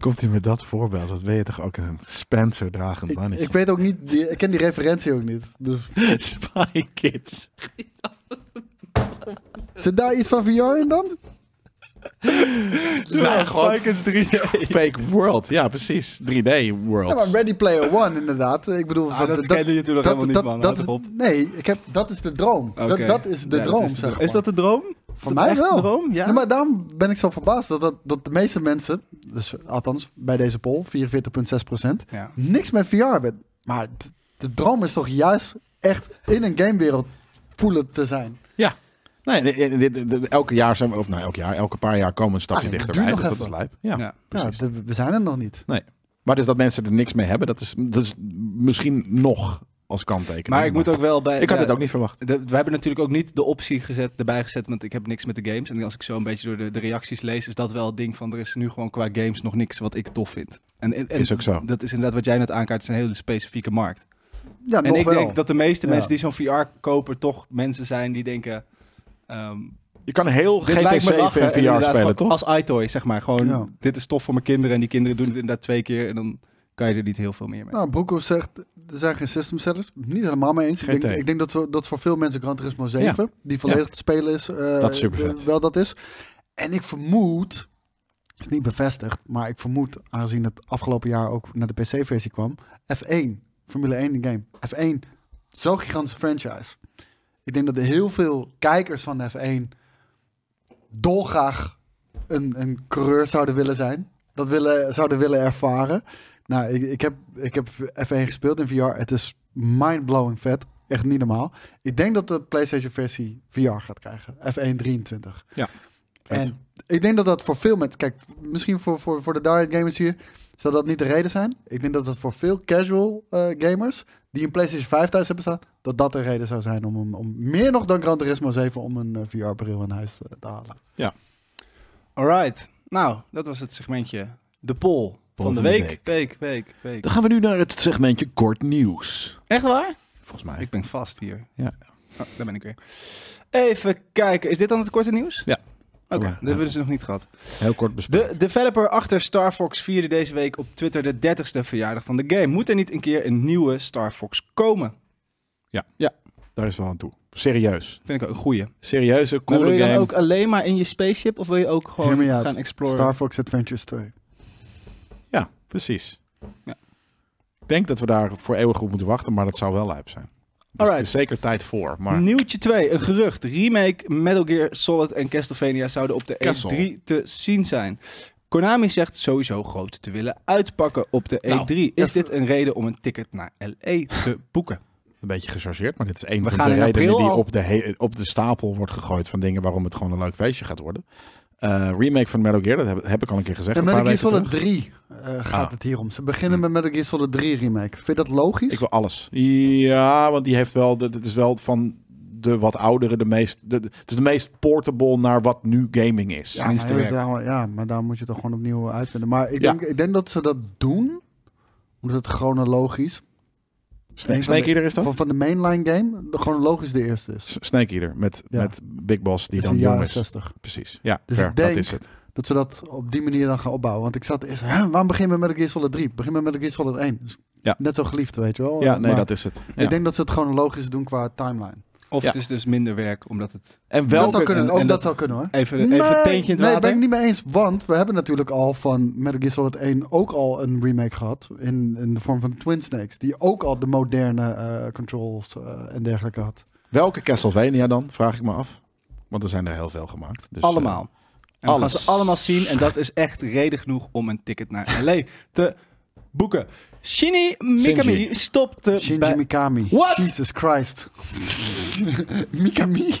[SPEAKER 2] Komt hij met dat voorbeeld? Dat ben je toch ook een Spencer dragend
[SPEAKER 3] Ik,
[SPEAKER 2] mannetje?
[SPEAKER 3] ik weet ook niet, die, ik ken die referentie ook niet. Dus
[SPEAKER 2] Spy Kids.
[SPEAKER 3] zit daar iets van VR in dan?
[SPEAKER 2] Ja, Nou, gewoon fake world. Ja, precies. 3D world.
[SPEAKER 3] Ja, maar Ready Player One inderdaad. Ik bedoel,
[SPEAKER 1] Ah,
[SPEAKER 3] wat-
[SPEAKER 1] dat kende je natuurlijk helemaal niet, man.
[SPEAKER 3] Dat,
[SPEAKER 1] Houd
[SPEAKER 3] is-
[SPEAKER 1] op.
[SPEAKER 3] nee, ik heb, dat is de droom.
[SPEAKER 1] Oké.
[SPEAKER 3] Dat, dat is de
[SPEAKER 1] Ja,
[SPEAKER 3] droom,
[SPEAKER 1] is de
[SPEAKER 3] zeg
[SPEAKER 1] droom.
[SPEAKER 3] maar.
[SPEAKER 1] Is dat de droom? Is
[SPEAKER 3] Voor
[SPEAKER 1] dat
[SPEAKER 3] mij
[SPEAKER 1] echt
[SPEAKER 3] wel.
[SPEAKER 1] de droom? Ja.
[SPEAKER 3] Nee, maar daarom ben ik zo verbaasd dat, dat, dat de meeste mensen, dus althans bij deze poll, 44,6%,
[SPEAKER 1] Ja.
[SPEAKER 3] niks met VR hebben. Maar d- de droom is toch juist echt in een gamewereld voelen te zijn.
[SPEAKER 2] Ja. Nee, dit- dit- dit- dit- elke jaar zijn we, of nou, elk jaar, elke paar jaar komen we een stapje
[SPEAKER 1] Ah,
[SPEAKER 3] Alleen, het
[SPEAKER 2] dichterbij. Dus
[SPEAKER 3] duurt nog
[SPEAKER 2] dat is
[SPEAKER 3] even.
[SPEAKER 2] lijp. Ja,
[SPEAKER 1] Ja.
[SPEAKER 3] Ja,
[SPEAKER 2] precies.
[SPEAKER 3] de- we zijn er nog niet.
[SPEAKER 2] Nee. Maar dus dat mensen er niks mee hebben, dat is, dat is misschien nog als kanttekening.
[SPEAKER 1] Maar ik moet ook wel bij...
[SPEAKER 2] Ik had
[SPEAKER 1] ja,
[SPEAKER 2] dit ook niet verwacht.
[SPEAKER 1] de- we hebben natuurlijk ook niet de optie gezet, erbij gezet, want ik heb niks met de games. En als ik zo een beetje door de, de reacties lees, is dat wel het ding van... er is nu gewoon qua games nog niks wat ik tof vind. En, en, en
[SPEAKER 2] Is ook zo.
[SPEAKER 1] Dat is inderdaad wat jij net aankaart, het is een hele specifieke markt.
[SPEAKER 3] Ja,
[SPEAKER 1] En
[SPEAKER 3] nog
[SPEAKER 1] ik
[SPEAKER 3] wel.
[SPEAKER 1] denk dat de meeste
[SPEAKER 3] Ja.
[SPEAKER 1] mensen die zo'n VR kopen toch mensen zijn die denken... ehm,
[SPEAKER 2] Je kan heel
[SPEAKER 1] Dit lijkt
[SPEAKER 2] GT7
[SPEAKER 1] me lachen,
[SPEAKER 2] en VR
[SPEAKER 1] inderdaad,
[SPEAKER 2] spelen,
[SPEAKER 1] gewoon
[SPEAKER 2] toch?
[SPEAKER 1] Als iToy, zeg maar. Gewoon,
[SPEAKER 3] Ja.
[SPEAKER 1] dit is tof voor mijn kinderen. En die kinderen doen het inderdaad twee keer. En dan kan je er niet heel veel meer mee.
[SPEAKER 3] Nou, Broekhoff zegt, er zijn geen system sellers. Niet helemaal mee eens. Ik
[SPEAKER 2] GT.
[SPEAKER 3] denk, ik denk dat, we, dat voor veel mensen Gran Turismo 7, die volledig te spelen is, eh,
[SPEAKER 2] Dat is supervet.
[SPEAKER 3] eh, wel dat is. En ik vermoed, het is niet bevestigd, maar ik vermoed, aangezien het afgelopen jaar ook naar de PC-versie kwam, F1, Formule 1 de game. F1, zo'n gigantische franchise. Ik denk dat er heel veel kijkers van de F1 dolgraag een, een coureur zouden willen zijn. Dat willen, zouden willen ervaren. Nou, ik, ik, heb, ik heb F1 gespeeld in VR. Het is mind-blowing vet. Echt niet normaal. Ik denk dat de PlayStation versie VR gaat krijgen. F1 23.
[SPEAKER 2] Ja, vet.
[SPEAKER 3] En ik denk dat dat voor veel mensen... Kijk, misschien voor, voor, voor de diet gamers hier... Zou dat niet de reden zijn? Ik denk dat dat voor veel casual eh, gamers... die een PlayStation 5 thuis hebben staan... dat dat de reden zou zijn om, om, om meer nog dan Gran Turismo 7... om een eh, VR-bril in huis eh, te, te halen.
[SPEAKER 1] Alright. Nou, dat was het segmentje. De poll van de
[SPEAKER 8] van de
[SPEAKER 1] week.
[SPEAKER 8] week.
[SPEAKER 1] Week, week, week.
[SPEAKER 8] Dan gaan we nu naar het segmentje kort nieuws.
[SPEAKER 1] Echt waar?
[SPEAKER 8] Volgens mij.
[SPEAKER 1] Ik ben vast hier.
[SPEAKER 2] Ja.
[SPEAKER 1] Oh, daar ben ik weer. Even kijken. Is dit dan het korte nieuws?
[SPEAKER 2] Ja.
[SPEAKER 1] Oké,
[SPEAKER 2] Ja.
[SPEAKER 1] dat hebben we dus nog niet gehad.
[SPEAKER 2] Heel kort bespreken.
[SPEAKER 1] De developer achter Star Fox vierde deze week op Twitter de 30ste verjaardag van de game. Moet er niet een keer een nieuwe Star Fox komen?
[SPEAKER 2] Daar is wel aan toe. Serieus.
[SPEAKER 1] Vind ik ook een goeie.
[SPEAKER 2] Serieuze,
[SPEAKER 1] Maar
[SPEAKER 2] coole
[SPEAKER 1] wil je
[SPEAKER 2] game.
[SPEAKER 1] dan ook alleen maar in je spaceship of wil je ook
[SPEAKER 3] Hear
[SPEAKER 1] gewoon
[SPEAKER 3] me out.
[SPEAKER 1] gaan exploren?
[SPEAKER 3] Star Fox Adventures 2.
[SPEAKER 2] Ja, precies.
[SPEAKER 1] Ja.
[SPEAKER 2] Ik denk dat we daar voor eeuwig op moeten wachten, maar dat zou wel lijp zijn. Dus
[SPEAKER 1] Alright.
[SPEAKER 2] het is zeker tijd voor. Maar
[SPEAKER 1] Nieuwtje 2, een gerucht. Remake, Metal Gear Solid en Castlevania zouden op de
[SPEAKER 2] Castle.
[SPEAKER 1] E3 te zien zijn. Konami zegt sowieso groot te willen uitpakken op de E3.
[SPEAKER 2] Nou,
[SPEAKER 1] Is dit een reden om een ticket naar LA te boeken?
[SPEAKER 2] een beetje gechargeerd, maar dit is een
[SPEAKER 1] We
[SPEAKER 2] van
[SPEAKER 1] gaan
[SPEAKER 2] de
[SPEAKER 1] in
[SPEAKER 2] redenen
[SPEAKER 1] april
[SPEAKER 2] die
[SPEAKER 1] al.
[SPEAKER 2] op de, he- op de stapel wordt gegooid van dingen waarom het gewoon een leuk feestje gaat worden. Eh, remake van Metal Gear, dat heb, heb ik al een keer gezegd.
[SPEAKER 3] En
[SPEAKER 2] een paar
[SPEAKER 3] Metal Gear
[SPEAKER 2] weken
[SPEAKER 3] Solid
[SPEAKER 2] terug.
[SPEAKER 3] 3 eh, gaat
[SPEAKER 2] Ah.
[SPEAKER 3] het hier om. Ze beginnen met Metal Gear Solid 3 remake. Vind je dat logisch?
[SPEAKER 2] Ik wil alles. Ja, want die heeft wel, dat- dit is wel van de wat oudere, de meest, de, de- het is de meest portable naar wat nu gaming is.
[SPEAKER 3] Ja,
[SPEAKER 2] En is
[SPEAKER 3] maar,
[SPEAKER 2] te
[SPEAKER 3] heel-
[SPEAKER 2] werken.
[SPEAKER 3] daar- ja, maar daar moet je het toch gewoon opnieuw uitvinden. Maar ik,
[SPEAKER 2] Ja.
[SPEAKER 3] denk, ik denk dat ze dat doen, omdat het chronologisch...
[SPEAKER 2] Snake,
[SPEAKER 3] een van
[SPEAKER 2] Snake
[SPEAKER 3] de-
[SPEAKER 2] Eater is dat?
[SPEAKER 3] Van, van de mainline game, de chronologisch de eerste is.
[SPEAKER 2] S- Snake Eater, met,
[SPEAKER 3] Ja.
[SPEAKER 2] met Big Boss die
[SPEAKER 3] Dus
[SPEAKER 2] dan
[SPEAKER 3] de
[SPEAKER 2] jong
[SPEAKER 3] jaren
[SPEAKER 2] is.
[SPEAKER 3] 60.
[SPEAKER 2] Precies, ja,
[SPEAKER 3] Dus
[SPEAKER 2] fair,
[SPEAKER 3] ik denk
[SPEAKER 2] dat is het.
[SPEAKER 3] Dat ze dat op die manier dan gaan opbouwen. Want ik zat eerst, hè, waarom beginnen we met de Gear Solid 3? Beginnen we met de Gear Solid 1? Dus
[SPEAKER 2] Ja.
[SPEAKER 3] Net zo geliefd, weet je wel.
[SPEAKER 2] Ja, nee,
[SPEAKER 3] Maar
[SPEAKER 2] dat is het. Ja.
[SPEAKER 3] Ik denk dat ze het chronologisch doen qua timeline.
[SPEAKER 1] Of
[SPEAKER 2] Ja.
[SPEAKER 1] het is dus minder werk, omdat het...
[SPEAKER 2] En
[SPEAKER 3] dat zou
[SPEAKER 2] welke...
[SPEAKER 3] kunnen,
[SPEAKER 1] en-
[SPEAKER 3] ook
[SPEAKER 1] en
[SPEAKER 3] dat,
[SPEAKER 1] dat-
[SPEAKER 3] zou kunnen hoor.
[SPEAKER 1] Even, even een teentje in het
[SPEAKER 3] nee,
[SPEAKER 1] water.
[SPEAKER 3] ben ik niet mee eens. Want we hebben natuurlijk al van Metal Gear Solid 1 ook al een remake gehad. In, in de vorm van Twin Snakes. Die ook al de moderne eh, controls eh, en dergelijke had.
[SPEAKER 2] Welke Castlevania dan, vraag ik me af. Want er zijn er heel veel gemaakt. Dus, eh,
[SPEAKER 1] allemaal. En we gaan
[SPEAKER 2] alles.
[SPEAKER 1] ze allemaal zien. En dat is echt reden genoeg om een ticket naar L.A. te boeken. Shinny Mikami
[SPEAKER 2] Shinji.
[SPEAKER 1] stopte
[SPEAKER 3] Shinji
[SPEAKER 1] bij...
[SPEAKER 3] Mikami.
[SPEAKER 1] What?
[SPEAKER 3] Jesus Christ. Mikami.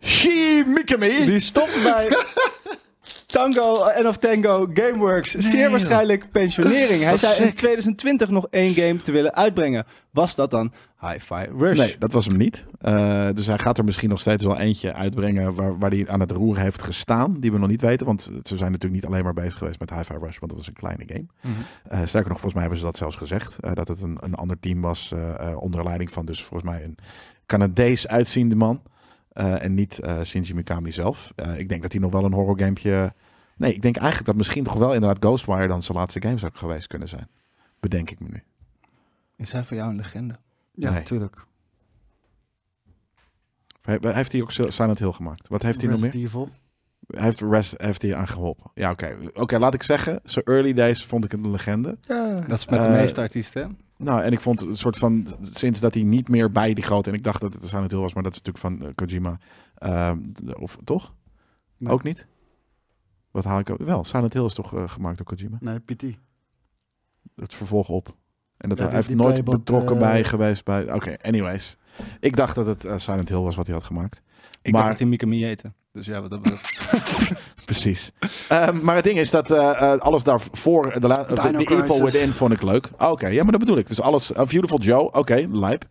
[SPEAKER 2] She Mikami!
[SPEAKER 1] Die stopte bij Tango en of Tango Gameworks. Zeer waarschijnlijk pensionering. Hij zei in 2020 nog één game te willen uitbrengen. Was dat dan Hi-Fi Rush?
[SPEAKER 2] Nee, dat was hem niet. Eh, dus hij gaat er misschien nog steeds wel eentje uitbrengen waar, waar hij aan het roer heeft gestaan. Die we nog niet weten, want ze zijn natuurlijk niet alleen maar bezig geweest met Hi-Fi Rush, want dat was een kleine game. Eh, sterker nog, volgens mij hebben ze dat zelfs gezegd. eh, dat het een, een ander team was eh, eh, onder leiding van dus volgens mij een Canadees uitziende man. eh, en niet eh, Shinji Mikami zelf. Eh, ik denk dat hij nog wel een horrorgamepje... Nee, ik denk eigenlijk dat misschien toch wel inderdaad Ghostwire dan zijn laatste game zou geweest kunnen zijn. Bedenk ik me nu.
[SPEAKER 1] Is hij voor jou een legende?
[SPEAKER 3] Ja,
[SPEAKER 2] Nee.
[SPEAKER 3] tuurlijk.
[SPEAKER 2] He- Heeft hij ook Silent Hill gemaakt? Wat heeft hij nog meer?
[SPEAKER 3] Resident Evil.
[SPEAKER 2] Hij heeft Rest heeft hij aan geholpen. Ja, oké. Oké, laat ik zeggen, zo early days vond ik het een legende.
[SPEAKER 3] Ja.
[SPEAKER 1] Dat is met de
[SPEAKER 2] Eh,
[SPEAKER 1] meeste artiesten. hè?
[SPEAKER 2] Nou, en ik vond het een soort van, sinds dat hij niet meer bij die grote, en ik dacht dat het een Silent Hill was, maar dat is natuurlijk van eh, Kojima. Ehm, d- of toch?
[SPEAKER 3] Nee.
[SPEAKER 2] Ook niet? Wat haal ik ook? Wel, Silent Hill is toch eh, gemaakt door Kojima?
[SPEAKER 3] Nee, PT.
[SPEAKER 2] Het vervolg op. En dat
[SPEAKER 3] Ja,
[SPEAKER 2] hij
[SPEAKER 3] die-
[SPEAKER 2] heeft
[SPEAKER 3] die
[SPEAKER 2] nooit
[SPEAKER 3] playbook,
[SPEAKER 2] betrokken
[SPEAKER 3] eh,
[SPEAKER 2] bij geweest bij... Oké, anyways. Ik dacht dat het eh, Silent Hill was wat hij had gemaakt.
[SPEAKER 1] Ik
[SPEAKER 2] maar-
[SPEAKER 1] maar... dat hij Mikami heette. Dus ja, wat dat betreft.
[SPEAKER 2] Precies. Eh, maar het ding is dat eh, eh, alles daarvoor, de, la-
[SPEAKER 3] Dino
[SPEAKER 2] de Evil
[SPEAKER 3] Crisis.
[SPEAKER 2] Within vond ik leuk. Oké, ja, maar dat bedoel ik. Dus alles, eh, Beautiful Joe, oké, lijp.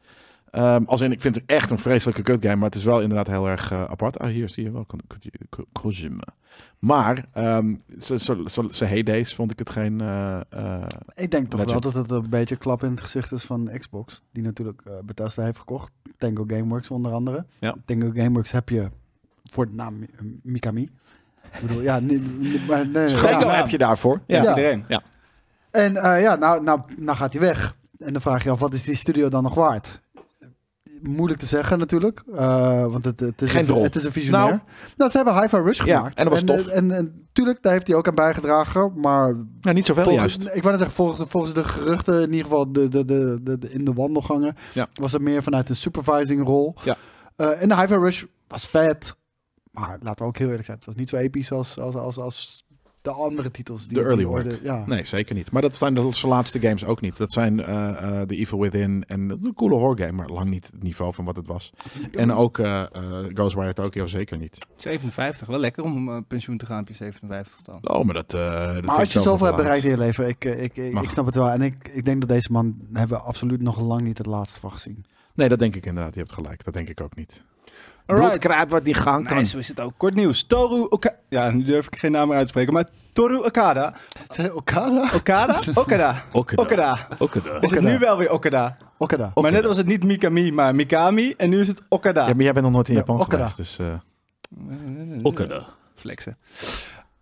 [SPEAKER 2] Ehm, als in, ik vind het echt een vreselijke kut game, maar het is wel inderdaad heel erg eh, apart. Ah, hier zie je wel Ko- Ko- Ko- Kojima. Maar, ehm zo, zo, zo, zo heydays vond ik het geen... eh, eh,
[SPEAKER 3] Ik denk toch
[SPEAKER 2] Legend.
[SPEAKER 3] wel dat het een beetje klap in het gezicht is van Xbox. Die natuurlijk eh Bethesda heeft gekocht. Tango Gameworks onder andere.
[SPEAKER 2] Ja.
[SPEAKER 3] Tango Gameworks heb je voor de naam Mi- eh, Mikami. Ik bedoel, ja, nee, nee, maar nee,
[SPEAKER 2] Tango
[SPEAKER 3] ja.
[SPEAKER 2] heb je daarvoor.
[SPEAKER 1] Ja,
[SPEAKER 2] Ja.
[SPEAKER 3] Ja.
[SPEAKER 1] iedereen.
[SPEAKER 3] En eh, ja, nou, nou, nou gaat hij weg. En dan vraag je af, wat is die studio dan nog waard? Moeilijk te zeggen natuurlijk, eh, want het, het, is
[SPEAKER 2] Geen
[SPEAKER 3] een,
[SPEAKER 2] drol.
[SPEAKER 3] het is een visionair.
[SPEAKER 2] Nou.
[SPEAKER 3] Nou, ze hebben Hi-Fi Rush
[SPEAKER 2] Ja,
[SPEAKER 3] gemaakt.
[SPEAKER 2] en dat was
[SPEAKER 3] en, eh,
[SPEAKER 2] tof.
[SPEAKER 3] En, en, tuurlijk, daar heeft hij ook aan bijgedragen, maar
[SPEAKER 2] Nou, niet zoveel
[SPEAKER 3] Volgens-
[SPEAKER 2] juist.
[SPEAKER 3] Ik wou net zeggen, volgens, volgens de geruchten, in ieder geval de, de, de, de, de- in de wandelgangen,
[SPEAKER 2] Ja.
[SPEAKER 3] was het meer vanuit een supervising rol.
[SPEAKER 2] Ja.
[SPEAKER 3] Eh, en de High Rush was vet, maar laten we ook heel eerlijk zijn, het was niet zo episch als, als, als, als de andere titels. Die
[SPEAKER 2] De early
[SPEAKER 3] die worden- Ja.
[SPEAKER 2] Nee, zeker niet. Maar dat zijn de zijn laatste games ook niet. Dat zijn eh, eh, The Evil Within en de coole horror game, maar lang niet het niveau van wat het was. En ook eh eh Ghostwire Tokyo zeker niet.
[SPEAKER 1] 57, wel lekker om eh, pensioen te gaan op je 57 dan.
[SPEAKER 2] Oh, maar dat... eh, dat vind
[SPEAKER 3] Maar
[SPEAKER 2] ik
[SPEAKER 3] als je
[SPEAKER 2] zelf nog
[SPEAKER 3] zoveel hebt
[SPEAKER 2] wel
[SPEAKER 3] bereikt
[SPEAKER 2] laat.
[SPEAKER 3] in je leven, ik, eh, ik, ik,
[SPEAKER 2] Mag.
[SPEAKER 3] ik snap het wel. En ik, ik denk dat deze man hebben we absoluut nog lang niet het laatste van gezien.
[SPEAKER 2] Nee, dat denk ik inderdaad. Je hebt gelijk. Dat denk ik ook niet.
[SPEAKER 1] Alright.
[SPEAKER 2] Bloedkruid wat niet gaan kan.
[SPEAKER 1] Nee, zo is het ook. Kort nieuws. Toru Oka- Ja, nu durf ik geen naam meer uit te spreken. Maar Toru Okada.
[SPEAKER 3] Okada?
[SPEAKER 1] Okada? Okada.
[SPEAKER 2] Okada.
[SPEAKER 1] Okada.
[SPEAKER 2] Ook het, eh.
[SPEAKER 1] Is het nu wel weer Okada?
[SPEAKER 3] Okada.
[SPEAKER 1] Maar net was het niet Mikami, maar Mikami. En nu is het Okada.
[SPEAKER 2] Ja, maar jij bent nog nooit in
[SPEAKER 3] Ja,
[SPEAKER 2] Japan
[SPEAKER 3] Okada.
[SPEAKER 2] geweest, dus... eh,
[SPEAKER 1] Flexen.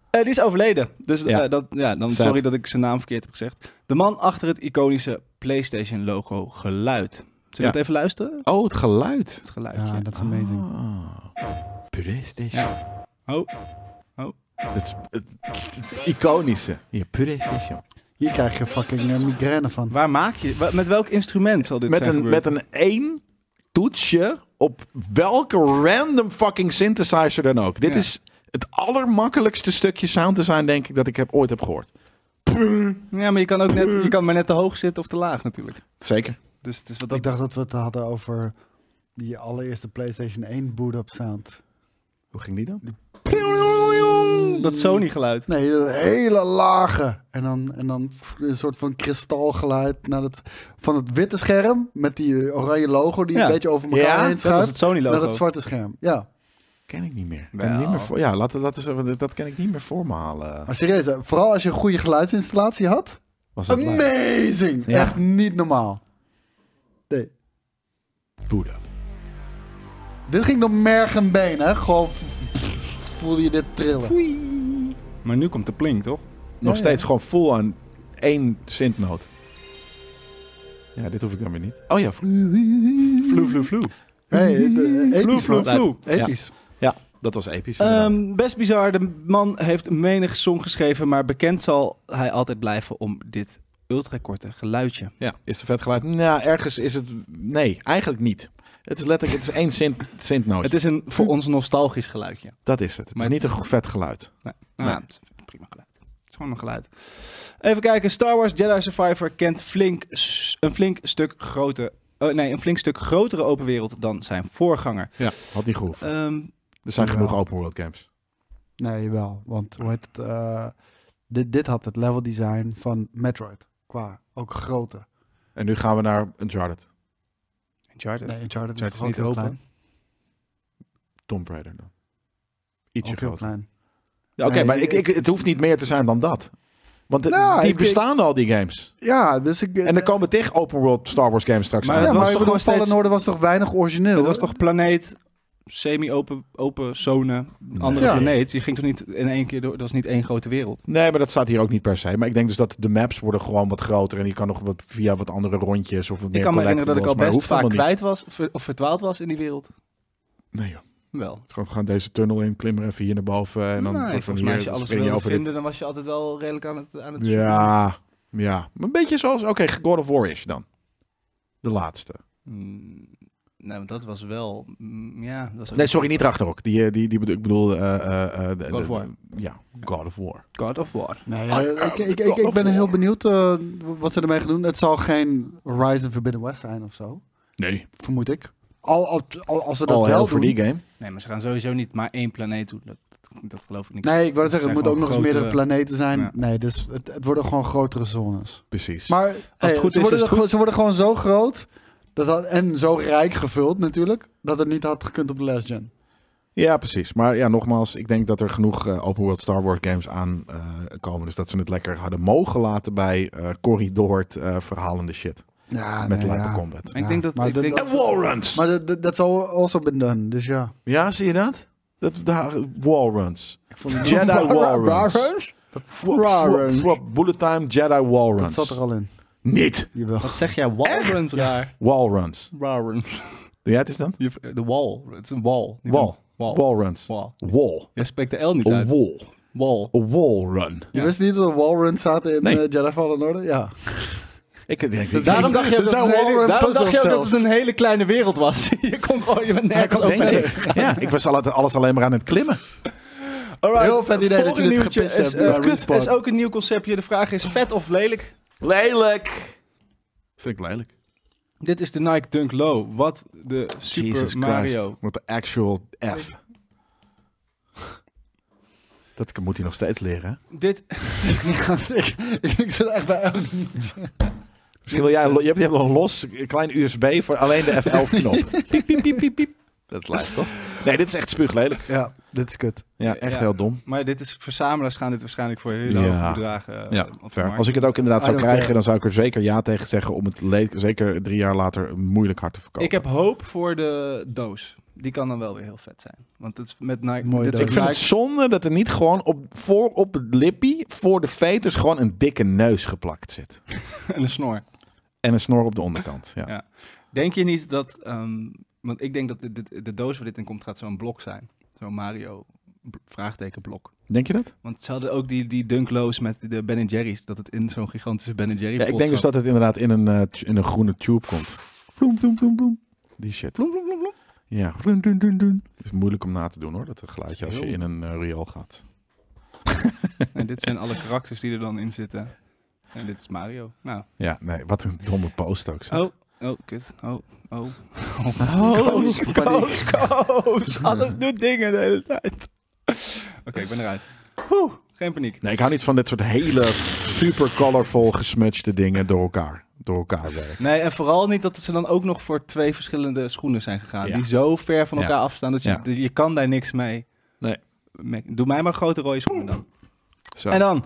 [SPEAKER 1] Eh, die is overleden. Dus eh,
[SPEAKER 2] Ja.
[SPEAKER 1] dat, ja, dan
[SPEAKER 2] Sad.
[SPEAKER 1] sorry dat ik zijn naam verkeerd heb gezegd. De man achter het iconische PlayStation logo geluid. Zullen we
[SPEAKER 2] Ja.
[SPEAKER 1] het even luisteren?
[SPEAKER 2] Oh, het geluid.
[SPEAKER 1] Het geluidje.
[SPEAKER 3] Ja, dat is amazing.
[SPEAKER 2] PlayStation.
[SPEAKER 1] Oh.
[SPEAKER 2] Dat is het, het iconische. Hier, PlayStation.
[SPEAKER 3] Hier krijg je fucking eh, migraine van.
[SPEAKER 1] Waar maak je? wa- Met welk instrument zal dit
[SPEAKER 2] met
[SPEAKER 1] zijn
[SPEAKER 2] een,
[SPEAKER 1] gebeurd?
[SPEAKER 2] met een één toetsje op welke random fucking synthesizer dan ook. Dit
[SPEAKER 1] Ja.
[SPEAKER 2] is het allermakkelijkste stukje sound design, denk ik, dat ik heb, ooit heb gehoord.
[SPEAKER 1] Ja, maar je kan, ook net, je kan maar net te hoog zitten of te laag natuurlijk.
[SPEAKER 2] Zeker.
[SPEAKER 1] Dus het is wat dat...
[SPEAKER 3] Ik dacht dat we het hadden over die allereerste PlayStation 1 boot-up sound.
[SPEAKER 2] Hoe ging die dan?
[SPEAKER 1] Dat Sony geluid.
[SPEAKER 3] Nee, dat hele lage. En dan, en dan een soort van kristalgeluid naar het, van het witte scherm met die eh, oranje logo die
[SPEAKER 1] Ja.
[SPEAKER 3] een beetje over elkaar heen
[SPEAKER 1] dat was het
[SPEAKER 3] schuift.
[SPEAKER 1] Sony logo.
[SPEAKER 3] Naar het zwarte scherm. Ja.
[SPEAKER 2] ken ik niet meer. Ken
[SPEAKER 1] Wel.
[SPEAKER 2] ik niet meer voor, ja, laat, laat eens, even- dat ken ik niet meer voor me halen.
[SPEAKER 3] Maar serieus, hè, vooral als je een goede geluidsinstallatie had.
[SPEAKER 2] Was dat leuk?
[SPEAKER 3] Amazing!
[SPEAKER 2] Ja.
[SPEAKER 3] Echt niet normaal. Nee.
[SPEAKER 2] Boed up.
[SPEAKER 3] Dit ging door merg en been, hè? Gewoon voelde je dit trillen.
[SPEAKER 1] Maar nu komt de plink, toch?
[SPEAKER 2] Nog
[SPEAKER 3] Ja,
[SPEAKER 2] steeds gewoon full aan één synthnoot. Ja, dit hoef ik dan weer niet. Oh ja.
[SPEAKER 1] Vloe, vloe, vloe.
[SPEAKER 3] Hey, de- eh,
[SPEAKER 1] Vloe,
[SPEAKER 3] episch,
[SPEAKER 1] vloe,
[SPEAKER 3] man.
[SPEAKER 1] vloe.
[SPEAKER 3] Episch.
[SPEAKER 2] Ja, dat was episch. inderdaad.
[SPEAKER 1] Ehm, best bizar. De man heeft menig song geschreven, maar bekend zal hij altijd blijven om dit ultrakorte geluidje.
[SPEAKER 2] ja, is de vet geluid? Nou, ergens is het... Nee, eigenlijk niet. Het is letterlijk, het is één synth, synthnoot.
[SPEAKER 1] Het is een voor ons nostalgisch geluidje.
[SPEAKER 2] Dat is het. Het
[SPEAKER 1] Maar-
[SPEAKER 2] is niet een go- vet geluid.
[SPEAKER 1] Nee, nou,
[SPEAKER 2] Nee.
[SPEAKER 1] ja, het is een prima geluid. Het is gewoon een geluid. Even kijken. Star Wars Jedi Survivor kent flink, s- een flink stuk grote, eh, nee, een flink stuk grotere open wereld dan zijn voorganger.
[SPEAKER 2] Ja, had niet gehoeven.
[SPEAKER 1] Ehm,
[SPEAKER 2] Er zijn
[SPEAKER 3] Ja.
[SPEAKER 2] genoeg open world games.
[SPEAKER 3] Nee, wel. Want hoe heet het? eh, dit, dit had het level design van Metroid. Qua ook grote.
[SPEAKER 2] En nu gaan we naar Uncharted.
[SPEAKER 1] Uncharted.
[SPEAKER 3] Nee, Uncharted
[SPEAKER 1] Uncharted
[SPEAKER 3] is
[SPEAKER 1] is
[SPEAKER 3] toch ook
[SPEAKER 1] niet
[SPEAKER 3] heel
[SPEAKER 1] open.
[SPEAKER 3] klein.
[SPEAKER 2] Tomb Raider dan. Ietsje
[SPEAKER 3] Ook heel
[SPEAKER 1] nou,
[SPEAKER 2] groter.
[SPEAKER 3] klein.
[SPEAKER 2] Ja, Oké,
[SPEAKER 3] Nee,
[SPEAKER 2] maar ik, ik, het hoeft niet meer te zijn dan dat. Want het-
[SPEAKER 3] Nou,
[SPEAKER 2] die
[SPEAKER 3] ik- ik-
[SPEAKER 2] bestaan al, die games.
[SPEAKER 3] Ja, dus ik.
[SPEAKER 2] En er komen tegen open world Star Wars games straks
[SPEAKER 1] eh, Maar
[SPEAKER 2] aan.
[SPEAKER 3] ja,
[SPEAKER 1] het
[SPEAKER 3] maar
[SPEAKER 1] was
[SPEAKER 3] ik
[SPEAKER 1] toch nog
[SPEAKER 3] bedoel,
[SPEAKER 1] steeds-
[SPEAKER 3] Fallen Order was toch weinig origineel?
[SPEAKER 1] Het was toch planeet, semi-open open zone, andere
[SPEAKER 3] Ja.
[SPEAKER 1] planeet. Je ging toch niet in één keer door, dat was niet één grote wereld.
[SPEAKER 2] Nee, maar dat staat hier ook niet per se. Maar ik denk dus dat de maps worden gewoon wat groter. En die kan nog wat via wat andere rondjes of wat meer
[SPEAKER 1] ik kan me herinneren dat ik al
[SPEAKER 2] collectibles, maar
[SPEAKER 1] best
[SPEAKER 2] hoeft
[SPEAKER 1] vaak
[SPEAKER 2] allemaal
[SPEAKER 1] kwijt was ver- of verdwaald was in die wereld.
[SPEAKER 2] niet. Nee joh.
[SPEAKER 1] Wel.
[SPEAKER 2] Gewoon gaan deze tunnel in, klimmen even hier naar boven. En dan
[SPEAKER 1] Nee,
[SPEAKER 2] soort van
[SPEAKER 1] volgens mij
[SPEAKER 2] hier
[SPEAKER 1] als je alles
[SPEAKER 2] spring je
[SPEAKER 1] wilde
[SPEAKER 2] over dit.
[SPEAKER 1] vinden, dan was je altijd wel redelijk aan het, aan het
[SPEAKER 2] Ja, ja. Maar Een beetje zoals, oké, God of War is dan. De laatste.
[SPEAKER 1] Mm, nou, want dat was wel. mm, ja, dat was ook
[SPEAKER 2] Nee, sorry, niet Ragnarok. Die, eh, die, die bedoel, ik bedoel... eh, eh, eh, de-
[SPEAKER 1] God of
[SPEAKER 2] de-
[SPEAKER 1] War.
[SPEAKER 2] Ja, God of War.
[SPEAKER 1] God of War.
[SPEAKER 3] Nee, ja, ik, ik, ik, ik ben heel benieuwd eh, wat ze ermee gaan doen. Het zal geen Horizon Forbidden West zijn of zo.
[SPEAKER 2] Nee.
[SPEAKER 3] Vermoed ik. Al, al, al- als ze dat
[SPEAKER 2] Al
[SPEAKER 3] wel
[SPEAKER 2] heel voor
[SPEAKER 3] doen.
[SPEAKER 2] die game.
[SPEAKER 1] Nee, maar ze gaan sowieso niet maar één planeet doen. Dat, dat, dat geloof ik niet.
[SPEAKER 3] Nee, ik wou
[SPEAKER 1] Het
[SPEAKER 3] net zeggen,
[SPEAKER 1] zijn
[SPEAKER 3] het moet ook
[SPEAKER 1] gewoon
[SPEAKER 3] nog eens
[SPEAKER 1] grotere-
[SPEAKER 3] meerdere planeten zijn.
[SPEAKER 1] Ja.
[SPEAKER 3] Nee, dus het, het worden gewoon grotere zones.
[SPEAKER 2] Precies.
[SPEAKER 3] Maar als
[SPEAKER 1] het goed
[SPEAKER 3] ze,
[SPEAKER 1] is,
[SPEAKER 3] worden
[SPEAKER 1] is het
[SPEAKER 3] er gewoon- ze worden gewoon zo groot dat dat, en zo rijk gevuld natuurlijk, dat het niet had gekund op de last gen.
[SPEAKER 2] Ja, precies. Maar ja, nogmaals, ik denk dat er genoeg eh, open world Star Wars games aan eh, komen. Dus dat ze het lekker hadden mogen laten bij eh corridort eh, verhalende shit.
[SPEAKER 3] Ja,
[SPEAKER 2] met
[SPEAKER 3] nee,
[SPEAKER 2] Light
[SPEAKER 3] ja.
[SPEAKER 2] Combat.
[SPEAKER 1] ik denk dat-
[SPEAKER 3] maar
[SPEAKER 1] ik denk-
[SPEAKER 2] En wallruns!
[SPEAKER 3] Maar dat- dat- dat zal also been done, dus ja.
[SPEAKER 2] Ja, zie je dat? dat daar, wallruns.
[SPEAKER 3] Ik vond het-
[SPEAKER 2] Jedi wallruns.
[SPEAKER 3] Dat,
[SPEAKER 2] Wop, wop, wop. Bullet time, Jedi
[SPEAKER 3] dat
[SPEAKER 2] wallruns.
[SPEAKER 3] zat er al in.
[SPEAKER 2] Niet!
[SPEAKER 3] Jawel.
[SPEAKER 1] Wat zeg jij? Walruns raar.
[SPEAKER 2] Wallruns.
[SPEAKER 1] Warren.
[SPEAKER 2] Doe jij het eens dan?
[SPEAKER 1] Je- De wall. Het is een wall. niet
[SPEAKER 2] Wall.
[SPEAKER 1] een- Wall.
[SPEAKER 2] Wallruns.
[SPEAKER 1] Wall.
[SPEAKER 2] Wall.
[SPEAKER 1] Jij spreekt de L niet
[SPEAKER 2] Een
[SPEAKER 1] uit.
[SPEAKER 2] wall.
[SPEAKER 1] Wall.
[SPEAKER 2] Een wallrun.
[SPEAKER 3] Je wist niet dat er Walruns zaten in
[SPEAKER 2] Nee.
[SPEAKER 3] eh, Jedi Fallen Order? Ja.
[SPEAKER 2] Ik denk
[SPEAKER 1] Daarom dacht je
[SPEAKER 3] Er
[SPEAKER 1] dat, het
[SPEAKER 3] zijn
[SPEAKER 1] een hele,
[SPEAKER 3] Walrun
[SPEAKER 1] daarom dacht je
[SPEAKER 3] puzzles
[SPEAKER 1] ook dat het
[SPEAKER 3] zelfs.
[SPEAKER 1] een hele kleine wereld was. je kon gewoon, je bent nergens
[SPEAKER 2] Denk
[SPEAKER 1] over.
[SPEAKER 2] ik. Ja, ik was al- alles alleen maar aan het klimmen.
[SPEAKER 1] Alright,
[SPEAKER 3] Heel vet idee dat je
[SPEAKER 1] volgende
[SPEAKER 3] dit
[SPEAKER 1] nieuwtje
[SPEAKER 3] gepist
[SPEAKER 1] is,
[SPEAKER 3] hebt bij
[SPEAKER 1] eh,
[SPEAKER 3] Respawn.
[SPEAKER 1] is ook een nieuw conceptje. De vraag is vet of lelijk?
[SPEAKER 2] Lelijk. Vind ik lelijk.
[SPEAKER 1] Dit is de Nike Dunk Low. Wat de Super
[SPEAKER 2] Jesus
[SPEAKER 1] Mario.
[SPEAKER 2] Christ. Wat de actual F. Dat moet hij nog steeds leren. hè?
[SPEAKER 1] Dit,
[SPEAKER 3] ik, ik zit echt bij elk
[SPEAKER 2] Misschien wil jij, lo- je hebt, je hebt een los een klein USB voor alleen de F11 knop. piep, piep, piep, piep, piep. Dat lijkt toch? Nee, dit is echt spuuglelijk.
[SPEAKER 3] Ja, dit is kut.
[SPEAKER 2] Ja, echt
[SPEAKER 1] Ja.
[SPEAKER 2] heel dom.
[SPEAKER 1] maar dit is, verzamelaars gaan dit waarschijnlijk voor hele hoge
[SPEAKER 2] Ja.
[SPEAKER 1] bedragen eh,
[SPEAKER 2] Ja,
[SPEAKER 1] op de
[SPEAKER 2] fair. Ah,
[SPEAKER 1] markt.
[SPEAKER 2] Als ik het ook inderdaad
[SPEAKER 3] I
[SPEAKER 2] zou
[SPEAKER 3] don't
[SPEAKER 2] krijgen,
[SPEAKER 3] care.
[SPEAKER 2] dan zou ik er zeker ja tegen zeggen om het le- zeker drie jaar later moeilijk hard te verkopen.
[SPEAKER 1] Ik heb hoop voor de doos. Die kan dan wel weer heel vet zijn. Want het is met Nike.
[SPEAKER 3] Mooie
[SPEAKER 1] dit is
[SPEAKER 2] Dus ik vind het zonde dat er niet gewoon op, voor op het lippie, voor de veters, gewoon een dikke neus geplakt zit.
[SPEAKER 1] en een snor.
[SPEAKER 2] En een snor op de onderkant. Ja.
[SPEAKER 1] Ja. Denk je niet dat. ehm, want ik denk dat dit- dit- de doos waar dit in komt gaat zo'n blok zijn. Zo'n Mario bl- vraagtekenblok.
[SPEAKER 2] Denk je dat?
[SPEAKER 1] Want ze hadden ook die, die Dunk Lows met de Ben Jerry's. Dat het in zo'n gigantische Ben Jerry.
[SPEAKER 2] Ja, ik denk dus dat het inderdaad in een, eh, tu- in een groene tube komt. Vloem, vloem, vloem, vloem. Die shit. Vloem, vloem, vloem, vloem. Ja. Vloem, doen, doen, doen. Het is moeilijk om na te doen hoor, dat geluidje als je in een eh, riool gaat.
[SPEAKER 1] En dit zijn alle karakters die er dan in zitten. En dit is Mario. Nou.
[SPEAKER 2] Ja, nee, wat een domme post ook. zeg.
[SPEAKER 1] Oh, oh, kut. Oh, oh.
[SPEAKER 2] Koos,
[SPEAKER 1] koos, koos. Alles doet dingen de hele tijd. Oké, ik ben eruit. Oeh, geen paniek.
[SPEAKER 2] Nee, ik hou niet van dit soort hele super colorful gesmatchte dingen door elkaar, door elkaar werken.
[SPEAKER 1] Nee, en vooral niet dat ze dan ook nog voor twee verschillende schoenen zijn gegaan.
[SPEAKER 2] Ja.
[SPEAKER 1] Die zo ver van
[SPEAKER 2] Ja.
[SPEAKER 1] elkaar afstaan dat je,
[SPEAKER 2] Ja.
[SPEAKER 1] je kan daar niks mee.
[SPEAKER 2] Nee.
[SPEAKER 1] Me- Doe mij maar grote rode schoenen dan.
[SPEAKER 2] Zo.
[SPEAKER 1] En dan,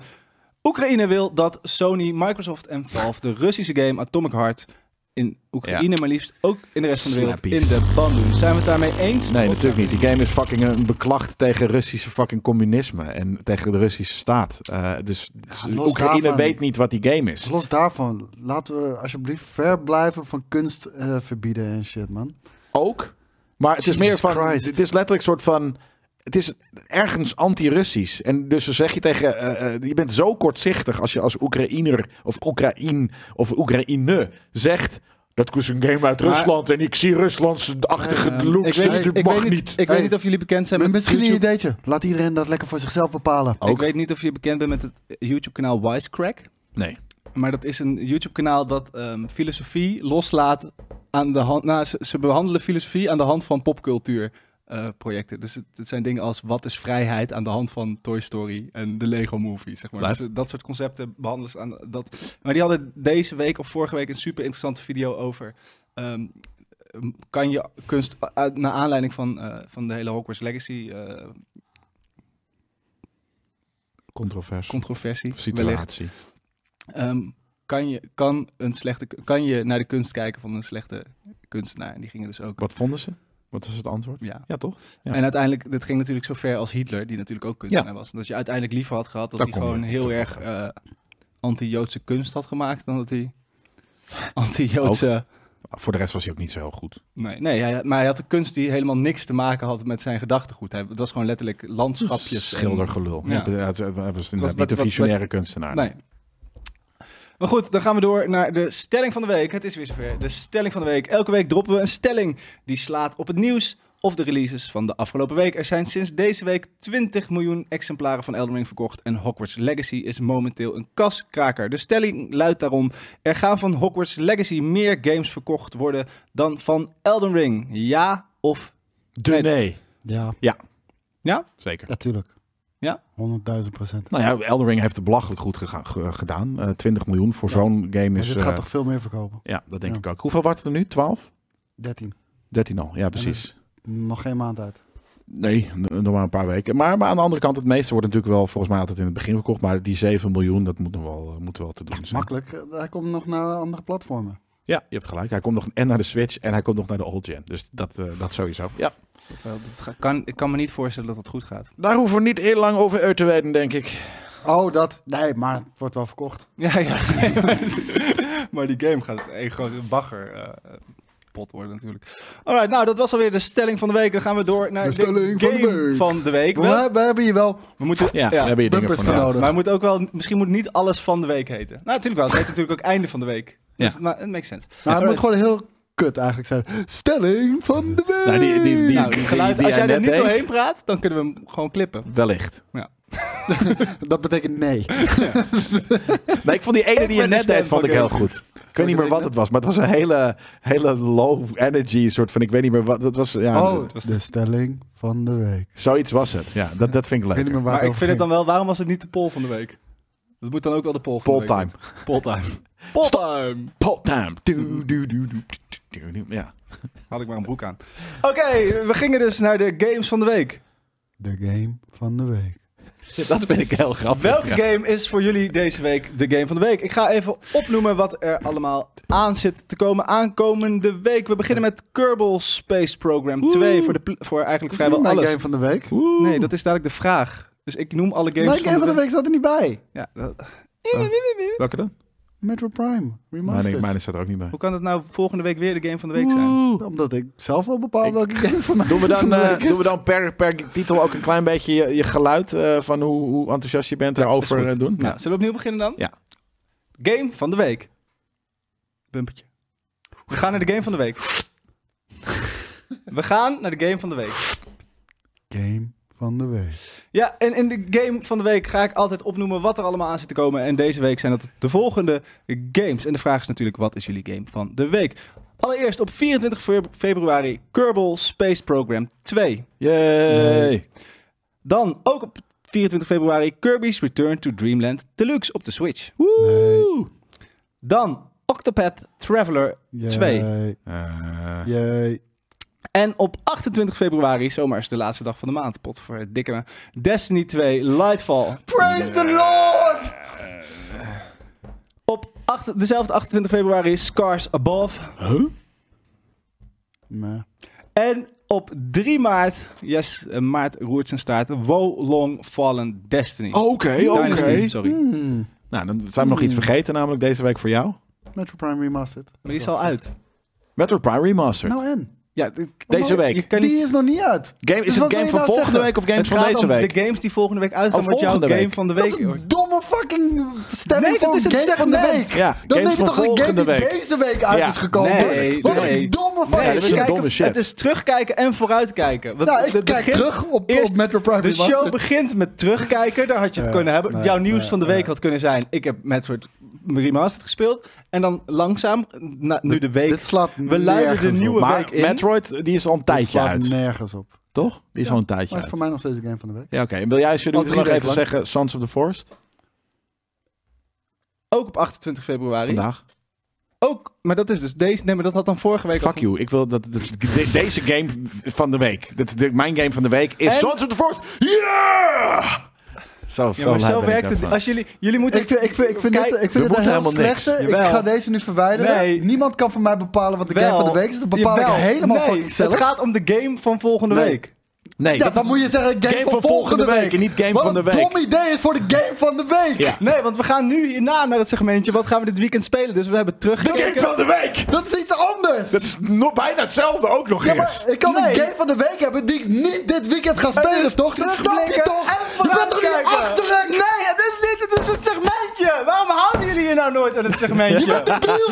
[SPEAKER 1] Oekraïne wil dat Sony, Microsoft en Valve de Russische game Atomic Heart in Oekraïne, maar liefst ook in de rest van de wereld,
[SPEAKER 2] Snappies.
[SPEAKER 1] in de ban doen. Zijn we het daarmee eens?
[SPEAKER 2] Nee,
[SPEAKER 1] Of-
[SPEAKER 2] natuurlijk niet. Die game is fucking een beklacht tegen Russische fucking communisme en tegen de Russische staat. Eh, dus dus
[SPEAKER 3] los
[SPEAKER 2] Oekraïne
[SPEAKER 3] daarvan.
[SPEAKER 2] weet niet wat die game is.
[SPEAKER 3] Dus Los daarvan, laten we alsjeblieft ver blijven van kunst eh, verbieden en shit, man.
[SPEAKER 2] Ook. Maar het is
[SPEAKER 3] Jesus
[SPEAKER 2] meer van.
[SPEAKER 3] Christ.
[SPEAKER 2] Het is letterlijk een soort van. Het is ergens anti-Russisch. En dus dan zeg je tegen. eh, eh, je bent zo kortzichtig als je als Oekraïner of Oekraïn of Oekraïne zegt. Dat is een game uit
[SPEAKER 1] Maar-
[SPEAKER 2] Rusland en ik zie Ruslandse achtige
[SPEAKER 1] Ehm,
[SPEAKER 2] looks,
[SPEAKER 1] ik weet,
[SPEAKER 2] dus
[SPEAKER 1] ik
[SPEAKER 2] dat
[SPEAKER 1] weet
[SPEAKER 2] mag niet.
[SPEAKER 1] Ik
[SPEAKER 3] Hey.
[SPEAKER 1] weet niet of jullie bekend zijn
[SPEAKER 3] Maar
[SPEAKER 1] met het
[SPEAKER 3] misschien een
[SPEAKER 1] YouTube. Oh.
[SPEAKER 3] ideetje. Laat iedereen dat lekker voor zichzelf bepalen.
[SPEAKER 1] Ik
[SPEAKER 2] Ook.
[SPEAKER 1] weet niet of je bekend bent met het YouTube-kanaal Wisecrack.
[SPEAKER 2] Nee.
[SPEAKER 1] Maar dat is een YouTube-kanaal dat ehm, filosofie loslaat aan de hand. Nou, ze, ze behandelen filosofie aan de hand van popcultuurprojecten. dus het, het zijn dingen als wat is vrijheid aan de hand van Toy Story en de Lego Movie, zeg maar.
[SPEAKER 2] Lijp.
[SPEAKER 1] Dus, eh, dat soort concepten behandelen ze aan dat. Maar die hadden deze week of vorige week een super interessante video over. ehm, kan je kunst uit- naar aanleiding van, eh, van de hele Hogwarts Legacy eh,
[SPEAKER 2] Controvers.
[SPEAKER 1] controversie wellicht,
[SPEAKER 2] Situatie.
[SPEAKER 1] Ehm, kan, je, kan, een slechte, kan je naar de kunst kijken van een slechte kunstenaar? En die gingen dus ook.
[SPEAKER 2] Wat vonden ze? Wat was het antwoord?
[SPEAKER 1] Ja.
[SPEAKER 2] Ja, toch? Ja.
[SPEAKER 1] En uiteindelijk, dit ging natuurlijk zo ver als Hitler, die natuurlijk ook kunstenaar was. En dat je uiteindelijk liever had gehad dat
[SPEAKER 2] Daar
[SPEAKER 1] hij
[SPEAKER 2] kom je
[SPEAKER 1] gewoon
[SPEAKER 2] op
[SPEAKER 1] heel
[SPEAKER 2] terug.
[SPEAKER 1] erg eh, anti-Joodse kunst had gemaakt, dan dat hij anti-Joodse...
[SPEAKER 2] Voor de rest was hij ook niet zo heel goed.
[SPEAKER 1] Nee, nee hij, maar hij had een kunst die helemaal niks te maken had met zijn gedachtegoed. Hij, het was gewoon letterlijk landschapjes. en-
[SPEAKER 2] Schildergelul.
[SPEAKER 1] Ja.
[SPEAKER 2] Ja. het- het- het was inderdaad
[SPEAKER 1] wat-
[SPEAKER 2] niet een
[SPEAKER 1] wat-
[SPEAKER 2] visionaire kunstenaar.
[SPEAKER 1] Nee. Ah, Maar goed, dan gaan we door naar de stelling van de week. Het is weer zover. De stelling van de week. Elke week droppen we een stelling die slaat op het nieuws of de releases van de afgelopen week. Er zijn sinds deze week 20 miljoen exemplaren van Elden Ring verkocht en Hogwarts Legacy is momenteel een kaskraker. De stelling luidt daarom: er gaan van Hogwarts Legacy meer games verkocht worden dan van Elden Ring. Ja of
[SPEAKER 2] De
[SPEAKER 1] Nee.
[SPEAKER 2] nee.
[SPEAKER 3] Ja,
[SPEAKER 2] Zeker.
[SPEAKER 3] natuurlijk.
[SPEAKER 1] Ja?
[SPEAKER 3] 100.000 procent.
[SPEAKER 2] Nou ja, Elden Ring heeft het belachelijk goed gega- ge- gedaan. Eh 20 miljoen voor
[SPEAKER 3] Ja.
[SPEAKER 2] zo'n game
[SPEAKER 3] Maar
[SPEAKER 2] is...
[SPEAKER 3] dit Dus, gaat
[SPEAKER 2] eh,
[SPEAKER 3] toch veel meer verkopen?
[SPEAKER 2] ja, dat denk
[SPEAKER 3] Ja.
[SPEAKER 2] ik ook. Hoeveel wordt het er nu? 12?
[SPEAKER 3] 13.
[SPEAKER 2] 13 al, ja dus- precies.
[SPEAKER 3] Nog geen maand uit.
[SPEAKER 2] Nee, n- nog maar een paar weken. Maar, maar aan de andere kant, het meeste wordt natuurlijk wel volgens mij altijd in het begin verkocht. Maar die 7 miljoen, dat moet nog wel, eh, moet wel te doen zijn.
[SPEAKER 3] Makkelijk. eh, Hij komt nog naar andere platformen.
[SPEAKER 2] Ja, je hebt gelijk. Hij komt nog en naar de Switch en hij komt nog naar de old gen. Dus dat, eh, dat sowieso. Ja.
[SPEAKER 1] dat ga- kan, ik kan me niet voorstellen dat dat goed gaat.
[SPEAKER 2] Daar hoeven we niet heel lang over uit te wijden, denk ik.
[SPEAKER 3] Oh, dat. Nee, maar het wordt wel verkocht.
[SPEAKER 1] Ja, ja. maar die game gaat een grote bagger eh, pot worden natuurlijk. Alright, nou dat was alweer de stelling van de week. Dan gaan we door naar
[SPEAKER 3] De
[SPEAKER 1] de,
[SPEAKER 3] stelling van de
[SPEAKER 1] game
[SPEAKER 3] week.
[SPEAKER 1] van de week. Wel,
[SPEAKER 3] We, we hebben hier wel
[SPEAKER 1] we moeten,
[SPEAKER 2] Ja,
[SPEAKER 1] ja,
[SPEAKER 2] daar heb je dingen
[SPEAKER 3] bumpers
[SPEAKER 2] voor
[SPEAKER 3] voor
[SPEAKER 2] nodig.
[SPEAKER 3] nodig.
[SPEAKER 1] Maar het moet ook wel, misschien moet niet alles van de week heten. Nou, natuurlijk wel. Het heet natuurlijk ook einde van de week. Dus, nou, het makes sense.
[SPEAKER 3] Nou, het moet gewoon heel kut eigenlijk zijn. Stelling van de week.
[SPEAKER 2] Nou, die- die- die-
[SPEAKER 1] Nou, het geluid,
[SPEAKER 2] die
[SPEAKER 1] als jij
[SPEAKER 2] jij
[SPEAKER 1] er
[SPEAKER 2] net
[SPEAKER 1] niet
[SPEAKER 2] deed.
[SPEAKER 1] doorheen praat, dan kunnen we hem gewoon klippen.
[SPEAKER 3] Oh,
[SPEAKER 2] Wellicht.
[SPEAKER 3] Nou, Dat betekent nee.
[SPEAKER 2] Nee, ik vond die ene die je
[SPEAKER 1] ben de
[SPEAKER 2] net
[SPEAKER 1] stem
[SPEAKER 2] deed, vond
[SPEAKER 1] van
[SPEAKER 2] ik heel
[SPEAKER 1] Game.
[SPEAKER 2] goed. Ik weet niet meer wat het was, maar het was een hele, hele low energy soort van. Ik weet niet meer wat. Dat was, ja,
[SPEAKER 3] Oh, de stelling van de week.
[SPEAKER 2] Zoiets was het. Ja, dat, dat vind ik
[SPEAKER 3] Ik weet niet
[SPEAKER 2] leuk.
[SPEAKER 3] meer waar
[SPEAKER 1] Maar ik
[SPEAKER 3] over
[SPEAKER 1] vind het dan
[SPEAKER 3] ging.
[SPEAKER 1] wel, waarom was het niet de poll van de week? Dat moet dan ook wel de poll van de week
[SPEAKER 2] Poltime.
[SPEAKER 1] worden. Polltime. Polltime.
[SPEAKER 2] Poltime. Du- du- du- du- du- du- du- Ja.
[SPEAKER 1] Had ik maar een broek aan. Oké, we gingen dus naar de games van de week.
[SPEAKER 3] De game van de week.
[SPEAKER 2] Dat vind ik heel grappig.
[SPEAKER 1] Welke
[SPEAKER 2] Ja.
[SPEAKER 1] game is voor jullie deze week de game van de week? Ik ga even opnoemen wat er allemaal aan zit te komen aankomende week. We beginnen met Kerbal Space Program 2 voor, de pl- voor eigenlijk
[SPEAKER 3] Is niet
[SPEAKER 1] vrijwel
[SPEAKER 3] mijn
[SPEAKER 1] alles.
[SPEAKER 3] game van de week?
[SPEAKER 1] Nee, dat is dadelijk de vraag. Dus ik noem alle games
[SPEAKER 3] mijn game
[SPEAKER 1] van de week.
[SPEAKER 3] staat er niet bij.
[SPEAKER 1] Ja, dat-
[SPEAKER 2] Welke dan?
[SPEAKER 3] Metro Prime Remastered.
[SPEAKER 2] Mijn, mijn staat er ook niet bij.
[SPEAKER 1] hoe kan het nou volgende week weer de game van de week zijn?
[SPEAKER 3] Omdat ik zelf wel bepaal
[SPEAKER 2] Ik-
[SPEAKER 3] welke game van mij
[SPEAKER 2] Doen we dan,
[SPEAKER 3] van de
[SPEAKER 2] eh,
[SPEAKER 3] week is.
[SPEAKER 2] doen we dan per, per titel ook een klein beetje je, je geluid eh, van hoe, hoe enthousiast je bent daarover eh, doen?
[SPEAKER 1] Nou, zullen we opnieuw beginnen dan?
[SPEAKER 2] Ja.
[SPEAKER 1] Game van de week. Bumpertje. We gaan naar de game van de week. We gaan naar de game van de week.
[SPEAKER 3] Game van de week.
[SPEAKER 1] Ja, en in de game van de week ga ik altijd opnoemen wat er allemaal aan zit te komen. En deze week zijn dat de volgende games. En de vraag is natuurlijk, wat is jullie game van de week? Allereerst op 24 fe- februari Kerbal Space Program 2.
[SPEAKER 2] Yay!
[SPEAKER 1] Dan ook op 24 februari Kirby's Return to Dreamland Deluxe op de Switch. Woe! Dan Octopath Traveler 2.
[SPEAKER 3] Jee.
[SPEAKER 2] Eh,
[SPEAKER 3] Jee.
[SPEAKER 1] En op 28 februari, zomaar is de laatste dag van de maand, pot voor het dikke me. Destiny 2 Lightfall.
[SPEAKER 3] Praise the Lord!
[SPEAKER 1] Op acht- dezelfde 28 februari Scars Above.
[SPEAKER 3] Nee.
[SPEAKER 1] En op 3 maart, yes, eh, maart roert zijn staart, Wo Long Fallen Destiny.
[SPEAKER 2] Oh, Oké,
[SPEAKER 1] Dynasty,
[SPEAKER 2] oké.
[SPEAKER 1] sorry.
[SPEAKER 3] Hmm.
[SPEAKER 2] Nou, dan zijn we nog iets vergeten, namelijk deze week voor jou.
[SPEAKER 3] Metro Prime Remastered.
[SPEAKER 1] Maar die is al uit.
[SPEAKER 2] Metro Prime Remastered.
[SPEAKER 3] Nou en?
[SPEAKER 1] Ja, d-
[SPEAKER 2] Deze
[SPEAKER 1] maar
[SPEAKER 2] week.
[SPEAKER 1] Oh, Je kan
[SPEAKER 3] Die
[SPEAKER 1] niet...
[SPEAKER 3] is nog niet uit.
[SPEAKER 2] Game, is
[SPEAKER 3] Dus wat
[SPEAKER 2] het
[SPEAKER 3] wil
[SPEAKER 2] game
[SPEAKER 3] je
[SPEAKER 2] van
[SPEAKER 3] nou
[SPEAKER 2] volgende
[SPEAKER 3] zeggen?
[SPEAKER 2] week of game
[SPEAKER 1] Het
[SPEAKER 2] van
[SPEAKER 1] gaat
[SPEAKER 2] deze
[SPEAKER 1] om de
[SPEAKER 2] week?
[SPEAKER 1] games die volgende week uitgaan,
[SPEAKER 2] Oh,
[SPEAKER 1] wat jouw
[SPEAKER 2] volgende
[SPEAKER 1] game
[SPEAKER 2] week.
[SPEAKER 1] van de
[SPEAKER 3] Dat
[SPEAKER 1] week Oh,
[SPEAKER 3] is een
[SPEAKER 1] wordt.
[SPEAKER 3] domme fucking stelling
[SPEAKER 1] Nee,
[SPEAKER 3] voor
[SPEAKER 1] dat is
[SPEAKER 3] een
[SPEAKER 1] het
[SPEAKER 3] game van de
[SPEAKER 1] segment.
[SPEAKER 3] week.
[SPEAKER 2] Ja,
[SPEAKER 3] Dan
[SPEAKER 2] games
[SPEAKER 3] neem je
[SPEAKER 2] van
[SPEAKER 3] toch een game
[SPEAKER 2] volgende
[SPEAKER 3] die
[SPEAKER 2] week.
[SPEAKER 3] deze week uit
[SPEAKER 2] Ja,
[SPEAKER 3] is gekomen?
[SPEAKER 1] nee,
[SPEAKER 3] Wat
[SPEAKER 1] nee.
[SPEAKER 3] een domme
[SPEAKER 1] Nee,
[SPEAKER 3] fucking
[SPEAKER 2] dat
[SPEAKER 1] we
[SPEAKER 2] is een
[SPEAKER 1] kijken-
[SPEAKER 2] domme shit.
[SPEAKER 1] Het is terugkijken en vooruitkijken. Want
[SPEAKER 3] Nou, ik
[SPEAKER 1] het
[SPEAKER 3] kijk
[SPEAKER 1] begin-
[SPEAKER 3] terug op,
[SPEAKER 1] eerst
[SPEAKER 3] op Metro Prime
[SPEAKER 1] De show
[SPEAKER 3] Remastered.
[SPEAKER 1] begint met terugkijken, daar had je het
[SPEAKER 3] Ja,
[SPEAKER 1] kunnen hebben.
[SPEAKER 3] nee,
[SPEAKER 1] Jouw nieuws
[SPEAKER 3] nee,
[SPEAKER 1] van de week
[SPEAKER 3] nee.
[SPEAKER 1] had kunnen zijn: ik heb Metroid Remastered gespeeld. En dan langzaam, na- nu de week.
[SPEAKER 3] Dit slaat
[SPEAKER 1] we luiden de
[SPEAKER 3] nergens
[SPEAKER 1] nieuwe
[SPEAKER 3] op.
[SPEAKER 1] week
[SPEAKER 2] Maar
[SPEAKER 1] in.
[SPEAKER 2] Metroid, die is al een
[SPEAKER 3] Dit
[SPEAKER 2] tijdje
[SPEAKER 3] slaat
[SPEAKER 2] uit.
[SPEAKER 3] nergens op. Maar
[SPEAKER 2] Toch? Die is al een tijdje
[SPEAKER 3] het is
[SPEAKER 2] uit.
[SPEAKER 3] voor mij nog steeds de game van de week.
[SPEAKER 2] Ja, oké. En wil jij
[SPEAKER 3] Al
[SPEAKER 2] jullie
[SPEAKER 3] drie
[SPEAKER 2] nog even
[SPEAKER 3] weken lang.
[SPEAKER 2] zeggen Sons of the Forest?
[SPEAKER 1] Ook op 28 februari.
[SPEAKER 2] Vandaag.
[SPEAKER 1] Ook, maar dat is dus deze. Nee, maar dat had dan vorige week. al
[SPEAKER 2] Fuck you. Ik wil dat, dat- de- deze game van de week. Dat, de- mijn game van de week is
[SPEAKER 1] En-
[SPEAKER 2] Sons of the Forest. Yeah! Zo,
[SPEAKER 1] Ja, maar
[SPEAKER 2] luid
[SPEAKER 1] zo
[SPEAKER 2] ben ik
[SPEAKER 1] werkt het.
[SPEAKER 2] ervan.
[SPEAKER 1] Als jullie, jullie moeten.
[SPEAKER 3] Ik vind, ik vind, ik vind
[SPEAKER 1] Kijk,
[SPEAKER 3] dit, ik
[SPEAKER 2] we
[SPEAKER 3] vind dit
[SPEAKER 2] moeten
[SPEAKER 3] een heel
[SPEAKER 2] helemaal niks.
[SPEAKER 3] slechte. Ik
[SPEAKER 1] Jawel.
[SPEAKER 3] ga deze nu verwijderen.
[SPEAKER 1] Nee.
[SPEAKER 3] Niemand kan voor mij bepalen wat de game
[SPEAKER 1] Wel.
[SPEAKER 3] van de week is. Dat bepaal
[SPEAKER 1] Jawel.
[SPEAKER 3] ik helemaal
[SPEAKER 1] Nee,
[SPEAKER 3] fucking zelf.
[SPEAKER 1] Het gaat om de game van volgende
[SPEAKER 3] Nee.
[SPEAKER 1] week.
[SPEAKER 2] Nee,
[SPEAKER 3] Ja,
[SPEAKER 2] dat-
[SPEAKER 3] dan moet je zeggen game, van volgende week.
[SPEAKER 2] en niet game
[SPEAKER 3] Wat
[SPEAKER 2] van de week.
[SPEAKER 3] een dom idee is voor de game van de week.
[SPEAKER 2] Ja.
[SPEAKER 1] Nee, want we gaan nu hierna naar het segmentje. Wat gaan we dit weekend spelen? Dus we hebben
[SPEAKER 2] de game
[SPEAKER 1] teruggekeken.
[SPEAKER 2] van de week!
[SPEAKER 3] Dat is iets anders.
[SPEAKER 2] Dat is nog bijna hetzelfde ook nog
[SPEAKER 3] ja,
[SPEAKER 2] eens.
[SPEAKER 3] maar ik kan
[SPEAKER 1] Nee.
[SPEAKER 3] een game van de week hebben die ik niet dit weekend ga
[SPEAKER 1] Het
[SPEAKER 3] spelen,
[SPEAKER 1] is
[SPEAKER 3] toch? Dat snap je
[SPEAKER 1] terugblikken
[SPEAKER 3] toch?
[SPEAKER 1] en
[SPEAKER 3] Je bent toch niet
[SPEAKER 1] vooruitkijken.
[SPEAKER 3] achterlijk?
[SPEAKER 1] Nee, het is niet. Het is het segmentje. Waarom houden jullie hier nou nooit aan het segmentje?
[SPEAKER 3] Je bent de biel.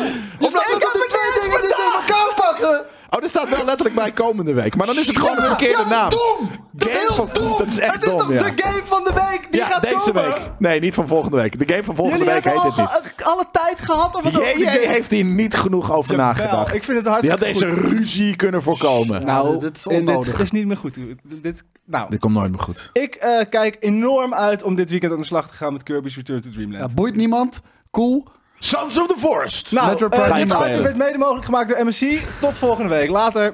[SPEAKER 3] Omdat
[SPEAKER 1] ik
[SPEAKER 3] we
[SPEAKER 1] heb
[SPEAKER 3] de
[SPEAKER 1] het
[SPEAKER 3] twee
[SPEAKER 1] niet
[SPEAKER 3] dingen niet in elkaar pakken.
[SPEAKER 2] Oh, er staat wel letterlijk bij komende week. Maar dan is het gewoon
[SPEAKER 3] Ja,
[SPEAKER 2] een verkeerde
[SPEAKER 3] ja,
[SPEAKER 2] naam.
[SPEAKER 3] Dat is dom. Dat is
[SPEAKER 2] Game
[SPEAKER 3] heel
[SPEAKER 2] van
[SPEAKER 3] dom.
[SPEAKER 2] Dat is echt
[SPEAKER 1] het is
[SPEAKER 2] dom,
[SPEAKER 1] toch
[SPEAKER 2] ja.
[SPEAKER 1] de game van de week? Die
[SPEAKER 2] ja,
[SPEAKER 1] gaat
[SPEAKER 2] deze
[SPEAKER 1] komen.
[SPEAKER 2] week. Nee, niet van volgende week. De game van volgende
[SPEAKER 1] Jullie
[SPEAKER 2] week
[SPEAKER 1] hebben
[SPEAKER 2] heet
[SPEAKER 1] al
[SPEAKER 2] het niet.
[SPEAKER 1] ge- alle tijd gehad om het over te
[SPEAKER 2] JJ heeft hier niet genoeg over
[SPEAKER 1] Jawel,
[SPEAKER 2] nagedacht.
[SPEAKER 1] Ik vind het
[SPEAKER 2] Die had
[SPEAKER 1] hartstikke
[SPEAKER 2] deze
[SPEAKER 1] goed.
[SPEAKER 2] ruzie kunnen voorkomen.
[SPEAKER 1] Nou,
[SPEAKER 3] dit is
[SPEAKER 1] en
[SPEAKER 3] onnodig.
[SPEAKER 1] Dit is niet meer goed. Dit, nou,
[SPEAKER 2] Dit komt nooit meer goed.
[SPEAKER 1] ik eh, kijk enorm uit om dit weekend aan de slag te gaan met Kirby's Return to Dreamland.
[SPEAKER 3] Ja, boeit niemand. Cool.
[SPEAKER 2] Sons of the Forest!
[SPEAKER 1] Nou,
[SPEAKER 3] Metro
[SPEAKER 1] Metro
[SPEAKER 3] Prime
[SPEAKER 1] dit
[SPEAKER 2] spelen.
[SPEAKER 1] item werd mede mogelijk gemaakt door MSC. Tot volgende week. Later.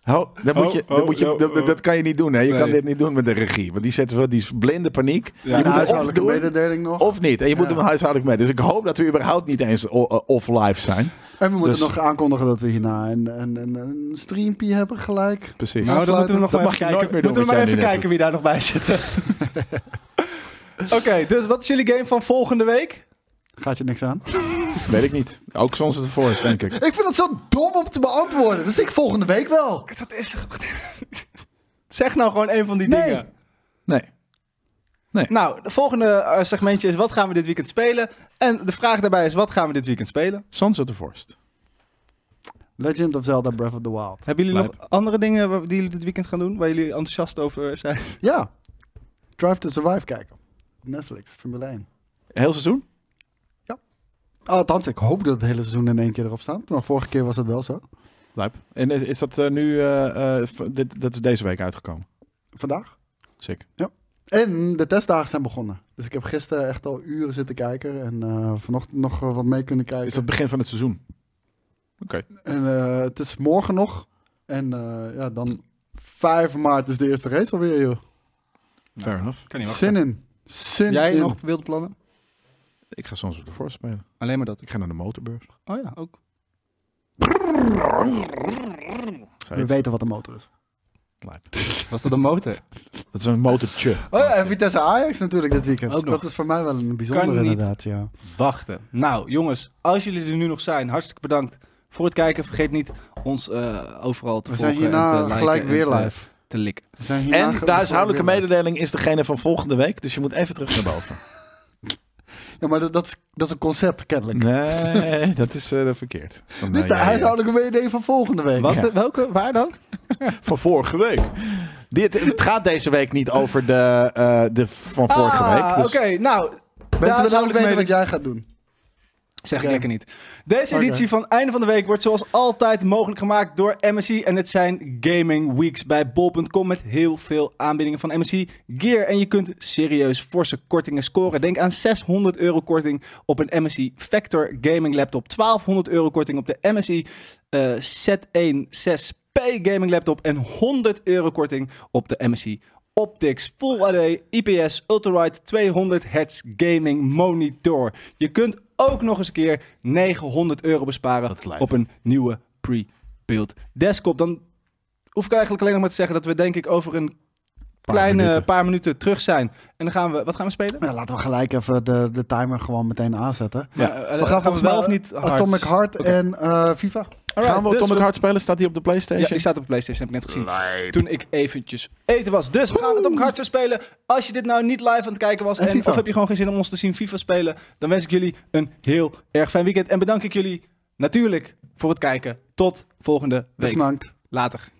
[SPEAKER 2] Ho, dat, moet je,
[SPEAKER 1] Oh,
[SPEAKER 2] dat,
[SPEAKER 1] oh,
[SPEAKER 2] moet je,
[SPEAKER 1] oh,
[SPEAKER 2] dat, dat- dat kan je niet doen. Hè. Je
[SPEAKER 1] Nee.
[SPEAKER 2] kan dit niet doen met de regie. Want die zetten zo, die is blinde paniek. je
[SPEAKER 3] Een
[SPEAKER 2] moet het of
[SPEAKER 3] huishoudelijke
[SPEAKER 2] doen
[SPEAKER 3] mededeling nog.
[SPEAKER 2] of niet. En je moet
[SPEAKER 3] Ja.
[SPEAKER 2] hem huishoudelijk mee. Dus ik hoop dat we überhaupt niet eens o- eh, off live zijn.
[SPEAKER 3] en we moeten
[SPEAKER 2] dus-
[SPEAKER 3] nog aankondigen dat we hierna een, een, een, een streampie hebben gelijk.
[SPEAKER 2] Precies.
[SPEAKER 1] Nou, dan moeten we nog
[SPEAKER 2] Dat
[SPEAKER 1] wel
[SPEAKER 2] mag je
[SPEAKER 1] even
[SPEAKER 2] nooit
[SPEAKER 1] kijken.
[SPEAKER 2] meer doen
[SPEAKER 1] Moeten we maar
[SPEAKER 2] wat jij
[SPEAKER 1] even
[SPEAKER 2] nu net
[SPEAKER 1] kijken wie daar nog bij zit. Oké, dus wat is jullie game van volgende week?
[SPEAKER 3] Gaat je niks aan?
[SPEAKER 2] Weet ik niet. Ook soms het Forest, denk ik.
[SPEAKER 3] Ik vind dat zo dom om te beantwoorden. Dat zie ik volgende week wel.
[SPEAKER 1] Dat is... Zeg nou gewoon een van die
[SPEAKER 3] Nee.
[SPEAKER 1] dingen.
[SPEAKER 2] Nee.
[SPEAKER 1] Nou, het volgende eh, segmentje is wat gaan we dit weekend spelen? En de vraag daarbij is wat gaan we dit weekend spelen?
[SPEAKER 2] Sons of the Forest.
[SPEAKER 3] Legend of Zelda Breath of the Wild.
[SPEAKER 1] Hebben jullie
[SPEAKER 2] Lijp.
[SPEAKER 1] nog andere dingen waar- die jullie dit weekend gaan doen? Waar jullie enthousiast over zijn?
[SPEAKER 3] Ja. Drive to Survive kijken. Netflix, Formule 1.
[SPEAKER 2] Heel seizoen?
[SPEAKER 3] Oh, Althans, ik hoop dat het hele seizoen in één keer erop staat. Maar vorige keer was dat wel zo.
[SPEAKER 2] Lijp. En is, is dat eh, nu... eh, eh, v- dit, dat is deze week uitgekomen.
[SPEAKER 3] Vandaag.
[SPEAKER 2] Sick.
[SPEAKER 3] En de testdagen zijn begonnen. Dus ik heb gisteren echt al uren zitten kijken. En eh, vanochtend nog eh, wat mee kunnen kijken.
[SPEAKER 2] Is dat begin van het seizoen?
[SPEAKER 3] En eh, het is morgen nog. En eh, ja, dan 5 maart is de eerste race alweer, joh.
[SPEAKER 2] Fair enough.
[SPEAKER 1] Kan
[SPEAKER 3] Zin in. Zin
[SPEAKER 1] Jij
[SPEAKER 3] in.
[SPEAKER 1] nog wilde plannen?
[SPEAKER 2] Ik ga Sons of the Forest spelen.
[SPEAKER 1] Alleen maar dat.
[SPEAKER 2] Ik ga naar de motorbeurs.
[SPEAKER 1] Oh ja, ook.
[SPEAKER 3] We weten wat de motor is.
[SPEAKER 2] Lijp.
[SPEAKER 1] Was dat een motor?
[SPEAKER 2] Dat is een motortje.
[SPEAKER 3] Oh ja, en Vitesse Ajax natuurlijk dit weekend.
[SPEAKER 1] Ook nog.
[SPEAKER 3] Dat is voor mij wel een bijzonder
[SPEAKER 1] Kan niet.
[SPEAKER 3] inderdaad, ja.
[SPEAKER 1] wachten. Nou, jongens, als jullie er nu nog zijn, hartstikke bedankt voor het kijken. Vergeet niet ons eh, overal te
[SPEAKER 3] We zijn
[SPEAKER 1] volgen. en te
[SPEAKER 3] hierna
[SPEAKER 1] liken
[SPEAKER 3] gelijk
[SPEAKER 1] en
[SPEAKER 3] weer
[SPEAKER 1] te-
[SPEAKER 3] live.
[SPEAKER 1] Te likken.
[SPEAKER 3] We zijn hierna
[SPEAKER 2] En
[SPEAKER 3] gelijk
[SPEAKER 2] de huishoudelijke
[SPEAKER 3] weer live.
[SPEAKER 2] mededeling is degene van volgende week. Dus je moet even terug naar boven.
[SPEAKER 3] Ja, maar dat, dat, is, dat is een concept kennelijk.
[SPEAKER 2] Nee, dat is eh, verkeerd. Van,
[SPEAKER 3] Dit
[SPEAKER 2] eh,
[SPEAKER 3] is de
[SPEAKER 2] ja, ja.
[SPEAKER 3] huishoudelijke mededeling van volgende week.
[SPEAKER 1] Wat,
[SPEAKER 2] Ja.
[SPEAKER 1] eh, Welke? Waar dan?
[SPEAKER 2] eh, Van vorige week. Dit, het gaat deze week niet over de, eh, de van vorige
[SPEAKER 1] Ah,
[SPEAKER 2] week. Dus
[SPEAKER 1] Oké, nou. de
[SPEAKER 3] Mensen willen ook
[SPEAKER 1] huishoudelijke
[SPEAKER 3] weten wat
[SPEAKER 1] mededeling-
[SPEAKER 3] jij gaat doen.
[SPEAKER 1] Zeg
[SPEAKER 3] Oké.
[SPEAKER 1] ik lekker niet. Deze
[SPEAKER 3] Oké.
[SPEAKER 1] editie van Einde van de Week wordt zoals altijd mogelijk gemaakt door MSI. En het zijn Gaming Weeks bij bol.com met heel veel aanbiedingen van MSI Gear. En je kunt serieus forse kortingen scoren. Denk aan 600 euro korting op een MSI Vector Gaming Laptop. 1200 euro korting op de MSI eh, Z16P Gaming Laptop. En 100 euro korting op de MSI Optics Full HD IPS Ultralight 200 Hz Gaming Monitor. Je kunt ook nog eens een keer 900 euro besparen
[SPEAKER 2] is lijp.
[SPEAKER 1] op een nieuwe pre-built desktop. Dan hoef ik eigenlijk alleen nog maar te zeggen dat we denk ik over een kleine
[SPEAKER 2] minuten.
[SPEAKER 1] paar minuten terug zijn. En dan gaan we, wat gaan we spelen?
[SPEAKER 3] Nou, laten we gelijk even de, de timer gewoon meteen aanzetten.
[SPEAKER 1] Maar, eh,
[SPEAKER 3] We
[SPEAKER 1] volgens
[SPEAKER 3] gaan volgens
[SPEAKER 1] mij
[SPEAKER 3] mij
[SPEAKER 1] of niet hard.
[SPEAKER 3] Atomic Heart en eh, FIFA.
[SPEAKER 1] Alright,
[SPEAKER 2] Gaan we
[SPEAKER 1] dus
[SPEAKER 2] Atomic Heart spelen? Staat die op de PlayStation?
[SPEAKER 1] Ja, die staat op de PlayStation, heb ik net gezien. Toen ik eventjes eten was. Dus we gaan Atomic Heart zo spelen. Als je dit nou niet live aan het kijken was,
[SPEAKER 3] En
[SPEAKER 1] en,
[SPEAKER 3] FIFA.
[SPEAKER 1] of heb je gewoon geen zin om ons te zien FIFA spelen, dan wens ik jullie een heel erg fijn weekend. En bedank ik jullie natuurlijk voor het kijken. Tot volgende week.
[SPEAKER 3] Besnankt.
[SPEAKER 1] Later.